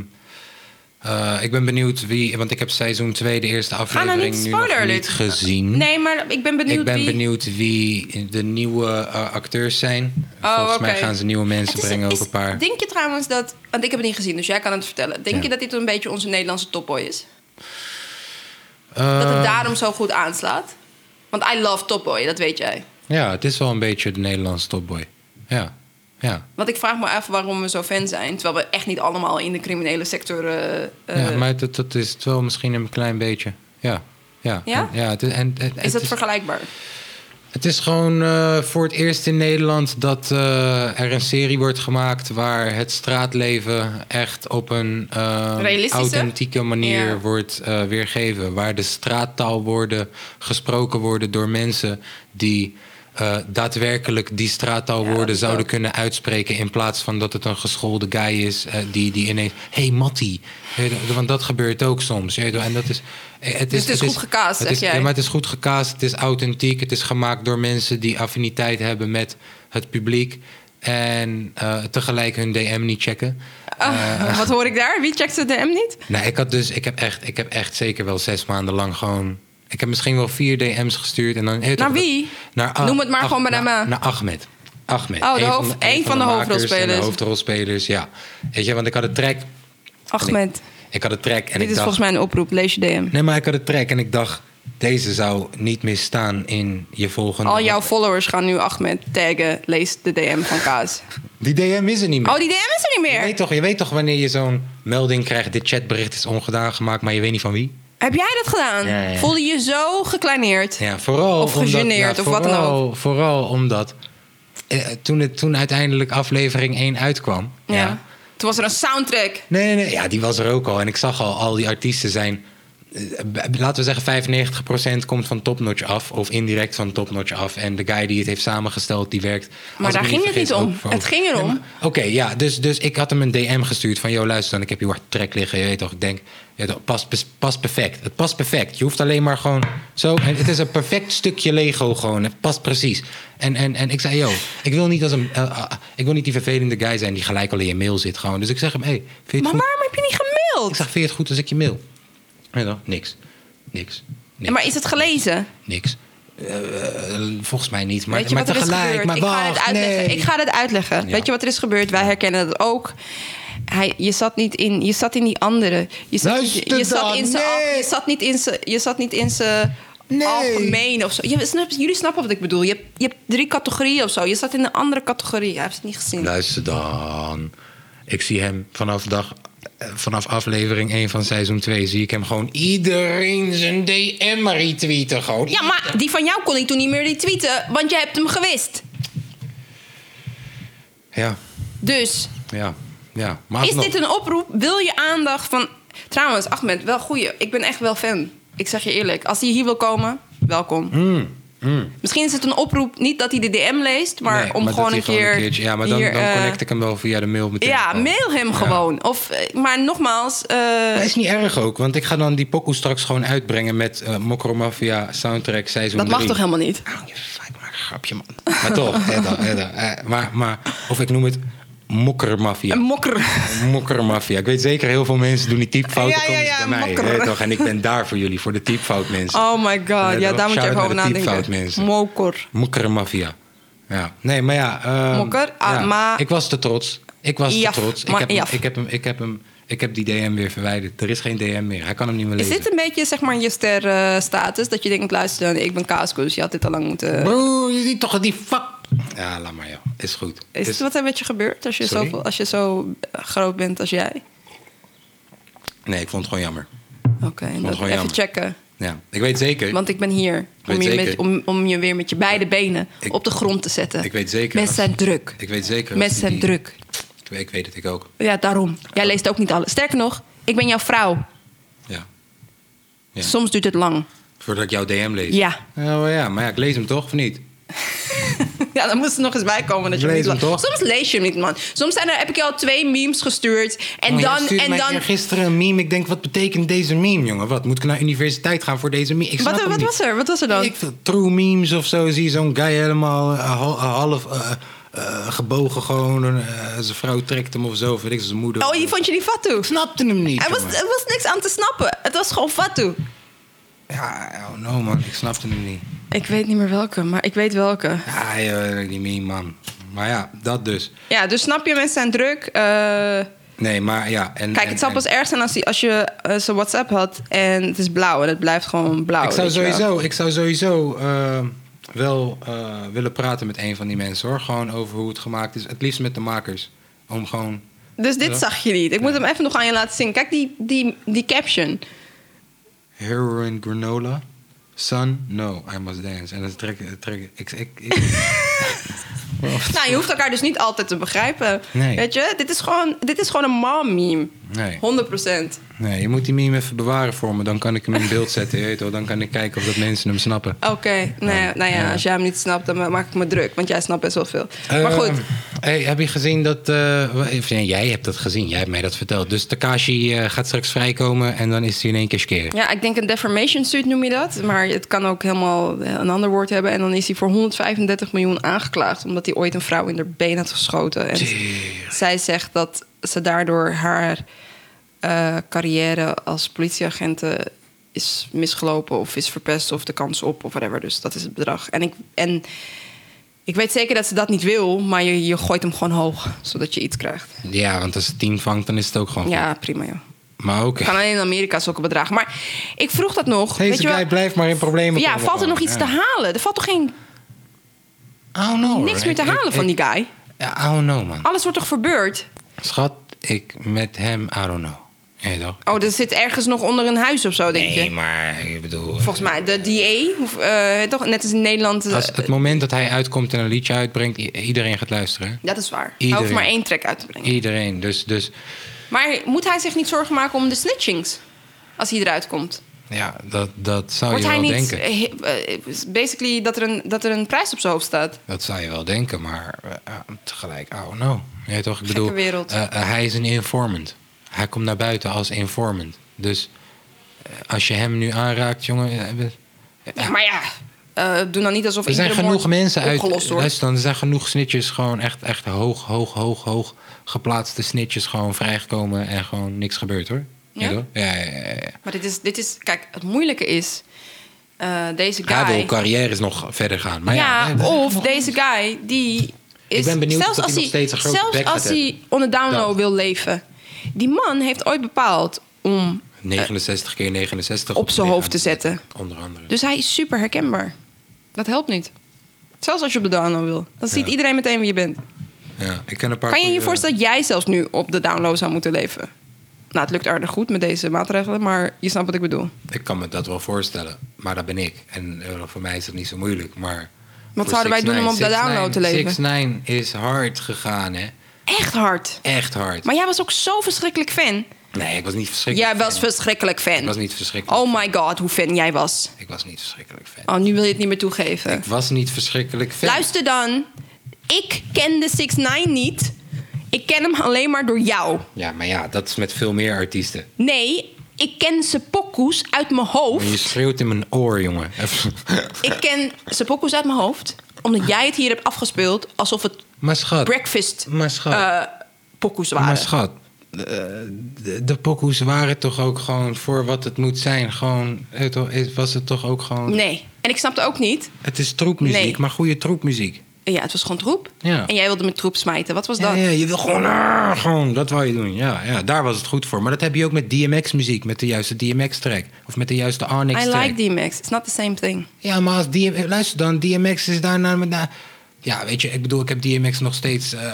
A: eh, ik ben benieuwd wie, want ik heb seizoen 2, de eerste
B: Ga nou
A: aflevering,
B: niet
A: nu nog
B: spoiler
A: niet gezien.
B: Nee, maar ik ben benieuwd
A: ik ben
B: wie...
A: benieuwd wie de nieuwe eh, acteurs zijn. Volgens mij
B: Oh, oké.
A: gaan ze nieuwe mensen
B: Het is-
A: brengen,
B: is-
A: ook een paar.
B: Denk je trouwens dat... Want ik heb het niet gezien, dus jij kan het vertellen. Denk
A: Ja.
B: je dat dit een beetje onze Nederlandse topboy is? Dat
A: Eh,
B: het daarom zo goed aanslaat? Want I love topboy, dat weet jij.
A: Ja, het is wel een beetje de Nederlandse topboy. Ja, ja.
B: Want ik vraag me af waarom we zo fan zijn. Terwijl we echt niet allemaal in de criminele sector... eh, eh,
A: ja maar dat, dat is het wel misschien een klein beetje. Ja, ja.
B: Ja?
A: En- ja het, is- en, en-
B: is
A: het
B: dat
A: is-
B: vergelijkbaar?
A: Het is gewoon eh, voor het eerst in Nederland dat eh, er een serie wordt gemaakt waar het straatleven echt op een eh,
B: Realistische?
A: authentieke manier
B: Ja.
A: wordt eh, weergegeven. Waar de straattaalwoorden gesproken worden door mensen die eh, daadwerkelijk die
B: Ja, dat
A: straattaalwoorden
B: is
A: zouden
B: ook.
A: kunnen uitspreken. In plaats van dat het een geschoolde guy is eh, die, die ineens. Hé, hey, Mattie. Weet je, Want dat gebeurt ook soms. weet je wel. En dat is. eh, Het
B: Dus het is goed gecast,
A: het
B: zeg
A: is-
B: jij.
A: ja, maar het is goed gecast, het is authentiek, het is gemaakt door mensen die affiniteit hebben met het publiek. En eh, tegelijk hun DM niet checken. Eh.
B: Ah, wat hoor ik daar? Wie checkt de DM niet?
A: Nou, ik had dus, ik heb echt, ik heb echt zeker wel zes maanden lang gewoon. Ik heb misschien wel vier DM's gestuurd en dan. eh,
B: Naar
A: toch,
B: wie?
A: Naar, Ah-
B: Noem het maar
A: Ach-
B: gewoon bij
A: naar,
B: naam.
A: naar Ahmed. Ahmed.
B: Oh, de
A: Een
B: hoofd-
A: een
B: één van de
A: makers en
B: hoofdrolspelers.
A: De hoofdrolspelers, ja. Weet je, want ik had een track.
B: Ahmed,
A: Ik had een track en
B: dit
A: ik
B: is
A: dacht.
B: volgens mij een oproep. Lees je DM.
A: Nee, maar ik had een track en ik dacht, deze zou niet meer staan in je volgende.
B: Al jouw followers gaan nu Ahmed taggen. Lees de DM van Kaas.
A: Die DM is er niet meer.
B: Oh, die DM is er niet
A: je,
B: meer.
A: weet toch, je weet toch wanneer je zo'n melding krijgt, dit chatbericht is ongedaan gemaakt, maar je weet niet van wie?
B: Heb jij dat gedaan?
A: Ja, ja, ja.
B: Voelde je zo gekleineerd?
A: Ja, vooral
B: Of
A: omdat-
B: gegeneerd,
A: ja,
B: of wat dan
A: vooral- Vooral omdat, eh, toen, het, toen uiteindelijk aflevering 1 uitkwam.
B: Ja. Toen was er een soundtrack.
A: Nee, nee, nee, ja, die was er ook al. En ik zag al, al die artiesten zijn eh, laten we zeggen, 95% komt van topnotch af of indirect van topnotch af. En de guy die het heeft samengesteld, die werkt. als ik
B: daar
A: me
B: ging het
A: vergis,
B: niet om.
A: ook voor-
B: Het ging erom.
A: maar- Oké, ja, dus, dus ik had hem een DM gestuurd van: Yo, luister dan, ik heb hier wat trek liggen. Je weet toch, ik denk, je weet toch, past, bes- past perfect. Het past perfect. Je hoeft alleen maar gewoon zo. En het is een perfect stukje Lego gewoon. Het past precies. En, en, en ik zei: Yo, ik wil, niet als een, eh, ah, ik wil niet die vervelende guy zijn die gelijk al in je mail zit gewoon. Dus ik zeg hem: Hé, hey, vind je het
B: Maar
A: goed?
B: waarom heb je niet
A: Ik
B: gemaild?
A: zeg, vind je het goed als ik je mail? En dan, niks. Niks. Niks.
B: Maar is het gelezen?
A: niks. Eh, eh, volgens mij niet. Maar,
B: Weet je
A: maar
B: wat er is
A: tegelijk.
B: gebeurd?
A: Maar
B: ik, ga het
A: wacht,
B: uitleggen.
A: nee.
B: ik ga het uitleggen.
A: Ja.
B: Weet je wat er is gebeurd? Wij herkennen dat ook. Hij, je, zat niet in, je zat in die andere. Je zat,
A: Luister
B: je zat
A: dan,
B: in zijn.
A: nee.
B: Je zat niet in zijn. Je zat niet in zijn.
A: Nee.
B: Algemeen of zo. Je, snap- jullie snappen wat ik bedoel. Je hebt, je hebt drie categorieën of zo. Je zat in een andere categorie. Hij heeft het niet gezien.
A: Luister dan. Ik zie hem vanaf, dag, eh, vanaf aflevering 1 van seizoen 2... zie ik hem gewoon iedereen zijn DM retweeten. Gewoon.
B: Ja, maar die van jou kon ik toen niet meer retweeten, want jij hebt hem gewist.
A: ja,
B: Dus
A: ja. ja. Maar
B: Is
A: alsnog.
B: dit een oproep? Wil je aandacht van... Trouwens, Ahmed, wel goeie. Ik ben echt wel fan. Ik zeg je eerlijk. Als hij hier wil komen, welkom.
A: Hmm,
B: Misschien is het een oproep, niet dat hij de DM leest... maar
A: Nee,
B: om
A: dat
B: gewoon
A: hij
B: een keer...
A: keertje- Ja, maar dan,
B: hier,
A: dan
B: eh,
A: connect ik hem wel via de mail meteen. Oh.
B: Ja,
A: gewoon.
B: mail hem
A: Ja.
B: gewoon. Of, eh, maar nogmaals... eh,
A: Dat is niet erg ook, want ik ga dan die pokoe straks gewoon uitbrengen met eh Mokro Mafia soundtrack seizoen
B: dat mag
A: drie.
B: toch helemaal niet?
A: Ah, je fuck, maar een grapje man. Maar toch, hè dan, hè dan. Eh, maar, maar, of ik noem het
B: Een
A: mokkermafia.
B: mokker.
A: Mokkermafia. Ik weet zeker heel veel mensen doen die typfouten. komen
B: Ja, ja,
A: ze
B: ja,
A: bij mij,
B: mokker.
A: hè, toch? En ik ben daar voor jullie, voor de typfout mensen.
B: Oh my god. Ja,
A: toch?
B: daar moet je
A: Shout-out
B: even over
A: naar de typfout
B: nadenken.
A: mensen.
B: Mokker.
A: Mokkermafia. Ja, nee, maar ja. ehm,
B: Mokker, ah,
A: ja.
B: maar-
A: Ik was te trots. Ik was
B: Jaf,
A: te trots. Ik
B: maar
A: heb, hem,
B: jaf.
A: ik, heb hem, ik, heb hem, ik heb die DM weer verwijderd. Er is geen DM meer. Hij kan hem niet meer
B: Is
A: lezen.
B: dit een beetje zeg maar je ster eh, status? Dat je denkt, luister, ik ben kaaskoes. Je had dit al lang moeten...
A: Bro, je ziet toch die fuck. Ja, laat maar, ja. Is goed.
B: Is het
A: Is-
B: wat er met je gebeurd als je,
A: Sorry?
B: zo, als je zo groot bent als jij?
A: Nee, ik vond het gewoon jammer.
B: Oké, dat-
A: gewoon
B: even
A: jammer.
B: checken.
A: Ja, ik weet zeker.
B: Want ik ben hier om
A: weet
B: je,
A: zeker.
B: met, om, om je weer met je beide benen
A: Ik-
B: op de grond te zetten.
A: ik weet zeker.
B: Mensen zijn druk.
A: Ik weet zeker. dat
B: Mensen zijn
A: die-
B: druk.
A: Ik, weet- ik weet het, ik ook.
B: Ja, daarom. Jij leest ook niet alles. Sterker nog, ik ben jouw vrouw.
A: Ja. Ja.
B: Soms duurt het lang.
A: Voordat ik jouw DM lees.
B: Ja.
A: Oh ja, maar ja, ik lees hem toch of niet?
B: Ja, dan moest er nog eens bij komen. Dat je hem
A: Lees
B: niet
A: hem
B: lang-
A: toch?
B: Soms lees je hem niet, man. Soms zijn er, heb ik je al twee memes gestuurd. En
A: Oh, jij
B: dan.
A: stuurde
B: En
A: mij
B: dan
A: gisteren een meme. Ik denk, wat betekent deze meme, jongen? Wat, moet ik naar universiteit gaan voor deze meme? Ik snap
B: wat
A: hem
B: wat
A: niet.
B: was er? Wat was er dan?
A: Ik vind true memes of zo. Zie je zo'n guy helemaal eh, hal- eh, half eh, eh, gebogen gewoon. eh, zijn vrouw trekt hem of zo. Of weet ik, zijn moeder.
B: Oh, je vond je die fatu?
A: Ik snapte hem niet.
B: Er was,
A: jongen.
B: er was niks aan te snappen. Het was gewoon fatu.
A: Ja, oh no man, ik snapte hem niet.
B: Ik weet niet meer welke, maar ik weet welke.
A: Ja, joh, die meme man. Maar ja, dat dus.
B: Ja, dus snap je, mensen zijn druk. Eh,
A: Nee, maar ja. En,
B: kijk,
A: en-
B: het zou
A: en-
B: pas erg zijn als, die, als je eh, zijn WhatsApp had en het is blauw en het blijft gewoon blauw.
A: Ik zou
B: weet je wel.
A: sowieso, ik zou sowieso eh, wel eh, willen praten met een van die mensen hoor. Gewoon over hoe het gemaakt is. Het liefst met de makers. Om gewoon.
B: Dus dit
A: Ja.
B: zag je niet. Ik moet hem even nog aan je laten zien. Kijk, die, die, die caption.
A: Heroin granola. Sun, no, I must dance. En dan trek trek ik. ik, ik
B: Nou, je hoeft elkaar dus niet altijd te begrijpen.
A: Nee.
B: Weet je, dit is gewoon, dit is gewoon een mom-meme.
A: nee,
B: 100 procent.
A: nee, je moet die meme even bewaren voor me. Dan kan ik hem in beeld zetten. Je weet wel. Dan kan ik kijken of dat mensen hem snappen.
B: Oké, nou, nou ja,
A: Ja.
B: als jij hem niet snapt, dan maak ik me druk. Want jij snapt best wel veel.
A: Eh,
B: maar goed,
A: hey, heb je gezien dat... eh, wa- of nee, jij hebt dat gezien, jij hebt mij dat verteld. Dus Takashi eh, gaat straks vrijkomen en dan is hij in één keer scheren.
B: Ja, ik denk een defamation suit noem je dat. Maar het kan ook helemaal eh, een ander woord hebben. En dan is hij voor 135 miljoen aangeklaagd. Omdat hij ooit een vrouw in haar been had geschoten. En zij zegt dat ze daardoor haar eh, carrière als politieagente is misgelopen. Of is verpest of de kans op of whatever. Dus dat is het bedrag. En ik, en ik weet zeker dat ze dat niet wil. Maar je, je gooit hem gewoon hoog. Zodat je iets krijgt.
A: Ja, want als het tien vangt, dan is het ook gewoon goed.
B: Ja, prima joh.
A: Maar oké.
B: Kan alleen in Amerika zulke bedragen. Maar ik vroeg dat nog. weet
A: Deze
B: je wel-
A: guy blijft maar in problemen
B: ja,
A: komen
B: valt er nog
A: gewoon.
B: iets te
A: Ja.
B: halen? Er valt toch geen,
A: I don't know,
B: niks
A: hoor.
B: meer te
A: Ik-
B: halen
A: ik-
B: van die
A: ik-
B: guy?
A: Ja, I don't know, man.
B: Alles wordt toch verbeurd?
A: Schat, ik met hem, I don't know. Hey, toch?
B: Oh, dat zit ergens nog onder een huis of zo, denk
A: Nee,
B: je?
A: maar ik bedoel...
B: Volgens mij, de DA, of, eh, toch, net als in Nederland. eh,
A: Als het moment dat hij uitkomt en een liedje uitbrengt, i- iedereen gaat luisteren. hè?
B: dat is waar. Hij
A: Iedereen.
B: hoeft maar één track uit te brengen.
A: Iedereen. Dus, dus
B: Maar moet hij zich niet zorgen maken om de snitchings? Als hij eruit komt.
A: Ja, dat, dat zou
B: Wordt
A: je
B: hij
A: Oh, wel
B: niet...
A: denken.
B: eh, eh, Basically dat er, een, dat er een prijs op zijn hoofd staat.
A: Dat zou je wel denken, maar eh, ah, tegelijk, oh no. Ja, toch? Ik bedoel,
B: wereld.
A: eh, eh, hij is een informant. Hij komt naar buiten als informant. Dus eh, als je hem nu aanraakt, jongen. eh, we-
B: Ja, maar ja, eh, doe dan niet alsof
A: er zijn
B: iedere
A: genoeg
B: moord
A: mensen uit.
B: opgelost wordt.
A: Luister dan, er zijn genoeg snitjes, gewoon echt, echt hoog, hoog, hoog, hoog geplaatste snitjes, gewoon vrijgekomen en gewoon niks gebeurd hoor. Ja,
B: Ja?
A: toch? ja, ja, ja, ja.
B: Maar dit is, dit is, kijk, het moeilijke is, eh, deze guy.
A: Hij wil carrières nog verder gaan. Maar ja,
B: ja,
A: eh, dat-
B: of deze guy die is.
A: Ik ben benieuwd
B: zelfs
A: of hij
B: als
A: nog steeds een grote
B: Zelfs
A: bek gaat
B: als
A: hebben.
B: hij onder down low
A: Dat.
B: wil leven. Die man heeft ooit bepaald om.
A: 69 keer 69
B: op zijn
A: het
B: hoofd te
A: lichaam
B: zetten.
A: Onder andere.
B: Dus hij is super herkenbaar. Dat helpt niet. Zelfs als je op de down low wil. Dan ziet
A: Ja.
B: iedereen meteen wie je bent.
A: ja, ik ken een paar
B: Kan je je
A: goeie- eh,
B: voorstellen dat jij zelfs nu op de down low zou moeten leven? Nou, het lukt aardig goed met deze maatregelen, maar je snapt wat ik bedoel.
A: Ik kan me dat wel voorstellen, maar dat ben ik. En eh, voor mij is het niet zo moeilijk, maar... voor
B: zouden wij
A: 6ix9ine
B: doen om op de
A: 6ix9ine
B: download te leven?
A: 6ix9ine is hard gegaan, hè.
B: Echt hard.
A: Echt hard.
B: Maar jij was ook zo verschrikkelijk fan.
A: Nee, ik was niet verschrikkelijk
B: Jij was
A: fan.
B: verschrikkelijk fan.
A: Ik was niet verschrikkelijk.
B: Oh my god, hoe fan jij was.
A: Ik was niet verschrikkelijk fan.
B: Oh, nu wil je het niet meer toegeven.
A: Ik was niet verschrikkelijk fan.
B: Luister dan. Ik ken de 6 9 niet. Ik ken hem alleen maar door jou.
A: Ja, maar ja, dat is met veel meer artiesten.
B: Nee, ik ken zijn pokoes uit mijn
A: Maar je
B: hoofd.
A: schreeuwt in mijn oor, jongen.
B: Ik ken zijn pokoes uit mijn hoofd. Omdat jij het hier hebt afgespeeld alsof het
A: maar schat.
B: breakfast
A: Maar schat.
B: eh, pokoes waren.
A: Maar schat, Eh, de, de pokoes waren toch ook gewoon voor wat het moet zijn. Gewoon, het is- was het toch ook gewoon...
B: Nee. En ik snapte ook niet.
A: Het is troepmuziek,
B: Nee.
A: maar goede troepmuziek.
B: Ja, het was gewoon troep.
A: Ja.
B: En jij wilde me troep smijten. Wat was dat?
A: Ja, ja, je wil gewoon, ah, gewoon, dat wou je doen. Ja, ja, daar was het goed voor. Maar dat heb je ook met DMX-muziek, met de juiste DMX-track. Of met de juiste
B: I
A: Onyx-track.
B: like DMX. It's not the same thing.
A: Ja, maar als DM, luister dan, DMX is daarna... met na- ja, weet je, ik bedoel, ik heb DMX nog steeds eh,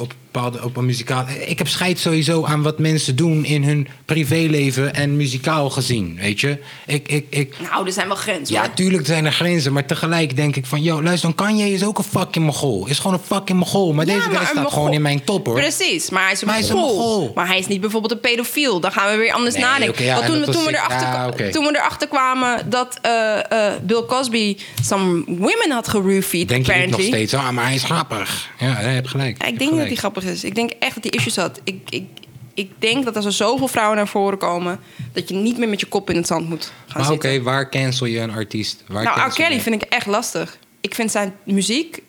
A: op, bepaalde, op een muzikaal... Eh, Ik heb scheid sowieso aan wat mensen doen in hun privéleven en muzikaal gezien, weet je. Ik, ik, ik,
B: Nou, er zijn wel grenzen.
A: ja,
B: hoor.
A: tuurlijk zijn er grenzen, maar tegelijk denk ik van... Yo, luister, dan Kanye is ook een fucking mogol. Is gewoon een fucking mogol. Maar deze
B: Ja, maar
A: guy
B: een
A: staat
B: Mongool.
A: gewoon in mijn top, hoor.
B: Precies, maar hij is een
A: Maar hij is een
B: Mongool.
A: Mongool.
B: Maar hij is niet bijvoorbeeld een pedofiel. Dan gaan we weer anders
A: Nee,
B: nadenken.
A: oké, ja,
B: Want
A: en
B: toen,
A: dat was
B: toen, we
A: ik-
B: erachter,
A: ja, oké.
B: toen we erachter kwamen dat eh, eh, Bill Cosby some women had geroofied,
A: Denk je niet nog
B: apparently.
A: steeds, ah, maar hij is grappig. Ja, je hebt gelijk.
B: Ja, ik denk dat hij grappig is. Ik denk echt dat hij issues had. Ik, ik, ik denk dat als er zoveel vrouwen naar voren komen... dat je niet meer met je kop in het zand moet gaan
A: Maar oké,
B: zitten.
A: waar cancel je een artiest? Waar
B: Nou, R.
A: cancel je-
B: Kelly vind ik echt lastig. Ik vind zijn muziek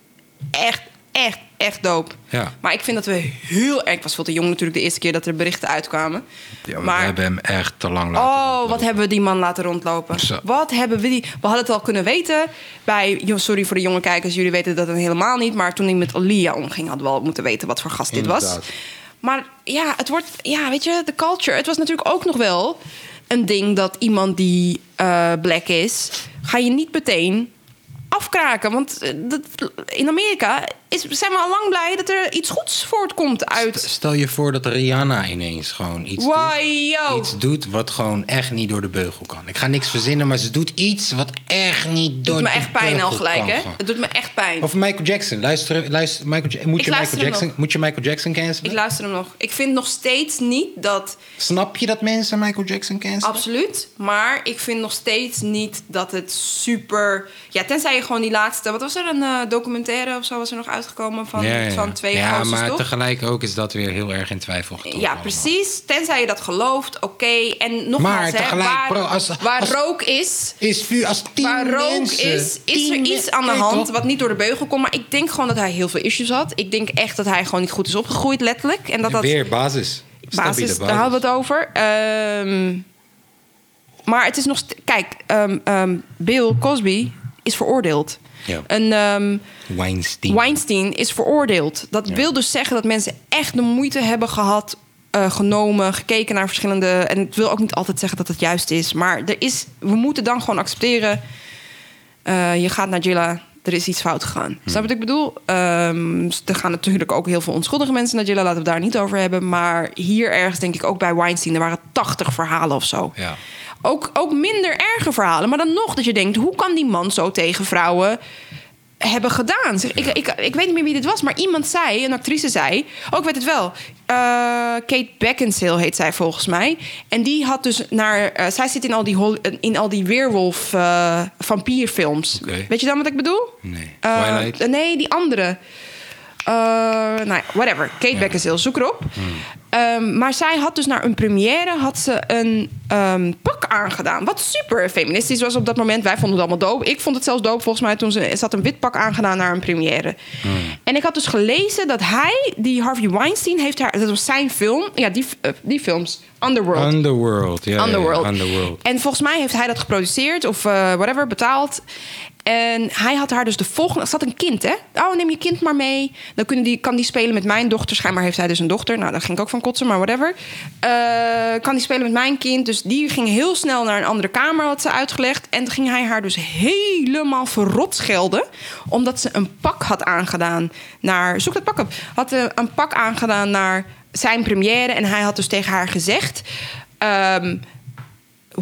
B: echt, echt, echt dope.
A: Ja.
B: Maar ik vind dat we heel erg... Ik was veel te jong natuurlijk de eerste keer dat er berichten uitkwamen.
A: Ja, maar we hebben hem echt te lang laten
B: Oh, wat
A: rondlopen.
B: hebben we die man laten rondlopen.
A: Zo.
B: Wat hebben we die... We hadden het al kunnen weten bij... jo, Sorry voor de jonge kijkers, jullie weten dat dan helemaal niet. Maar toen ik met Alia omging, hadden we al moeten weten wat voor gast dit was.
A: Inderdaad.
B: Maar ja, het wordt... Ja, weet je, de culture. Het was natuurlijk ook nog wel een ding dat iemand die eh, black is... ga je niet meteen afkraken. Want eh, dat, in Amerika is, zijn we al lang blij dat er iets goeds voortkomt uit...
A: Stel je voor dat Rihanna ineens gewoon iets,
B: Wow,
A: doet, iets doet wat gewoon echt niet door de beugel kan. Ik ga niks verzinnen, maar ze doet iets wat echt niet door
B: doet me
A: de
B: echt pijn
A: beugel
B: al gelijk,
A: kan
B: hè?
A: gaan.
B: Het doet me echt pijn.
A: Of Michael Jackson. Luister, luister Michael, Ja- moet,
B: Ik
A: je
B: luister
A: Michael
B: hem
A: Jackson,
B: nog.
A: moet je Michael Jackson cancelen?
B: Ik luister hem nog. Ik vind nog steeds niet dat.
A: Snap je dat mensen Michael Jackson cancelen?
B: Absoluut. Maar ik vind nog steeds niet dat het super. Ja, tenzij je gewoon die laatste. Wat was er? Een eh, documentaire of zo was er nog uitgekomen van, van twee
A: Ja,
B: gozers,
A: maar
B: toch?
A: tegelijk ook is dat weer heel erg in twijfel getrokken.
B: Ja,
A: allemaal.
B: precies. Tenzij je dat gelooft, oké. En nogmaals,
A: Maar
B: hè,
A: tegelijk,
B: waar,
A: bro, als-
B: waar
A: als-
B: rook is,
A: Is vuur als tien
B: waar rook
A: mensen-
B: is, is
A: tien
B: er
A: men-
B: iets aan de
A: Kijk
B: hand
A: toch?
B: wat niet door de beugel komt. Maar ik denk gewoon dat hij heel veel issues had. Ik denk echt dat hij gewoon niet goed is opgegroeid, letterlijk. En dat dat
A: Weer basis. Stabiele
B: basis, daar hadden we het over. Ehm, maar het is nog... st- Kijk, ehm, ehm, Bill Cosby is veroordeeld.
A: Ja.
B: Een ehm,
A: Weinstein.
B: Weinstein is veroordeeld. Dat
A: Ja.
B: wil dus zeggen dat mensen echt de moeite hebben gehad... eh, genomen, gekeken naar verschillende... en het wil ook niet altijd zeggen dat het juist is. Maar er is, we moeten dan gewoon accepteren... eh, je gaat naar Jilla, er is iets fout gegaan.
A: Hmm.
B: Snap je wat ik bedoel? Ehm, er gaan natuurlijk ook heel veel onschuldige mensen naar Jilla, laten we het daar niet over hebben. Maar hier ergens denk ik ook bij Weinstein, er waren 80 verhalen of zo.
A: Ja.
B: Ook, ook minder erge verhalen. Maar dan nog dat je denkt, hoe kan die man zo tegen vrouwen hebben gedaan. Zeg, ik, ik, ik weet niet meer wie dit was, maar iemand zei, een actrice zei... Oh, ik weet het wel. Eh, Kate Beckinsale heet zij volgens mij. En die had dus naar... eh, zij zit in al die, hol- in al die weerwolf eh, vampierfilms.
A: Oké.
B: Weet je dan wat ik bedoel?
A: Nee.
B: Eh,
A: Twilight?
B: Nee, die andere. Eh, nou ja, Hmm. whatever. Kate Beckinsale, zoek erop. Ehm, maar zij had dus naar een première had ze een ehm, pak aangedaan. Wat super feministisch was op dat moment. Wij vonden het allemaal doop. Ik vond het zelfs doop volgens mij toen ze, ze had een wit pak aangedaan naar een première. En ik had dus gelezen dat hij, die Harvey Weinstein, heeft haar, dat was zijn film. Ja, die, eh, die films. Underworld.
A: Underworld. Ja, ja, ja,
B: Underworld.
A: Underworld.
B: En volgens mij heeft hij dat geproduceerd of eh, whatever, betaald. En hij had haar dus de volgende... Er zat een kind, hè? Oh, neem je kind maar mee. Dan kunnen die, kan die spelen met mijn dochter. Schijnbaar heeft hij dus een dochter. Nou, daar ging ik ook van kotsen, maar whatever. Eh, kan die spelen met mijn kind. Dus die ging heel snel naar een andere kamer, had ze uitgelegd. En toen ging hij haar dus helemaal verrot schelden. Omdat ze een pak had aangedaan naar... Zoek dat pak op. Had eh, een pak aangedaan naar zijn première. En hij had dus tegen haar gezegd... ehm,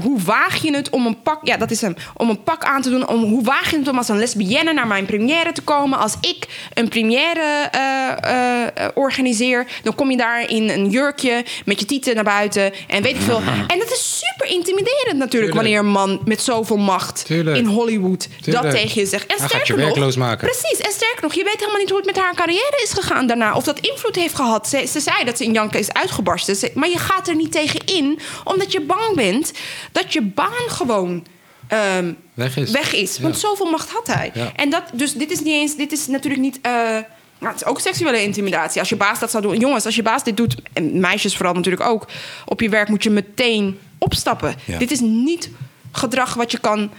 B: hoe waag je het om een pak... Ja, dat is hem. Om een pak aan te doen. Om, hoe waag je het om als een lesbienne naar mijn première te komen? Als ik een première eh, eh, eh, organiseer... dan kom je daar in een jurkje met je tieten naar buiten. En weet ik veel. En dat is super intimiderend natuurlijk...
A: Tuurlijk.
B: wanneer een man met zoveel macht
A: Tuurlijk.
B: in Hollywood... dat
A: Tuurlijk.
B: tegen je zegt. En
A: Hij gaat
B: sterker
A: je
B: nog-
A: werkloos maken.
B: Precies. En sterker nog, je weet helemaal niet hoe het met haar carrière is gegaan daarna. Of dat invloed heeft gehad. Ze, ze zei dat ze in janken is uitgebarsten. Ze- maar je gaat er niet tegen in, omdat je bang bent dat je baan gewoon ehm,
A: Weg is.
B: weg is. Want
A: Ja.
B: zoveel macht had hij.
A: Ja.
B: En dat, dus dit is niet eens, dit is natuurlijk niet. eh, nou, het is ook seksuele intimidatie. Als je baas dat zou doen. Jongens, als je baas dit doet, en meisjes vooral natuurlijk ook, op je werk moet je meteen opstappen.
A: Ja.
B: Dit is niet gedrag wat je kan.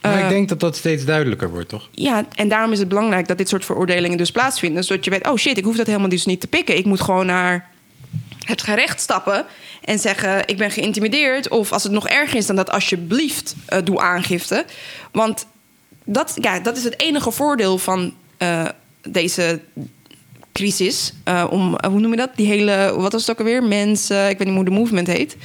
A: Maar
B: eh,
A: ik denk dat dat steeds duidelijker wordt, toch?
B: ja, en daarom is het belangrijk dat dit soort veroordelingen dus plaatsvinden. Zodat je weet, oh shit, ik hoef dat helemaal dus niet te pikken. Ik moet gewoon naar het gerecht stappen en zeggen, ik ben geïntimideerd. Of als het nog erger is dan dat, alsjeblieft, eh, doe aangifte. Want dat, ja, dat is het enige voordeel van eh, deze crisis. eh, om, eh, hoe noem je dat? Die hele, wat was het ook alweer? Mens, eh, ik weet niet hoe de movement heet.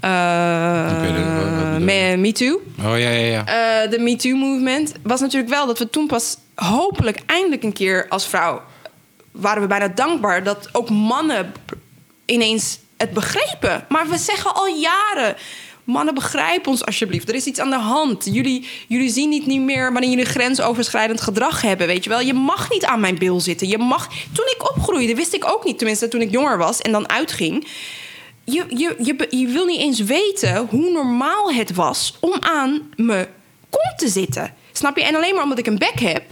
B: Eh,
A: Ik weet het, wat- wat bedoel je?
B: me, me Too
A: Oh ja, ja, ja.
B: eh, de MeToo-movement was natuurlijk wel dat we toen pas hopelijk eindelijk een keer als vrouw waren we bijna dankbaar dat ook mannen b- ineens het begrepen. Maar we zeggen al jaren. Mannen, begrijp ons alsjeblieft. Er is iets aan de hand. Jullie, jullie zien niet, niet meer wanneer jullie grensoverschrijdend gedrag hebben. Weet je wel, je mag niet aan mijn bil zitten. Je mag. Toen ik opgroeide, wist ik ook niet, tenminste toen ik jonger was en dan uitging je, je, je, be- je wil niet eens weten hoe normaal het was om aan me kont te zitten. Snap je? En alleen maar omdat ik een bek heb.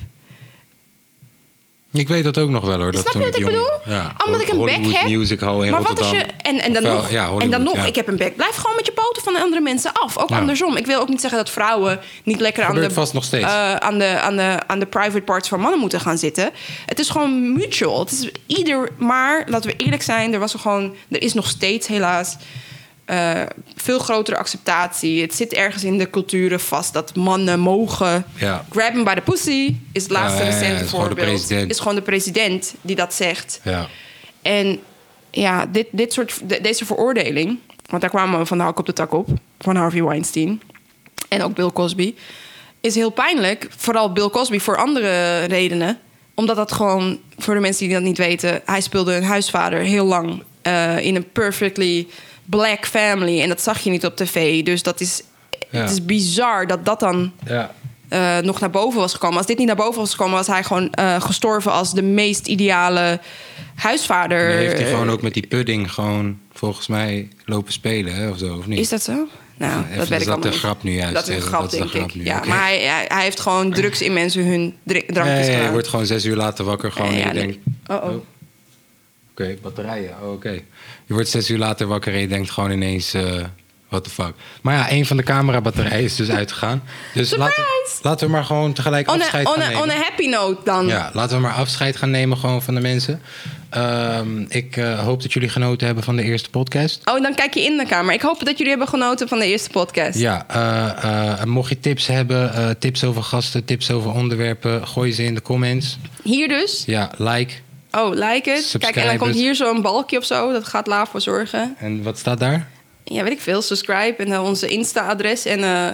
A: Ik weet dat ook nog wel hoor. Dat
B: Snap je
A: toen
B: wat ik
A: jong-
B: bedoel?
A: Ja,
B: Omdat ik een bek
A: Hollywood
B: heb.
A: Music Hall in
B: maar wat als
A: Rotterdam.
B: je. En, en dan
A: Wel,
B: nog,
A: ja,
B: en
A: Hollywood,
B: dan nog
A: ja.
B: ik heb een bek. Blijf gewoon met je poten van de andere mensen af. Ook
A: Ja.
B: andersom. Ik wil ook niet zeggen dat vrouwen niet lekker aan
A: Gebeurt
B: de,
A: vast nog steeds.
B: eh, aan, de, aan, de, aan de private parts van mannen moeten gaan zitten. Het is gewoon mutual. Het is ieder. Maar laten we eerlijk zijn, er was er gewoon. Er is nog steeds helaas. eh, veel grotere acceptatie. Het zit ergens in de culturen vast dat mannen mogen.
A: Ja.
B: Grab him by the pussy is het laatste
A: Ja, ja, ja,
B: recente
A: is gewoon de
B: voorbeeld.
A: president.
B: Is gewoon de president die dat zegt.
A: Ja.
B: En ja, dit, dit soort, de- deze veroordeling... want daar kwamen we van de hak op de tak op... van Harvey Weinstein en ook Bill Cosby... is heel pijnlijk, vooral Bill Cosby, voor andere redenen. Omdat dat gewoon, voor de mensen die dat niet weten... hij speelde een huisvader heel lang eh, in een perfectly black family... en dat zag je niet op tv, dus dat is...
A: Ja.
B: Het is bizar dat dat dan
A: Ja.
B: eh, nog naar boven was gekomen. Als dit niet naar boven was gekomen, was hij gewoon eh, gestorven als de meest ideale huisvader.
A: En heeft hij gewoon ook met die pudding gewoon volgens mij lopen spelen hè, of zo, of niet?
B: Is dat zo? Nou,
A: Even,
B: dat
A: is
B: weet
A: dat
B: ik allemaal
A: de
B: niet.
A: grap nu juist?
B: Dat is een
A: Eh,
B: grap,
A: dat is de
B: denk ik.
A: grap nu,
B: ja,
A: oké.
B: Maar hij, hij, hij heeft gewoon drugs in mensen hun dri- drankjes
A: Nee,
B: gedaan.
A: je wordt gewoon zes uur later wakker gewoon
B: Eh,
A: en
B: ja,
A: je
B: nee.
A: denkt...
B: Oh, oh.
A: Oké, batterijen, oh, oké. Je wordt zes uur later wakker en je denkt gewoon ineens... eh what the fuck. Maar ja, een van de camerabatterijen is dus uitgegaan. Dus laten,
B: Surprise!
A: laten we maar gewoon tegelijk
B: On
A: afscheid
B: a, on,
A: gaan
B: a,
A: nemen.
B: on a happy note dan.
A: Ja, laten we maar afscheid gaan nemen gewoon van de mensen. Ehm, ik eh, hoop dat jullie genoten hebben van de eerste podcast.
B: Oh, dan kijk je in de kamer. Ik hoop dat jullie hebben genoten van de eerste podcast.
A: Ja, eh, eh, mocht je tips hebben, eh, tips over gasten, tips over onderwerpen, gooi ze in de comments.
B: Hier dus.
A: Ja, like.
B: Oh, like het. Kijk, en
A: Subscribe
B: dan komt
A: het.
B: hier zo'n balkje of zo. Dat gaat Laaf voor zorgen.
A: En wat staat daar?
B: Ja, weet ik veel. Subscribe en eh, onze Insta-adres en eh,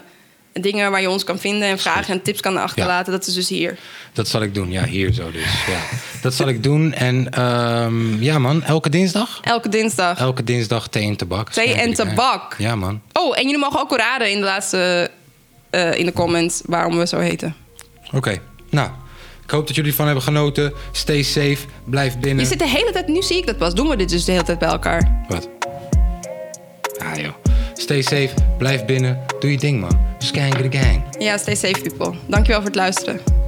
B: dingen waar je ons kan vinden en vragen en tips kan achterlaten. Dat is dus hier.
A: Dat zal ik doen. Ja, hier zo dus. Ja. Dat zal ik doen. En ehm, ja, man, elke dinsdag.
B: Elke dinsdag.
A: Elke dinsdag thee en tabak.
B: Thee en tabak.
A: Ja, man.
B: Oh, en jullie mogen ook raden in de laatste eh, in de comments waarom we zo heten.
A: Oké. Nou, ik hoop dat jullie ervan hebben genoten. Stay safe. Blijf binnen.
B: Je zit de hele tijd, nu zie ik dat pas, doen we dit dus de hele tijd bij elkaar.
A: Wat? Ah, joh. Stay safe. Blijf binnen. Doe je ding, man. Skang de gang.
B: Ja, stay safe people. Dankjewel voor het luisteren.